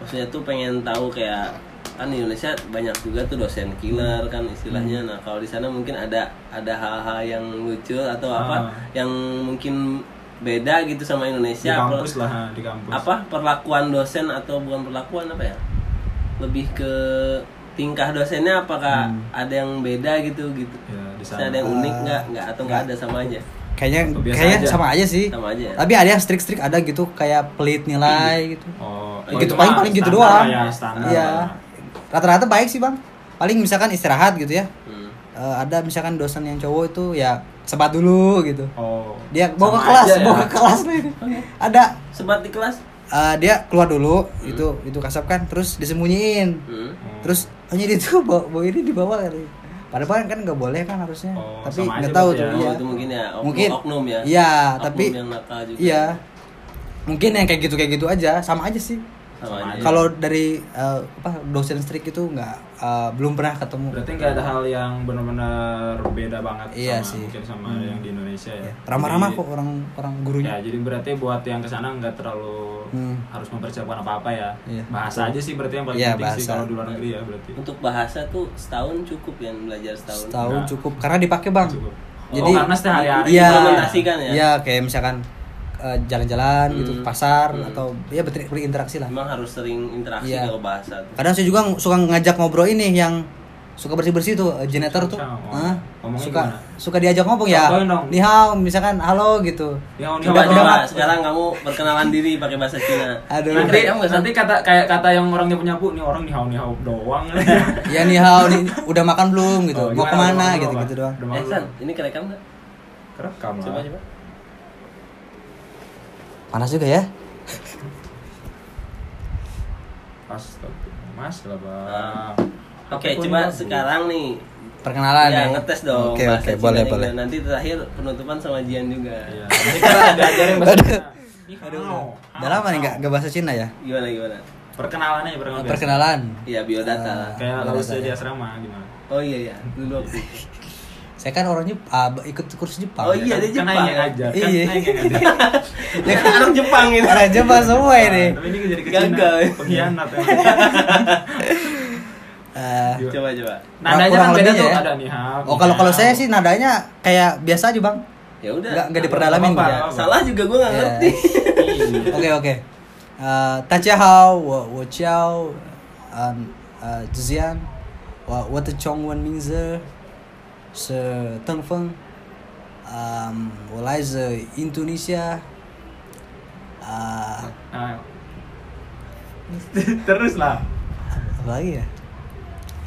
[SPEAKER 1] maksudnya tuh pengen tahu kayak kan di Indonesia banyak juga tuh dosen killer kan istilahnya
[SPEAKER 3] Hmm.
[SPEAKER 1] nah kalau di sana mungkin ada ada hal-hal yang lucu atau apa
[SPEAKER 3] Ah.
[SPEAKER 1] yang mungkin beda gitu sama
[SPEAKER 3] di
[SPEAKER 1] Indonesia
[SPEAKER 3] kampus lah ha, di kampus
[SPEAKER 1] apa perlakuan dosen atau bukan perlakuan apa ya lebih ke tingkah dosennya apakah ada yang beda gitu gitu
[SPEAKER 3] Ya, Hmm. di
[SPEAKER 1] Misalnya
[SPEAKER 3] sana. Ah.
[SPEAKER 1] ada yang unik nggak nggak atau nggak ada sama aja
[SPEAKER 2] Kayaknya
[SPEAKER 3] Biasa
[SPEAKER 2] kayaknya
[SPEAKER 3] aja.
[SPEAKER 2] sama aja sih.
[SPEAKER 1] sama aja ya
[SPEAKER 3] Iya.
[SPEAKER 2] Tapi ada yang strik-strik ada gitu kayak pelit nilai gitu.
[SPEAKER 3] oh
[SPEAKER 2] Ya
[SPEAKER 3] oh,
[SPEAKER 2] gitu
[SPEAKER 3] itu
[SPEAKER 2] paling
[SPEAKER 3] mah
[SPEAKER 2] paling gitu
[SPEAKER 3] standar lah
[SPEAKER 2] doang.
[SPEAKER 3] ya, standar
[SPEAKER 2] Iya.
[SPEAKER 3] lah.
[SPEAKER 2] Rata-rata baik sih, Bang. Paling misalkan istirahat gitu ya.
[SPEAKER 1] Hmm.
[SPEAKER 2] Eh, ada misalkan dosen yang cowok itu ya sebat dulu gitu.
[SPEAKER 3] oh
[SPEAKER 2] Dia bawa ke
[SPEAKER 1] Sama
[SPEAKER 2] kelas,
[SPEAKER 1] aja ya.
[SPEAKER 2] bawa ke kelas nih. Ada
[SPEAKER 1] sebat di kelas
[SPEAKER 2] eh, dia keluar dulu itu itu kasap kan terus disembunyiin.
[SPEAKER 1] Hmm.
[SPEAKER 3] Hmm.
[SPEAKER 2] Terus hanya itu bawa, bawa ini dibawa kali. Padahal kan nggak boleh kan harusnya.
[SPEAKER 3] Oh,
[SPEAKER 2] Tapi
[SPEAKER 3] sama aja
[SPEAKER 2] nggak tahu
[SPEAKER 3] berarti
[SPEAKER 2] tuh.
[SPEAKER 3] ya.
[SPEAKER 1] Oh,
[SPEAKER 2] iya.
[SPEAKER 1] itu mungkin ya oknum,
[SPEAKER 2] Mungkin.
[SPEAKER 1] oknum ya
[SPEAKER 2] Iya,
[SPEAKER 1] Oknum
[SPEAKER 2] tapi
[SPEAKER 1] yang nakal juga ya.
[SPEAKER 2] Iya. Mungkin yang kayak gitu kayak gitu aja sama aja sih.
[SPEAKER 1] sama aja
[SPEAKER 2] Kalau dari eh, apa dosen strik itu nggak eh, belum pernah ketemu.
[SPEAKER 3] berarti nggak ada hal yang benar-benar beda banget
[SPEAKER 2] Iya
[SPEAKER 3] sama
[SPEAKER 2] sih. Iya.
[SPEAKER 3] mungkin sama yang di Indonesia ya
[SPEAKER 2] Ramah-ramah
[SPEAKER 3] Jadi-
[SPEAKER 2] kok orang orang gurunya.
[SPEAKER 3] Ya, jadi berarti buat yang kesana nggak terlalu
[SPEAKER 2] Hmm.
[SPEAKER 3] harus mempersiapkan apa-apa ya.
[SPEAKER 2] Iya.
[SPEAKER 3] Bahasa aja sih berarti yang paling
[SPEAKER 2] Iya,
[SPEAKER 3] penting sih
[SPEAKER 2] bahasa. Iya.
[SPEAKER 3] kalau di luar negeri ya berarti.
[SPEAKER 1] untuk bahasa tuh setahun cukup ya belajar setahun
[SPEAKER 2] Setahun cukup karena dipakai bang.
[SPEAKER 3] Nah. Cukup.
[SPEAKER 2] Jadi
[SPEAKER 3] oh, karena sehari-hari
[SPEAKER 2] iya,
[SPEAKER 1] implementasikan ya?
[SPEAKER 2] Iya kayak misalkan eh, jalan-jalan gitu
[SPEAKER 3] Hmm.
[SPEAKER 2] ke pasar atau ya ber- berinteraksi lah.
[SPEAKER 1] emang harus sering interaksi
[SPEAKER 2] Iya.
[SPEAKER 1] kalau bahasa tuh
[SPEAKER 2] Kadang saya juga ng- suka ngajak ngobrol ini yang suka bersih-bersih tuh eh, janitor tuh.
[SPEAKER 3] Sama, oh.
[SPEAKER 2] Hah?
[SPEAKER 3] Ngomongnya
[SPEAKER 2] suka
[SPEAKER 3] gimana?
[SPEAKER 2] suka diajak ngomong ya.
[SPEAKER 3] Contohin dong.
[SPEAKER 2] Ni hao, misalkan halo gitu.
[SPEAKER 3] Ya, ini
[SPEAKER 1] coba
[SPEAKER 3] apa-
[SPEAKER 1] coba sekarang kamu perkenalan diri pakai bahasa Cina
[SPEAKER 2] Aduh.
[SPEAKER 3] Nanti, nanti kata kayak kata yang orang nyapu nyapu nih orang nihau nihau doang. gitu.
[SPEAKER 2] Ya ni hao, ni- udah makan belum gitu.
[SPEAKER 3] Oh,
[SPEAKER 2] Mau
[SPEAKER 3] gimana?
[SPEAKER 2] kemana
[SPEAKER 3] Ngomong
[SPEAKER 2] gitu
[SPEAKER 3] apa?
[SPEAKER 2] gitu doang.
[SPEAKER 3] Udah
[SPEAKER 1] eh
[SPEAKER 3] malu.
[SPEAKER 1] San ini kerekam nggak
[SPEAKER 3] Kerekam lah.
[SPEAKER 1] coba coba
[SPEAKER 2] Panas juga ya.
[SPEAKER 3] Pas mas lah bang.
[SPEAKER 1] Ah. Oke,
[SPEAKER 3] Apapun
[SPEAKER 1] coba
[SPEAKER 3] bagus.
[SPEAKER 1] sekarang nih
[SPEAKER 2] Perkenalan
[SPEAKER 3] Iya,
[SPEAKER 1] ya, ngetes dong
[SPEAKER 2] Ah, Oke
[SPEAKER 1] bahasa
[SPEAKER 2] oke
[SPEAKER 1] Cina
[SPEAKER 2] boleh
[SPEAKER 1] juga.
[SPEAKER 2] boleh.
[SPEAKER 1] Nanti terakhir penutupan sama Jian juga.
[SPEAKER 3] Iya. Nanti kita diajarin bahasa. Cina. Ni hao.
[SPEAKER 2] Udah lama nih nggak nggak bahasa Cina ya?
[SPEAKER 1] Gimana gimana?
[SPEAKER 3] Perkenalan aja perkenalan. biasa.
[SPEAKER 2] Perkenalan. ya.
[SPEAKER 1] Iya
[SPEAKER 2] Ah.
[SPEAKER 1] biodata.
[SPEAKER 3] Kayak kalau saya di asrama gimana?
[SPEAKER 1] oh iya iya, dulu aku.
[SPEAKER 2] Saya kan orang Jepang, ikut kursus Jepang. ya.
[SPEAKER 1] Oh iya, dia
[SPEAKER 3] Kan
[SPEAKER 1] Jepang.
[SPEAKER 3] Aing yang ngajar, kan
[SPEAKER 2] Iya.
[SPEAKER 3] Aing yang ngajar.
[SPEAKER 1] ya kan orang Jepang ini.
[SPEAKER 2] Orang Jepang semua ini.
[SPEAKER 3] Nah, Tapi ini jadi ke
[SPEAKER 1] Gagal.
[SPEAKER 3] Cina, pengkhianat. ya.
[SPEAKER 2] Eh,
[SPEAKER 1] Coba coba.
[SPEAKER 3] Nadanya kan
[SPEAKER 2] Kurang
[SPEAKER 3] beda
[SPEAKER 2] lebihnya
[SPEAKER 3] tuh
[SPEAKER 2] ya.
[SPEAKER 3] ada nih. Iya. hal,
[SPEAKER 2] oh kalau
[SPEAKER 3] nih,
[SPEAKER 2] kalau
[SPEAKER 3] hal.
[SPEAKER 2] saya sih nadanya kayak biasa aja bang.
[SPEAKER 1] Ya udah.
[SPEAKER 2] Nggak nggak diperdalamin.
[SPEAKER 3] Apa-apa.
[SPEAKER 2] Ya.
[SPEAKER 1] Ya, salah juga gue nggak
[SPEAKER 2] Iya.
[SPEAKER 1] ngerti.
[SPEAKER 3] Iya.
[SPEAKER 2] Oke oke. Eh, Tachihao, wo wo chao, um, eh, Zian, wo wo te chong wen ming ze, se teng feng, um, wo lai ze Indonesia. Ah,
[SPEAKER 3] Nah. Terus lah.
[SPEAKER 2] apa lagi ya?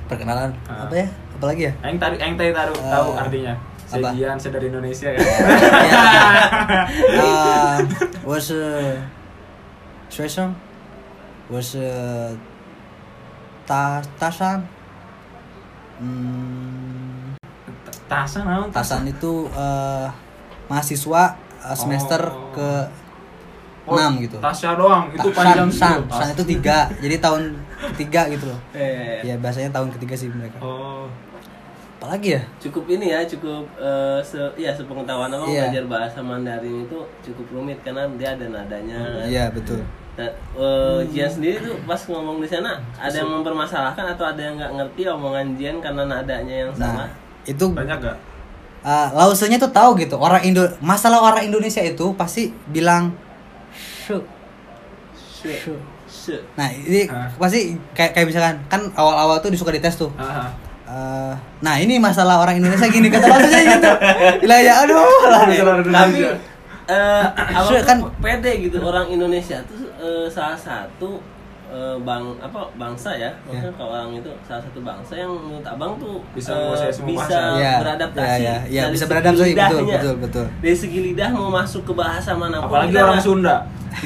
[SPEAKER 2] Perkenalan
[SPEAKER 3] Ah.
[SPEAKER 2] apa ya? Apa lagi ya?
[SPEAKER 3] Aing tadi aing tadi taruh
[SPEAKER 2] Eh,
[SPEAKER 3] tahu artinya.
[SPEAKER 2] apa?
[SPEAKER 3] Sejian saya dari Indonesia kan.
[SPEAKER 2] 啊，我是学生，我是大大三，嗯，
[SPEAKER 3] Tasan naon?
[SPEAKER 2] 大三 Hmm, itu eh, mahasiswa eh, semester
[SPEAKER 3] Oh.
[SPEAKER 2] ke
[SPEAKER 3] Oh,
[SPEAKER 2] 6 gitu.
[SPEAKER 3] Tasya doang, itu panjang
[SPEAKER 2] Tasan, san,
[SPEAKER 3] gitu.
[SPEAKER 2] san itu tiga, jadi tahun ketiga gitu loh.
[SPEAKER 1] Eh,
[SPEAKER 2] Ya bahasanya tahun ketiga sih mereka.
[SPEAKER 3] Oh.
[SPEAKER 2] Apalagi ya?
[SPEAKER 1] cukup ini ya cukup eh, se ya sepengetahuan abang
[SPEAKER 2] Iya.
[SPEAKER 1] belajar bahasa Mandarin itu cukup rumit karena dia ada nadanya. kan.
[SPEAKER 2] Iya Hmm. betul.
[SPEAKER 1] Nah, eh, Jian sendiri tuh pas ngomong di sana ada yang mempermasalahkan atau ada yang nggak ngerti omongan Jian karena nadanya yang
[SPEAKER 2] Nah
[SPEAKER 1] salah?
[SPEAKER 2] itu
[SPEAKER 3] Banyak gak?
[SPEAKER 2] uh, lausenya tuh tahu gitu orang Indo masalah orang Indonesia itu pasti bilang "Shu."
[SPEAKER 1] Shu. Shu.
[SPEAKER 2] nah ini
[SPEAKER 3] Ah.
[SPEAKER 2] pasti kayak kayak misalkan kan awal-awal tuh disuka dites tuh
[SPEAKER 3] Aha.
[SPEAKER 2] Eh, nah ini masalah orang Indonesia gini kata lausenya gitu Gila ya aduh
[SPEAKER 1] Iya,
[SPEAKER 2] lah.
[SPEAKER 3] Tapi kalau di
[SPEAKER 1] tapi
[SPEAKER 3] Indonesia.
[SPEAKER 1] eh abang
[SPEAKER 2] Sure,
[SPEAKER 1] tuh
[SPEAKER 2] kan?
[SPEAKER 1] pede gitu orang Indonesia tuh eh, salah satu eh, bang apa bangsa
[SPEAKER 3] Iya.
[SPEAKER 1] ya maksudnya kalau orang itu salah satu bangsa yang menurut abang tuh eh,
[SPEAKER 3] Bisa menguasai semua
[SPEAKER 1] bisa
[SPEAKER 3] bahasa.
[SPEAKER 2] Iya,
[SPEAKER 1] beradaptasi
[SPEAKER 2] iya, iya, iya,
[SPEAKER 1] dari
[SPEAKER 2] bisa
[SPEAKER 1] segi
[SPEAKER 2] beradaptasi, betul,
[SPEAKER 1] lidahnya.
[SPEAKER 2] betul, betul.
[SPEAKER 1] dari segi lidah mau masuk ke bahasa manapun
[SPEAKER 3] Apalagi
[SPEAKER 1] kita
[SPEAKER 3] orang
[SPEAKER 1] nggak-
[SPEAKER 3] Sunda.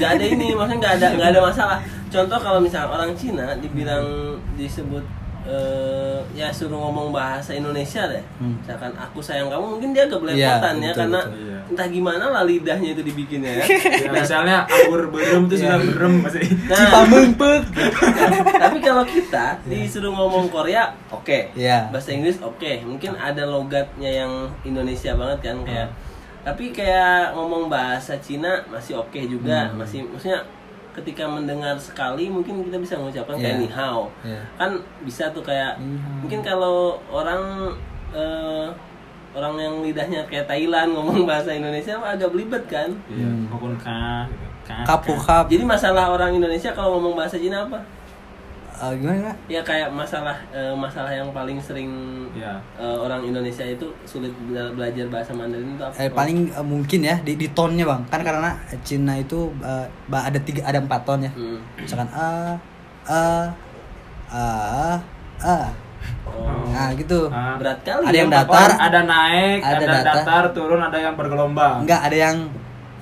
[SPEAKER 1] nggak ada ini maksudnya nggak ada nggak ada masalah contoh kalau misalnya orang Cina dibilang disebut eh, ya suruh ngomong bahasa Indonesia deh. Misalkan aku sayang kamu mungkin dia agak belepotan ya
[SPEAKER 2] Hmm. Iya, betul,
[SPEAKER 1] karena
[SPEAKER 2] betul.
[SPEAKER 3] Iya.
[SPEAKER 1] entah gimana lah lidahnya itu dibikinnya ya.
[SPEAKER 3] Ya, misalnya abur berem itu
[SPEAKER 2] Iya.
[SPEAKER 3] sudah berem masih
[SPEAKER 1] Nah, tapi kalau kita disuruh ngomong Korea, oke.
[SPEAKER 2] Iya.
[SPEAKER 1] Bahasa Inggris oke. Mungkin ada logatnya yang Indonesia banget kan
[SPEAKER 2] Iya.
[SPEAKER 1] kayak. Tapi kayak ngomong bahasa Cina masih oke juga,
[SPEAKER 2] Hmm.
[SPEAKER 1] masih maksudnya ketika mendengar sekali mungkin kita bisa mengucapkan kayak
[SPEAKER 2] Iya.
[SPEAKER 1] ni hao.
[SPEAKER 2] Iya.
[SPEAKER 1] Kan bisa tuh kayak mungkin kalau orang eh, orang yang lidahnya kayak Thailand ngomong bahasa Indonesia agak belibet kan.
[SPEAKER 3] iya maupun ka gitu. Ka,
[SPEAKER 2] Kapu
[SPEAKER 3] ka.
[SPEAKER 2] Hmm. kap.
[SPEAKER 1] Jadi masalah orang Indonesia kalau ngomong bahasa Cina apa?
[SPEAKER 2] Eh, gimana?
[SPEAKER 1] ya kayak masalah eh, masalah yang paling sering
[SPEAKER 3] Iya.
[SPEAKER 1] eh, orang Indonesia itu sulit bela- belajar bahasa Mandarin itu apa?
[SPEAKER 2] Eh, paling eh, mungkin ya di, di tonnya bang kan karena Cina itu eh, ba- ada tiga ada empat ton ya
[SPEAKER 1] Hmm.
[SPEAKER 2] misalkan a a a a
[SPEAKER 1] Oh.
[SPEAKER 2] nah gitu
[SPEAKER 3] Ah.
[SPEAKER 1] Berat kali.
[SPEAKER 2] Ada
[SPEAKER 1] ya.
[SPEAKER 2] yang datar.
[SPEAKER 3] ada naik ada,
[SPEAKER 2] Ada datar.
[SPEAKER 3] datar. turun ada yang bergelombang
[SPEAKER 2] enggak ada yang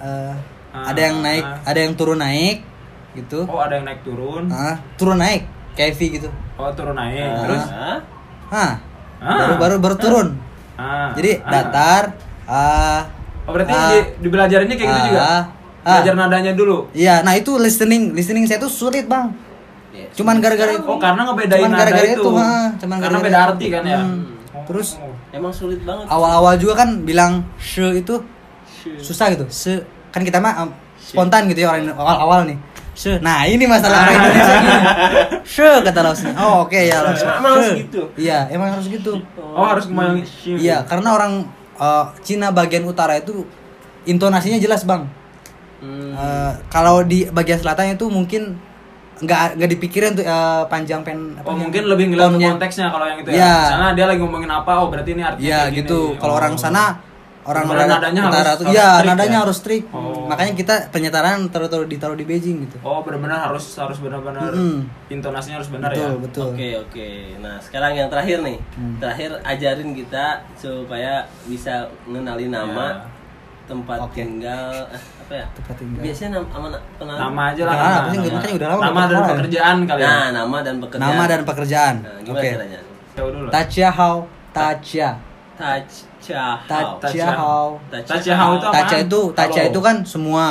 [SPEAKER 2] eh, ada yang naik ada yang turun naik gitu
[SPEAKER 3] Ah. oh ada yang naik turun
[SPEAKER 2] ah turun naik kayak V gitu
[SPEAKER 3] oh turun naik
[SPEAKER 2] Ah.
[SPEAKER 3] terus
[SPEAKER 1] Hah?
[SPEAKER 2] ah
[SPEAKER 3] Ah.
[SPEAKER 2] baru baru baru turun
[SPEAKER 3] ah,
[SPEAKER 2] jadi
[SPEAKER 3] ah.
[SPEAKER 2] datar ah
[SPEAKER 3] oh berarti
[SPEAKER 2] ah,
[SPEAKER 3] di, di belajarannya kayak gitu
[SPEAKER 2] ah,
[SPEAKER 3] juga
[SPEAKER 2] ah.
[SPEAKER 3] belajar nadanya dulu
[SPEAKER 2] iya nah itu listening listening saya tuh sulit bang
[SPEAKER 1] Ya,
[SPEAKER 2] cuman gara-gara itu
[SPEAKER 3] oh karena ngebedain
[SPEAKER 2] Cuman
[SPEAKER 3] nada
[SPEAKER 2] gara-gara
[SPEAKER 3] itu,
[SPEAKER 2] itu, ah, cuman
[SPEAKER 3] karena
[SPEAKER 2] gara-gara
[SPEAKER 3] beda
[SPEAKER 2] itu.
[SPEAKER 3] arti kan ya
[SPEAKER 2] Hmm. Terus
[SPEAKER 3] Oh.
[SPEAKER 1] Emang sulit banget.
[SPEAKER 2] awal-awal juga kan bilang se itu
[SPEAKER 1] Shit.
[SPEAKER 2] susah gitu se kan kita mah um, spontan gitu ya orang awal-awal nih se nah ini masalah orang Indonesia gini. se kata langsung oh oke ya langsung
[SPEAKER 1] Emang harus
[SPEAKER 2] "Se."
[SPEAKER 1] gitu?
[SPEAKER 2] iya emang harus gitu
[SPEAKER 3] oh harus kembali
[SPEAKER 2] iya karena orang uh, Cina bagian utara itu intonasinya jelas bang
[SPEAKER 1] Hmm.
[SPEAKER 2] Uh, kalau di bagian selatan itu mungkin nggak nggak dipikirin tuh uh, panjang pen apa
[SPEAKER 3] Oh
[SPEAKER 2] namanya?
[SPEAKER 3] mungkin lebih ngeliat ke
[SPEAKER 2] Tonnya.
[SPEAKER 3] konteksnya kalau yang itu ya.
[SPEAKER 2] Iya.
[SPEAKER 3] Misalnya dia lagi ngomongin apa, oh berarti ini artinya
[SPEAKER 2] Iya
[SPEAKER 3] kayak gini.
[SPEAKER 2] gitu. Kalau
[SPEAKER 3] Oh.
[SPEAKER 2] orang sana orang
[SPEAKER 3] Sebenarnya
[SPEAKER 2] barat
[SPEAKER 3] nadanya
[SPEAKER 2] utara
[SPEAKER 3] harus-
[SPEAKER 2] tuh
[SPEAKER 3] harus
[SPEAKER 2] iya
[SPEAKER 3] strict
[SPEAKER 2] nadanya
[SPEAKER 3] ya?
[SPEAKER 2] harus strict.
[SPEAKER 3] Oh.
[SPEAKER 2] Makanya kita penyetaraan taruh taruh ditaruh di Beijing gitu.
[SPEAKER 3] Oh benar-benar harus harus benar-benar intonasinya harus benar
[SPEAKER 2] betul,
[SPEAKER 3] ya.
[SPEAKER 2] betul.
[SPEAKER 1] Oke oke. Nah sekarang yang terakhir nih,
[SPEAKER 2] Hmm.
[SPEAKER 1] terakhir ajarin kita supaya bisa mengenali
[SPEAKER 3] Ya.
[SPEAKER 1] nama, tempat tinggal, eh, apa ya?
[SPEAKER 2] Tempat tinggal.
[SPEAKER 1] Biasanya nama, nama, nama,
[SPEAKER 3] Nama aja lah.
[SPEAKER 2] Nah,
[SPEAKER 3] nama,
[SPEAKER 2] pasti
[SPEAKER 3] nama.
[SPEAKER 2] makanya udah lama
[SPEAKER 3] Nama
[SPEAKER 2] nggak
[SPEAKER 3] dan
[SPEAKER 2] kenal ya.
[SPEAKER 3] pekerjaan kali ya.
[SPEAKER 1] Nah nama dan pekerjaan.
[SPEAKER 2] Nama dan pekerjaan.
[SPEAKER 1] Nah, gimana
[SPEAKER 2] Oke.
[SPEAKER 1] caranya?
[SPEAKER 3] Jauh dulu.
[SPEAKER 2] Tachia hao, tachia.
[SPEAKER 1] Touch Chao.
[SPEAKER 2] Tachia hao.
[SPEAKER 1] Tachia
[SPEAKER 3] Tachia hao itu apaan?
[SPEAKER 2] Tachia itu, tachia
[SPEAKER 3] Halo.
[SPEAKER 2] itu kan semua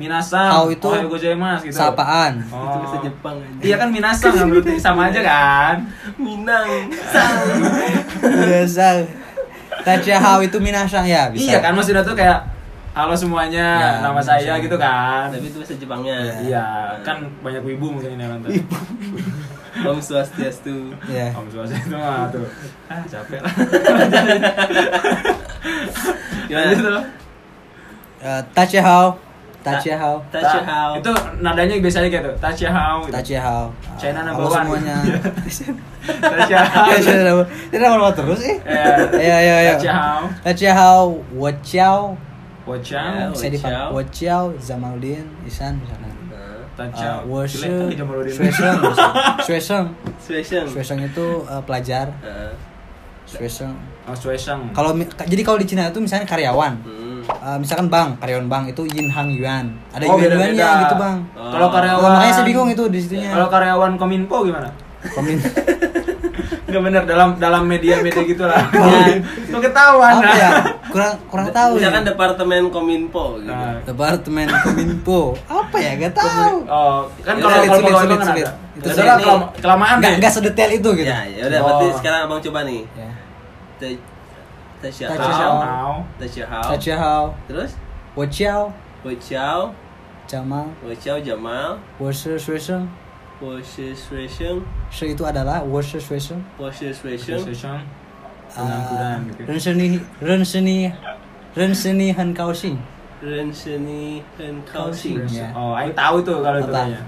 [SPEAKER 3] Minasang.
[SPEAKER 2] Hao itu
[SPEAKER 3] Ohayou gozaimasu gitu.
[SPEAKER 2] sapaan.
[SPEAKER 3] Oh.
[SPEAKER 1] Itu bahasa Jepang aja.
[SPEAKER 3] Iya kan minasang kan berarti sama aja kan.
[SPEAKER 1] Minang. Sang.
[SPEAKER 2] Biasa. Tachia hao itu minasang ya, bisa.
[SPEAKER 3] Iya kan Mas Yuda tuh kayak halo semuanya,
[SPEAKER 2] Ya,
[SPEAKER 3] nama saya gitu kan.
[SPEAKER 1] Tapi itu bahasa Jepangnya.
[SPEAKER 3] Iya, kan banyak wibu mungkin ini kan yang nonton.
[SPEAKER 1] Iya. Om Swastiastu.
[SPEAKER 2] Iya.
[SPEAKER 3] Om Swastiastu itu mah tuh. Ah, capek lah.
[SPEAKER 1] Gimana?
[SPEAKER 3] Lanjut loh.
[SPEAKER 2] Eh, Tachia hao, tachia hao,
[SPEAKER 3] Gitu.
[SPEAKER 1] Touch your how.
[SPEAKER 3] Itu nadanya biasanya kayak tuh. Touch your how. gitu.
[SPEAKER 2] tachia hao.
[SPEAKER 3] China
[SPEAKER 2] Ah,
[SPEAKER 3] number
[SPEAKER 2] halo
[SPEAKER 3] one.
[SPEAKER 2] semuanya.
[SPEAKER 3] Touch your how.
[SPEAKER 2] Ya, China number- China number one terus sih. Iya, iya, iya.
[SPEAKER 3] Touch your how.
[SPEAKER 2] 大家好，我叫
[SPEAKER 3] Watch
[SPEAKER 2] Iya.
[SPEAKER 1] Ya, Wojciech.
[SPEAKER 3] out.
[SPEAKER 2] 我叫 Zamaluddin Isan misalkan.
[SPEAKER 1] Nah,
[SPEAKER 3] Touch
[SPEAKER 2] Uh,
[SPEAKER 3] out.
[SPEAKER 2] 我是
[SPEAKER 3] Jelek kali Jamaludin.
[SPEAKER 2] 学生，学生，学生
[SPEAKER 1] Fashion.
[SPEAKER 2] itu uh, pelajar,
[SPEAKER 1] Nah,
[SPEAKER 2] 学生.
[SPEAKER 3] Oh, Swesang.
[SPEAKER 2] Kalau mi- ka- jadi kalau di Cina itu misalnya karyawan,
[SPEAKER 1] hmm.
[SPEAKER 2] Uh, misalkan bang, karyawan bang itu yin hang yuan. Ada
[SPEAKER 3] Oh,
[SPEAKER 2] yuan yuan
[SPEAKER 3] beda-beda.
[SPEAKER 2] ya gitu bang.
[SPEAKER 3] Kalau
[SPEAKER 1] Oh.
[SPEAKER 2] Nah,
[SPEAKER 3] karyawan
[SPEAKER 2] makanya saya bingung itu di situnya.
[SPEAKER 3] Kalau karyawan Kominfo gimana?
[SPEAKER 2] Komin.
[SPEAKER 3] Enggak bener dalam dalam media-media gitu lah. Ya, Lu ketahuan
[SPEAKER 2] Apa
[SPEAKER 3] lah.
[SPEAKER 2] ya? Kurang kurang tahu. ya.
[SPEAKER 1] Misalkan departemen Kominfo gitu.
[SPEAKER 3] Nah,
[SPEAKER 2] Departemen Kominfo. Apa ya? Gak tahu.
[SPEAKER 3] Oh, kan
[SPEAKER 1] Ya, sulit,
[SPEAKER 3] kalau kalau
[SPEAKER 2] sulit,
[SPEAKER 3] pegawai
[SPEAKER 2] sulit,
[SPEAKER 3] kan
[SPEAKER 2] sulit.
[SPEAKER 3] ada.
[SPEAKER 2] Itu
[SPEAKER 3] Udah lah,
[SPEAKER 1] sulit.
[SPEAKER 3] kelam- kelamaan
[SPEAKER 2] Gak
[SPEAKER 3] deh.
[SPEAKER 2] nggak sedetail itu gitu.
[SPEAKER 1] Ya, ya udah berarti
[SPEAKER 3] Oh.
[SPEAKER 1] sekarang Abang coba nih.
[SPEAKER 2] Ya.
[SPEAKER 1] Touch- Touch your
[SPEAKER 2] Touch your
[SPEAKER 1] how.
[SPEAKER 2] how.
[SPEAKER 1] Touch your how.
[SPEAKER 2] 大家好，
[SPEAKER 1] Terus
[SPEAKER 2] 我叫
[SPEAKER 1] Wojciao,
[SPEAKER 2] 蒋妈，
[SPEAKER 1] Wojciao Jamal,
[SPEAKER 2] 我是学生，
[SPEAKER 1] Woshi Swisheng,
[SPEAKER 2] 是 itu adalah 我是学生。
[SPEAKER 1] Woshi Swisheng.
[SPEAKER 3] Swesang.
[SPEAKER 2] Ah,
[SPEAKER 3] Kurang-kurang gitu.
[SPEAKER 2] 认识你，认识你，认识你很高 兴。
[SPEAKER 1] Rensheni Hen Kaoxing.
[SPEAKER 2] Ya.
[SPEAKER 3] Oh, aing tahu itu kalau itu
[SPEAKER 2] Apa?
[SPEAKER 3] kayaknya.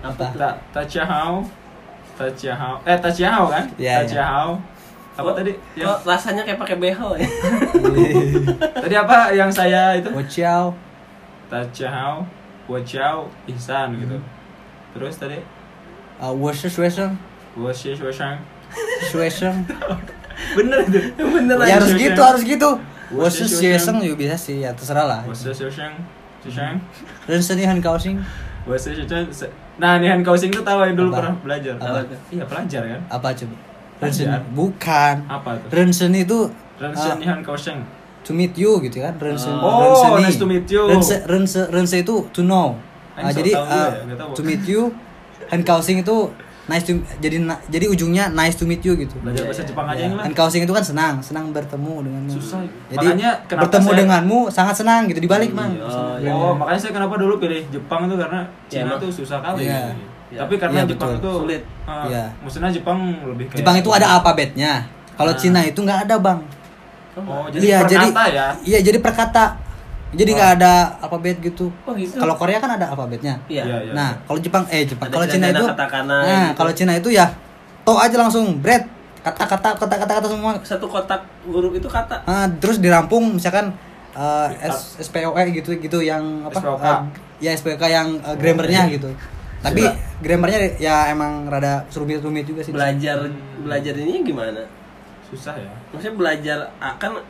[SPEAKER 2] Apa?
[SPEAKER 3] Ta Tachihao. Tachihao. Eh, Tachihao kan?
[SPEAKER 2] Iya, iya.
[SPEAKER 3] Tachihao. Apa
[SPEAKER 1] Kok-
[SPEAKER 3] tadi? Yang,
[SPEAKER 1] Kok rasanya kayak pakai beho ya?
[SPEAKER 3] tadi apa yang saya itu?
[SPEAKER 2] 我叫
[SPEAKER 3] Tachihao, Wachao, Ihsan gitu.
[SPEAKER 2] Hmm.
[SPEAKER 3] Terus tadi
[SPEAKER 2] 啊、我是学生，
[SPEAKER 3] Woshi Shoshang.
[SPEAKER 2] 学 生
[SPEAKER 3] Bener itu. Bener
[SPEAKER 2] ya harus gitu harus gitu. 我
[SPEAKER 3] 我
[SPEAKER 2] 是
[SPEAKER 3] 是
[SPEAKER 2] 学
[SPEAKER 3] 学
[SPEAKER 2] 生
[SPEAKER 3] 生
[SPEAKER 2] juga bisa sih ya terserah lah.
[SPEAKER 3] Woshi Shoshang. Shoshang.
[SPEAKER 2] 认识你很高兴。
[SPEAKER 3] Woshi Shoshang. Nah, Nihan Kausing tuh tahu yang dulu
[SPEAKER 2] Apa?
[SPEAKER 3] pernah belajar.
[SPEAKER 2] Apa?
[SPEAKER 3] Iya, pelajar kan.
[SPEAKER 2] apa coba Rinsen
[SPEAKER 3] Pelajar.
[SPEAKER 2] bukan
[SPEAKER 3] Apa tuh?
[SPEAKER 2] Rinsen itu
[SPEAKER 3] Ransen
[SPEAKER 2] eh,
[SPEAKER 3] Nihan Kausing.
[SPEAKER 2] to meet you gitu kan Rinsen
[SPEAKER 3] Oh,
[SPEAKER 2] Rinseni.
[SPEAKER 3] nice to meet you.
[SPEAKER 2] Rinse- Rinse- Rinse itu to know
[SPEAKER 3] Anjing,
[SPEAKER 2] Ah,
[SPEAKER 3] so
[SPEAKER 2] jadi
[SPEAKER 3] tau gue
[SPEAKER 2] eh,
[SPEAKER 3] ya, nggak tahu.
[SPEAKER 2] to meet you and causing itu nice to jadi na- jadi ujungnya nice to meet you gitu
[SPEAKER 3] Belajar bahasa Jepang aja yang lah.
[SPEAKER 2] and causing itu kan senang senang bertemu denganmu
[SPEAKER 3] Susah.
[SPEAKER 2] jadi
[SPEAKER 3] Makanya kenapa
[SPEAKER 2] bertemu
[SPEAKER 3] saya-
[SPEAKER 2] denganmu sangat senang gitu dibalik mang
[SPEAKER 1] oh, iya.
[SPEAKER 3] Oh, makanya saya kenapa dulu pilih Jepang tuh karena Cina
[SPEAKER 1] emang.
[SPEAKER 3] tuh susah kali.
[SPEAKER 2] Iya.
[SPEAKER 1] Iya.
[SPEAKER 3] Tapi karena
[SPEAKER 2] Iya,
[SPEAKER 3] Jepang
[SPEAKER 2] betul.
[SPEAKER 3] tuh
[SPEAKER 1] Sulit.
[SPEAKER 3] eh,
[SPEAKER 2] Iya.
[SPEAKER 3] Maksudnya Jepang lebih kayak
[SPEAKER 2] Jepang itu ada alfabetnya
[SPEAKER 3] Nah.
[SPEAKER 2] kalau Cina itu nggak ada bang
[SPEAKER 3] Oh, jadi
[SPEAKER 2] Iya jadi
[SPEAKER 3] perkata ya.
[SPEAKER 2] iya jadi perkata jadi nggak ada alfabet gitu
[SPEAKER 1] Oh, gitu.
[SPEAKER 2] kalau Korea kan ada alfabetnya
[SPEAKER 1] Iya.
[SPEAKER 3] Iya, iya.
[SPEAKER 2] nah kalau Jepang eh Jepang
[SPEAKER 1] Ada
[SPEAKER 2] kalau Cina
[SPEAKER 1] kata-kata
[SPEAKER 2] itu
[SPEAKER 1] katakana
[SPEAKER 2] nah
[SPEAKER 1] gitu.
[SPEAKER 2] kalau Cina itu ya to aja langsung bread kata-kata kata-kata kata semua
[SPEAKER 1] Satu kotak huruf itu kata.
[SPEAKER 2] Ah, terus dirampung misalkan eh, S- SPOE gitu gitu yang apa
[SPEAKER 3] SPOK.
[SPEAKER 2] eh, ya SPOK yang eh,
[SPEAKER 1] Oh,
[SPEAKER 2] grammarnya
[SPEAKER 1] iya.
[SPEAKER 2] gitu tapi grammarnya ya emang rada rumit-rumit juga sih
[SPEAKER 1] Belajar belajar ini gimana?
[SPEAKER 3] Susah ya.
[SPEAKER 1] Maksudnya belajar akan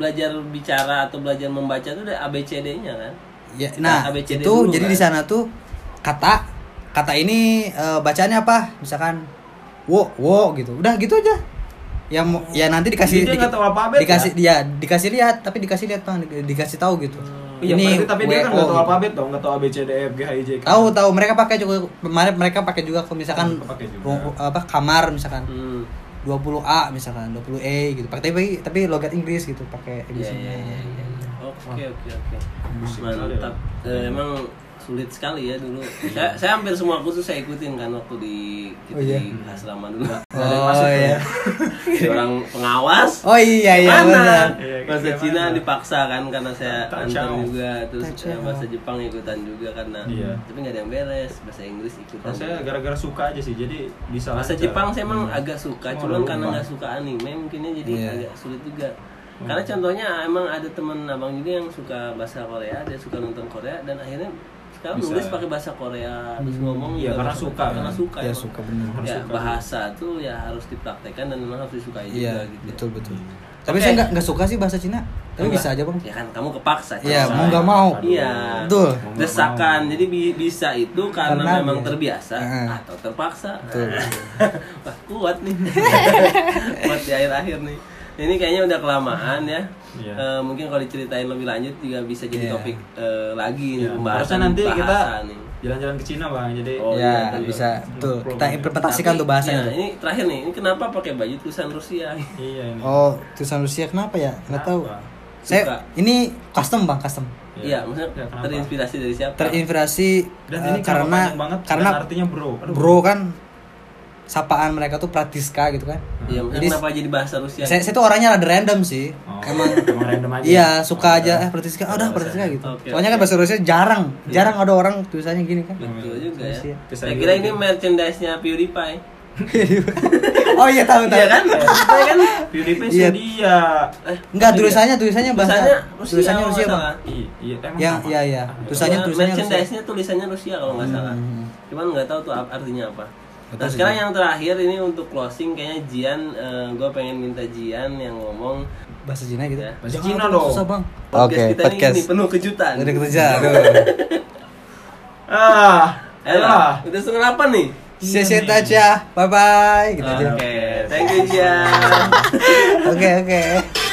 [SPEAKER 1] belajar bicara atau belajar membaca itu ada ABCD-nya kan?
[SPEAKER 2] Ya,
[SPEAKER 1] A,
[SPEAKER 2] nah,
[SPEAKER 1] B, C, D
[SPEAKER 2] itu
[SPEAKER 1] dulu,
[SPEAKER 2] jadi
[SPEAKER 1] kan?
[SPEAKER 2] di sana tuh kata kata ini eh, bacaannya apa? Misalkan wo wo gitu. Udah gitu aja. Ya mau- ya nanti dikasih
[SPEAKER 3] Jadi dia nggak tahu alfabet,
[SPEAKER 2] dikasih ya? dikasih lihat tapi dikasih lihat Bang, di- dikasih tahu gitu.
[SPEAKER 3] Iya, berarti tapi dia kan enggak
[SPEAKER 2] WO,
[SPEAKER 3] tahu
[SPEAKER 2] gitu.
[SPEAKER 3] alfabet dong, enggak tahu A B C D E F G H I J K.
[SPEAKER 2] Tahu tahu mereka pakai juga kemarin mereka pakai juga kalau misalkan
[SPEAKER 3] Mereka pakai juga.
[SPEAKER 2] ru- apa kamar misalkan
[SPEAKER 1] Hmm.
[SPEAKER 2] 20A misalkan 20E gitu. Pakai tapi tapi logat Inggris gitu pakai
[SPEAKER 1] Iya,
[SPEAKER 2] Inggris.
[SPEAKER 1] iya, iya, iya. Oke, oke, oke.
[SPEAKER 3] Musik sekali
[SPEAKER 1] Mantap.
[SPEAKER 2] ya.
[SPEAKER 1] Eh, emang sulit sekali ya dulu. saya, saya hampir semua kursus saya ikutin kan waktu di kita
[SPEAKER 2] Iya. Oh, iya.
[SPEAKER 1] di asrama dulu.
[SPEAKER 2] Oh iya.
[SPEAKER 1] Jadi orang pengawas.
[SPEAKER 2] Oh iya iya benar.
[SPEAKER 1] mana
[SPEAKER 3] Iya,
[SPEAKER 1] bahasa
[SPEAKER 3] kayak
[SPEAKER 1] Cina
[SPEAKER 3] mana?
[SPEAKER 1] dipaksa kan karena saya
[SPEAKER 3] Tak
[SPEAKER 1] antar
[SPEAKER 3] jauh.
[SPEAKER 1] juga terus
[SPEAKER 2] Tak jauh.
[SPEAKER 1] eh, bahasa Jepang ikutan juga karena
[SPEAKER 3] Iya.
[SPEAKER 1] tapi nggak ada yang beres bahasa Inggris ikutan
[SPEAKER 3] Kalau saya
[SPEAKER 1] juga.
[SPEAKER 3] gara-gara suka aja sih, jadi bisa
[SPEAKER 1] bahasa
[SPEAKER 3] lancar.
[SPEAKER 1] Jepang saya emang agak suka
[SPEAKER 3] Cuma
[SPEAKER 1] cuman
[SPEAKER 3] lupa.
[SPEAKER 1] karena nggak suka anime mungkinnya jadi
[SPEAKER 2] Iya.
[SPEAKER 1] agak sulit juga
[SPEAKER 3] Iya.
[SPEAKER 1] karena contohnya emang ada teman abang juga yang suka bahasa Korea dia suka nonton Korea dan akhirnya sekarang
[SPEAKER 3] Bisa.
[SPEAKER 1] nulis pakai bahasa Korea terus ngomong
[SPEAKER 3] Iya,
[SPEAKER 1] juga
[SPEAKER 3] karena
[SPEAKER 1] bahasa-
[SPEAKER 3] suka,
[SPEAKER 1] karena
[SPEAKER 3] kan?
[SPEAKER 1] suka
[SPEAKER 2] Ya
[SPEAKER 1] emang.
[SPEAKER 2] suka benar.
[SPEAKER 3] Harus
[SPEAKER 1] ya
[SPEAKER 3] suka.
[SPEAKER 1] bahasa tuh ya harus dipraktekkan dan memang harus disukai juga
[SPEAKER 2] Iya,
[SPEAKER 1] gitu ya.
[SPEAKER 2] betul betul.
[SPEAKER 3] Iya.
[SPEAKER 2] Tapi
[SPEAKER 1] Oke.
[SPEAKER 2] saya nggak nggak suka sih bahasa Cina. Tapi
[SPEAKER 1] Enggak.
[SPEAKER 2] bisa aja bang.
[SPEAKER 1] Ya kan kamu kepaksa.
[SPEAKER 2] Iya,
[SPEAKER 1] Cak.
[SPEAKER 2] mau nggak mau.
[SPEAKER 1] Iya.
[SPEAKER 2] Betul.
[SPEAKER 3] Mau nggak
[SPEAKER 1] Desakan.
[SPEAKER 3] mau.
[SPEAKER 1] Jadi bi- bisa itu karena,
[SPEAKER 2] Karena
[SPEAKER 1] memang
[SPEAKER 2] biasa.
[SPEAKER 1] terbiasa
[SPEAKER 2] Heeh.
[SPEAKER 1] atau terpaksa.
[SPEAKER 2] Betul.
[SPEAKER 1] Wah, kuat nih. kuat di akhir-akhir nih. Ini kayaknya udah kelamaan ya.
[SPEAKER 3] Iya.
[SPEAKER 1] Eh, mungkin kalau diceritain lebih lanjut juga bisa jadi
[SPEAKER 2] Iya.
[SPEAKER 1] topik eh, lagi nih
[SPEAKER 3] Iya,
[SPEAKER 1] pembahasan
[SPEAKER 3] harusnya nanti kita
[SPEAKER 1] bahasa nih.
[SPEAKER 3] jalan-jalan ke Cina, Bang. Jadi
[SPEAKER 1] Oh,
[SPEAKER 2] ya
[SPEAKER 1] iya,
[SPEAKER 2] bisa
[SPEAKER 3] iya.
[SPEAKER 2] betul.
[SPEAKER 3] Belum.
[SPEAKER 2] Kita implementasikan
[SPEAKER 1] Tapi,
[SPEAKER 2] tuh bahasanya.
[SPEAKER 1] iya, ini terakhir nih. Ini kenapa pakai baju tulisan Rusia?
[SPEAKER 3] Iya ini.
[SPEAKER 2] Oh, tulisan Rusia kenapa ya? Nggak tahu.
[SPEAKER 3] Kenapa?
[SPEAKER 2] Saya
[SPEAKER 1] Suka.
[SPEAKER 2] ini custom bang, custom.
[SPEAKER 1] Iya, maksudnya
[SPEAKER 3] kenapa?
[SPEAKER 1] terinspirasi dari siapa?
[SPEAKER 2] Terinspirasi
[SPEAKER 3] Dan
[SPEAKER 2] eh,
[SPEAKER 3] ini
[SPEAKER 2] karena
[SPEAKER 3] karena banget
[SPEAKER 2] karena
[SPEAKER 3] dan artinya bro. Aduh.
[SPEAKER 2] bro kan sapaan mereka tuh Pratiska gitu kan.
[SPEAKER 1] Iya, maksudnya
[SPEAKER 2] Jadi-
[SPEAKER 1] kenapa jadi bahasa Rusia?
[SPEAKER 2] Saya, saya tuh orangnya rada random sih.
[SPEAKER 3] Oh,
[SPEAKER 2] Emang
[SPEAKER 3] emang random aja.
[SPEAKER 2] Iya, suka
[SPEAKER 3] Oh,
[SPEAKER 2] aja
[SPEAKER 3] udah.
[SPEAKER 2] eh Pratiska, ah udah
[SPEAKER 3] Udah,
[SPEAKER 2] Pratiska
[SPEAKER 3] udah.
[SPEAKER 2] gitu.
[SPEAKER 1] Oke,
[SPEAKER 2] Soalnya
[SPEAKER 1] oke.
[SPEAKER 2] kan
[SPEAKER 1] Iya.
[SPEAKER 2] bahasa Rusia jarang, jarang ada orang tulisannya gini kan.
[SPEAKER 1] Betul juga ya.
[SPEAKER 2] Rusia.
[SPEAKER 1] Saya kira ini
[SPEAKER 2] gitu.
[SPEAKER 1] merchandise-nya PewDiePie.
[SPEAKER 2] oh iya tahu tahu.
[SPEAKER 1] Iya kan? Saya kan
[SPEAKER 3] PewDiePie
[SPEAKER 2] Iya.
[SPEAKER 3] sih dia.
[SPEAKER 1] eh,
[SPEAKER 2] Enggak
[SPEAKER 1] iya.
[SPEAKER 2] tulisannya tulisannya bahasa
[SPEAKER 1] Tulisannya Rusia,
[SPEAKER 2] tulisannya
[SPEAKER 1] kalau
[SPEAKER 2] Rusia
[SPEAKER 1] nggak
[SPEAKER 2] bang.
[SPEAKER 1] salah.
[SPEAKER 3] I- Iya, emang
[SPEAKER 2] Yang
[SPEAKER 3] apa?
[SPEAKER 2] iya iya tulisannya
[SPEAKER 1] Cuma
[SPEAKER 2] tulisannya Rusia.
[SPEAKER 1] merchandise-nya tulisannya Rusia kalau nggak salah. Cuman nggak tahu tuh ap- artinya apa.
[SPEAKER 2] Betul
[SPEAKER 1] Nah
[SPEAKER 2] sih,
[SPEAKER 1] sekarang yang terakhir ini untuk closing kayaknya Jian, gue pengen minta Jian yang ngomong
[SPEAKER 2] Bahasa Cina gitu.
[SPEAKER 1] Ya.
[SPEAKER 3] Bahasa
[SPEAKER 2] Jangan,
[SPEAKER 3] Cina
[SPEAKER 2] Bang,
[SPEAKER 3] dong.
[SPEAKER 2] Susah bang.
[SPEAKER 1] podcast kita ini gini, penuh kejutan.
[SPEAKER 2] Udah kerja. Aduh.
[SPEAKER 3] Ah,
[SPEAKER 1] Ayo
[SPEAKER 3] elah.
[SPEAKER 1] lah, udah setengah delapan nih.
[SPEAKER 2] Saya set aja. Bye bye.
[SPEAKER 1] Ah,
[SPEAKER 2] Gitu
[SPEAKER 1] Oke,
[SPEAKER 2] aja.
[SPEAKER 1] thank you Jian.
[SPEAKER 2] Oke oke.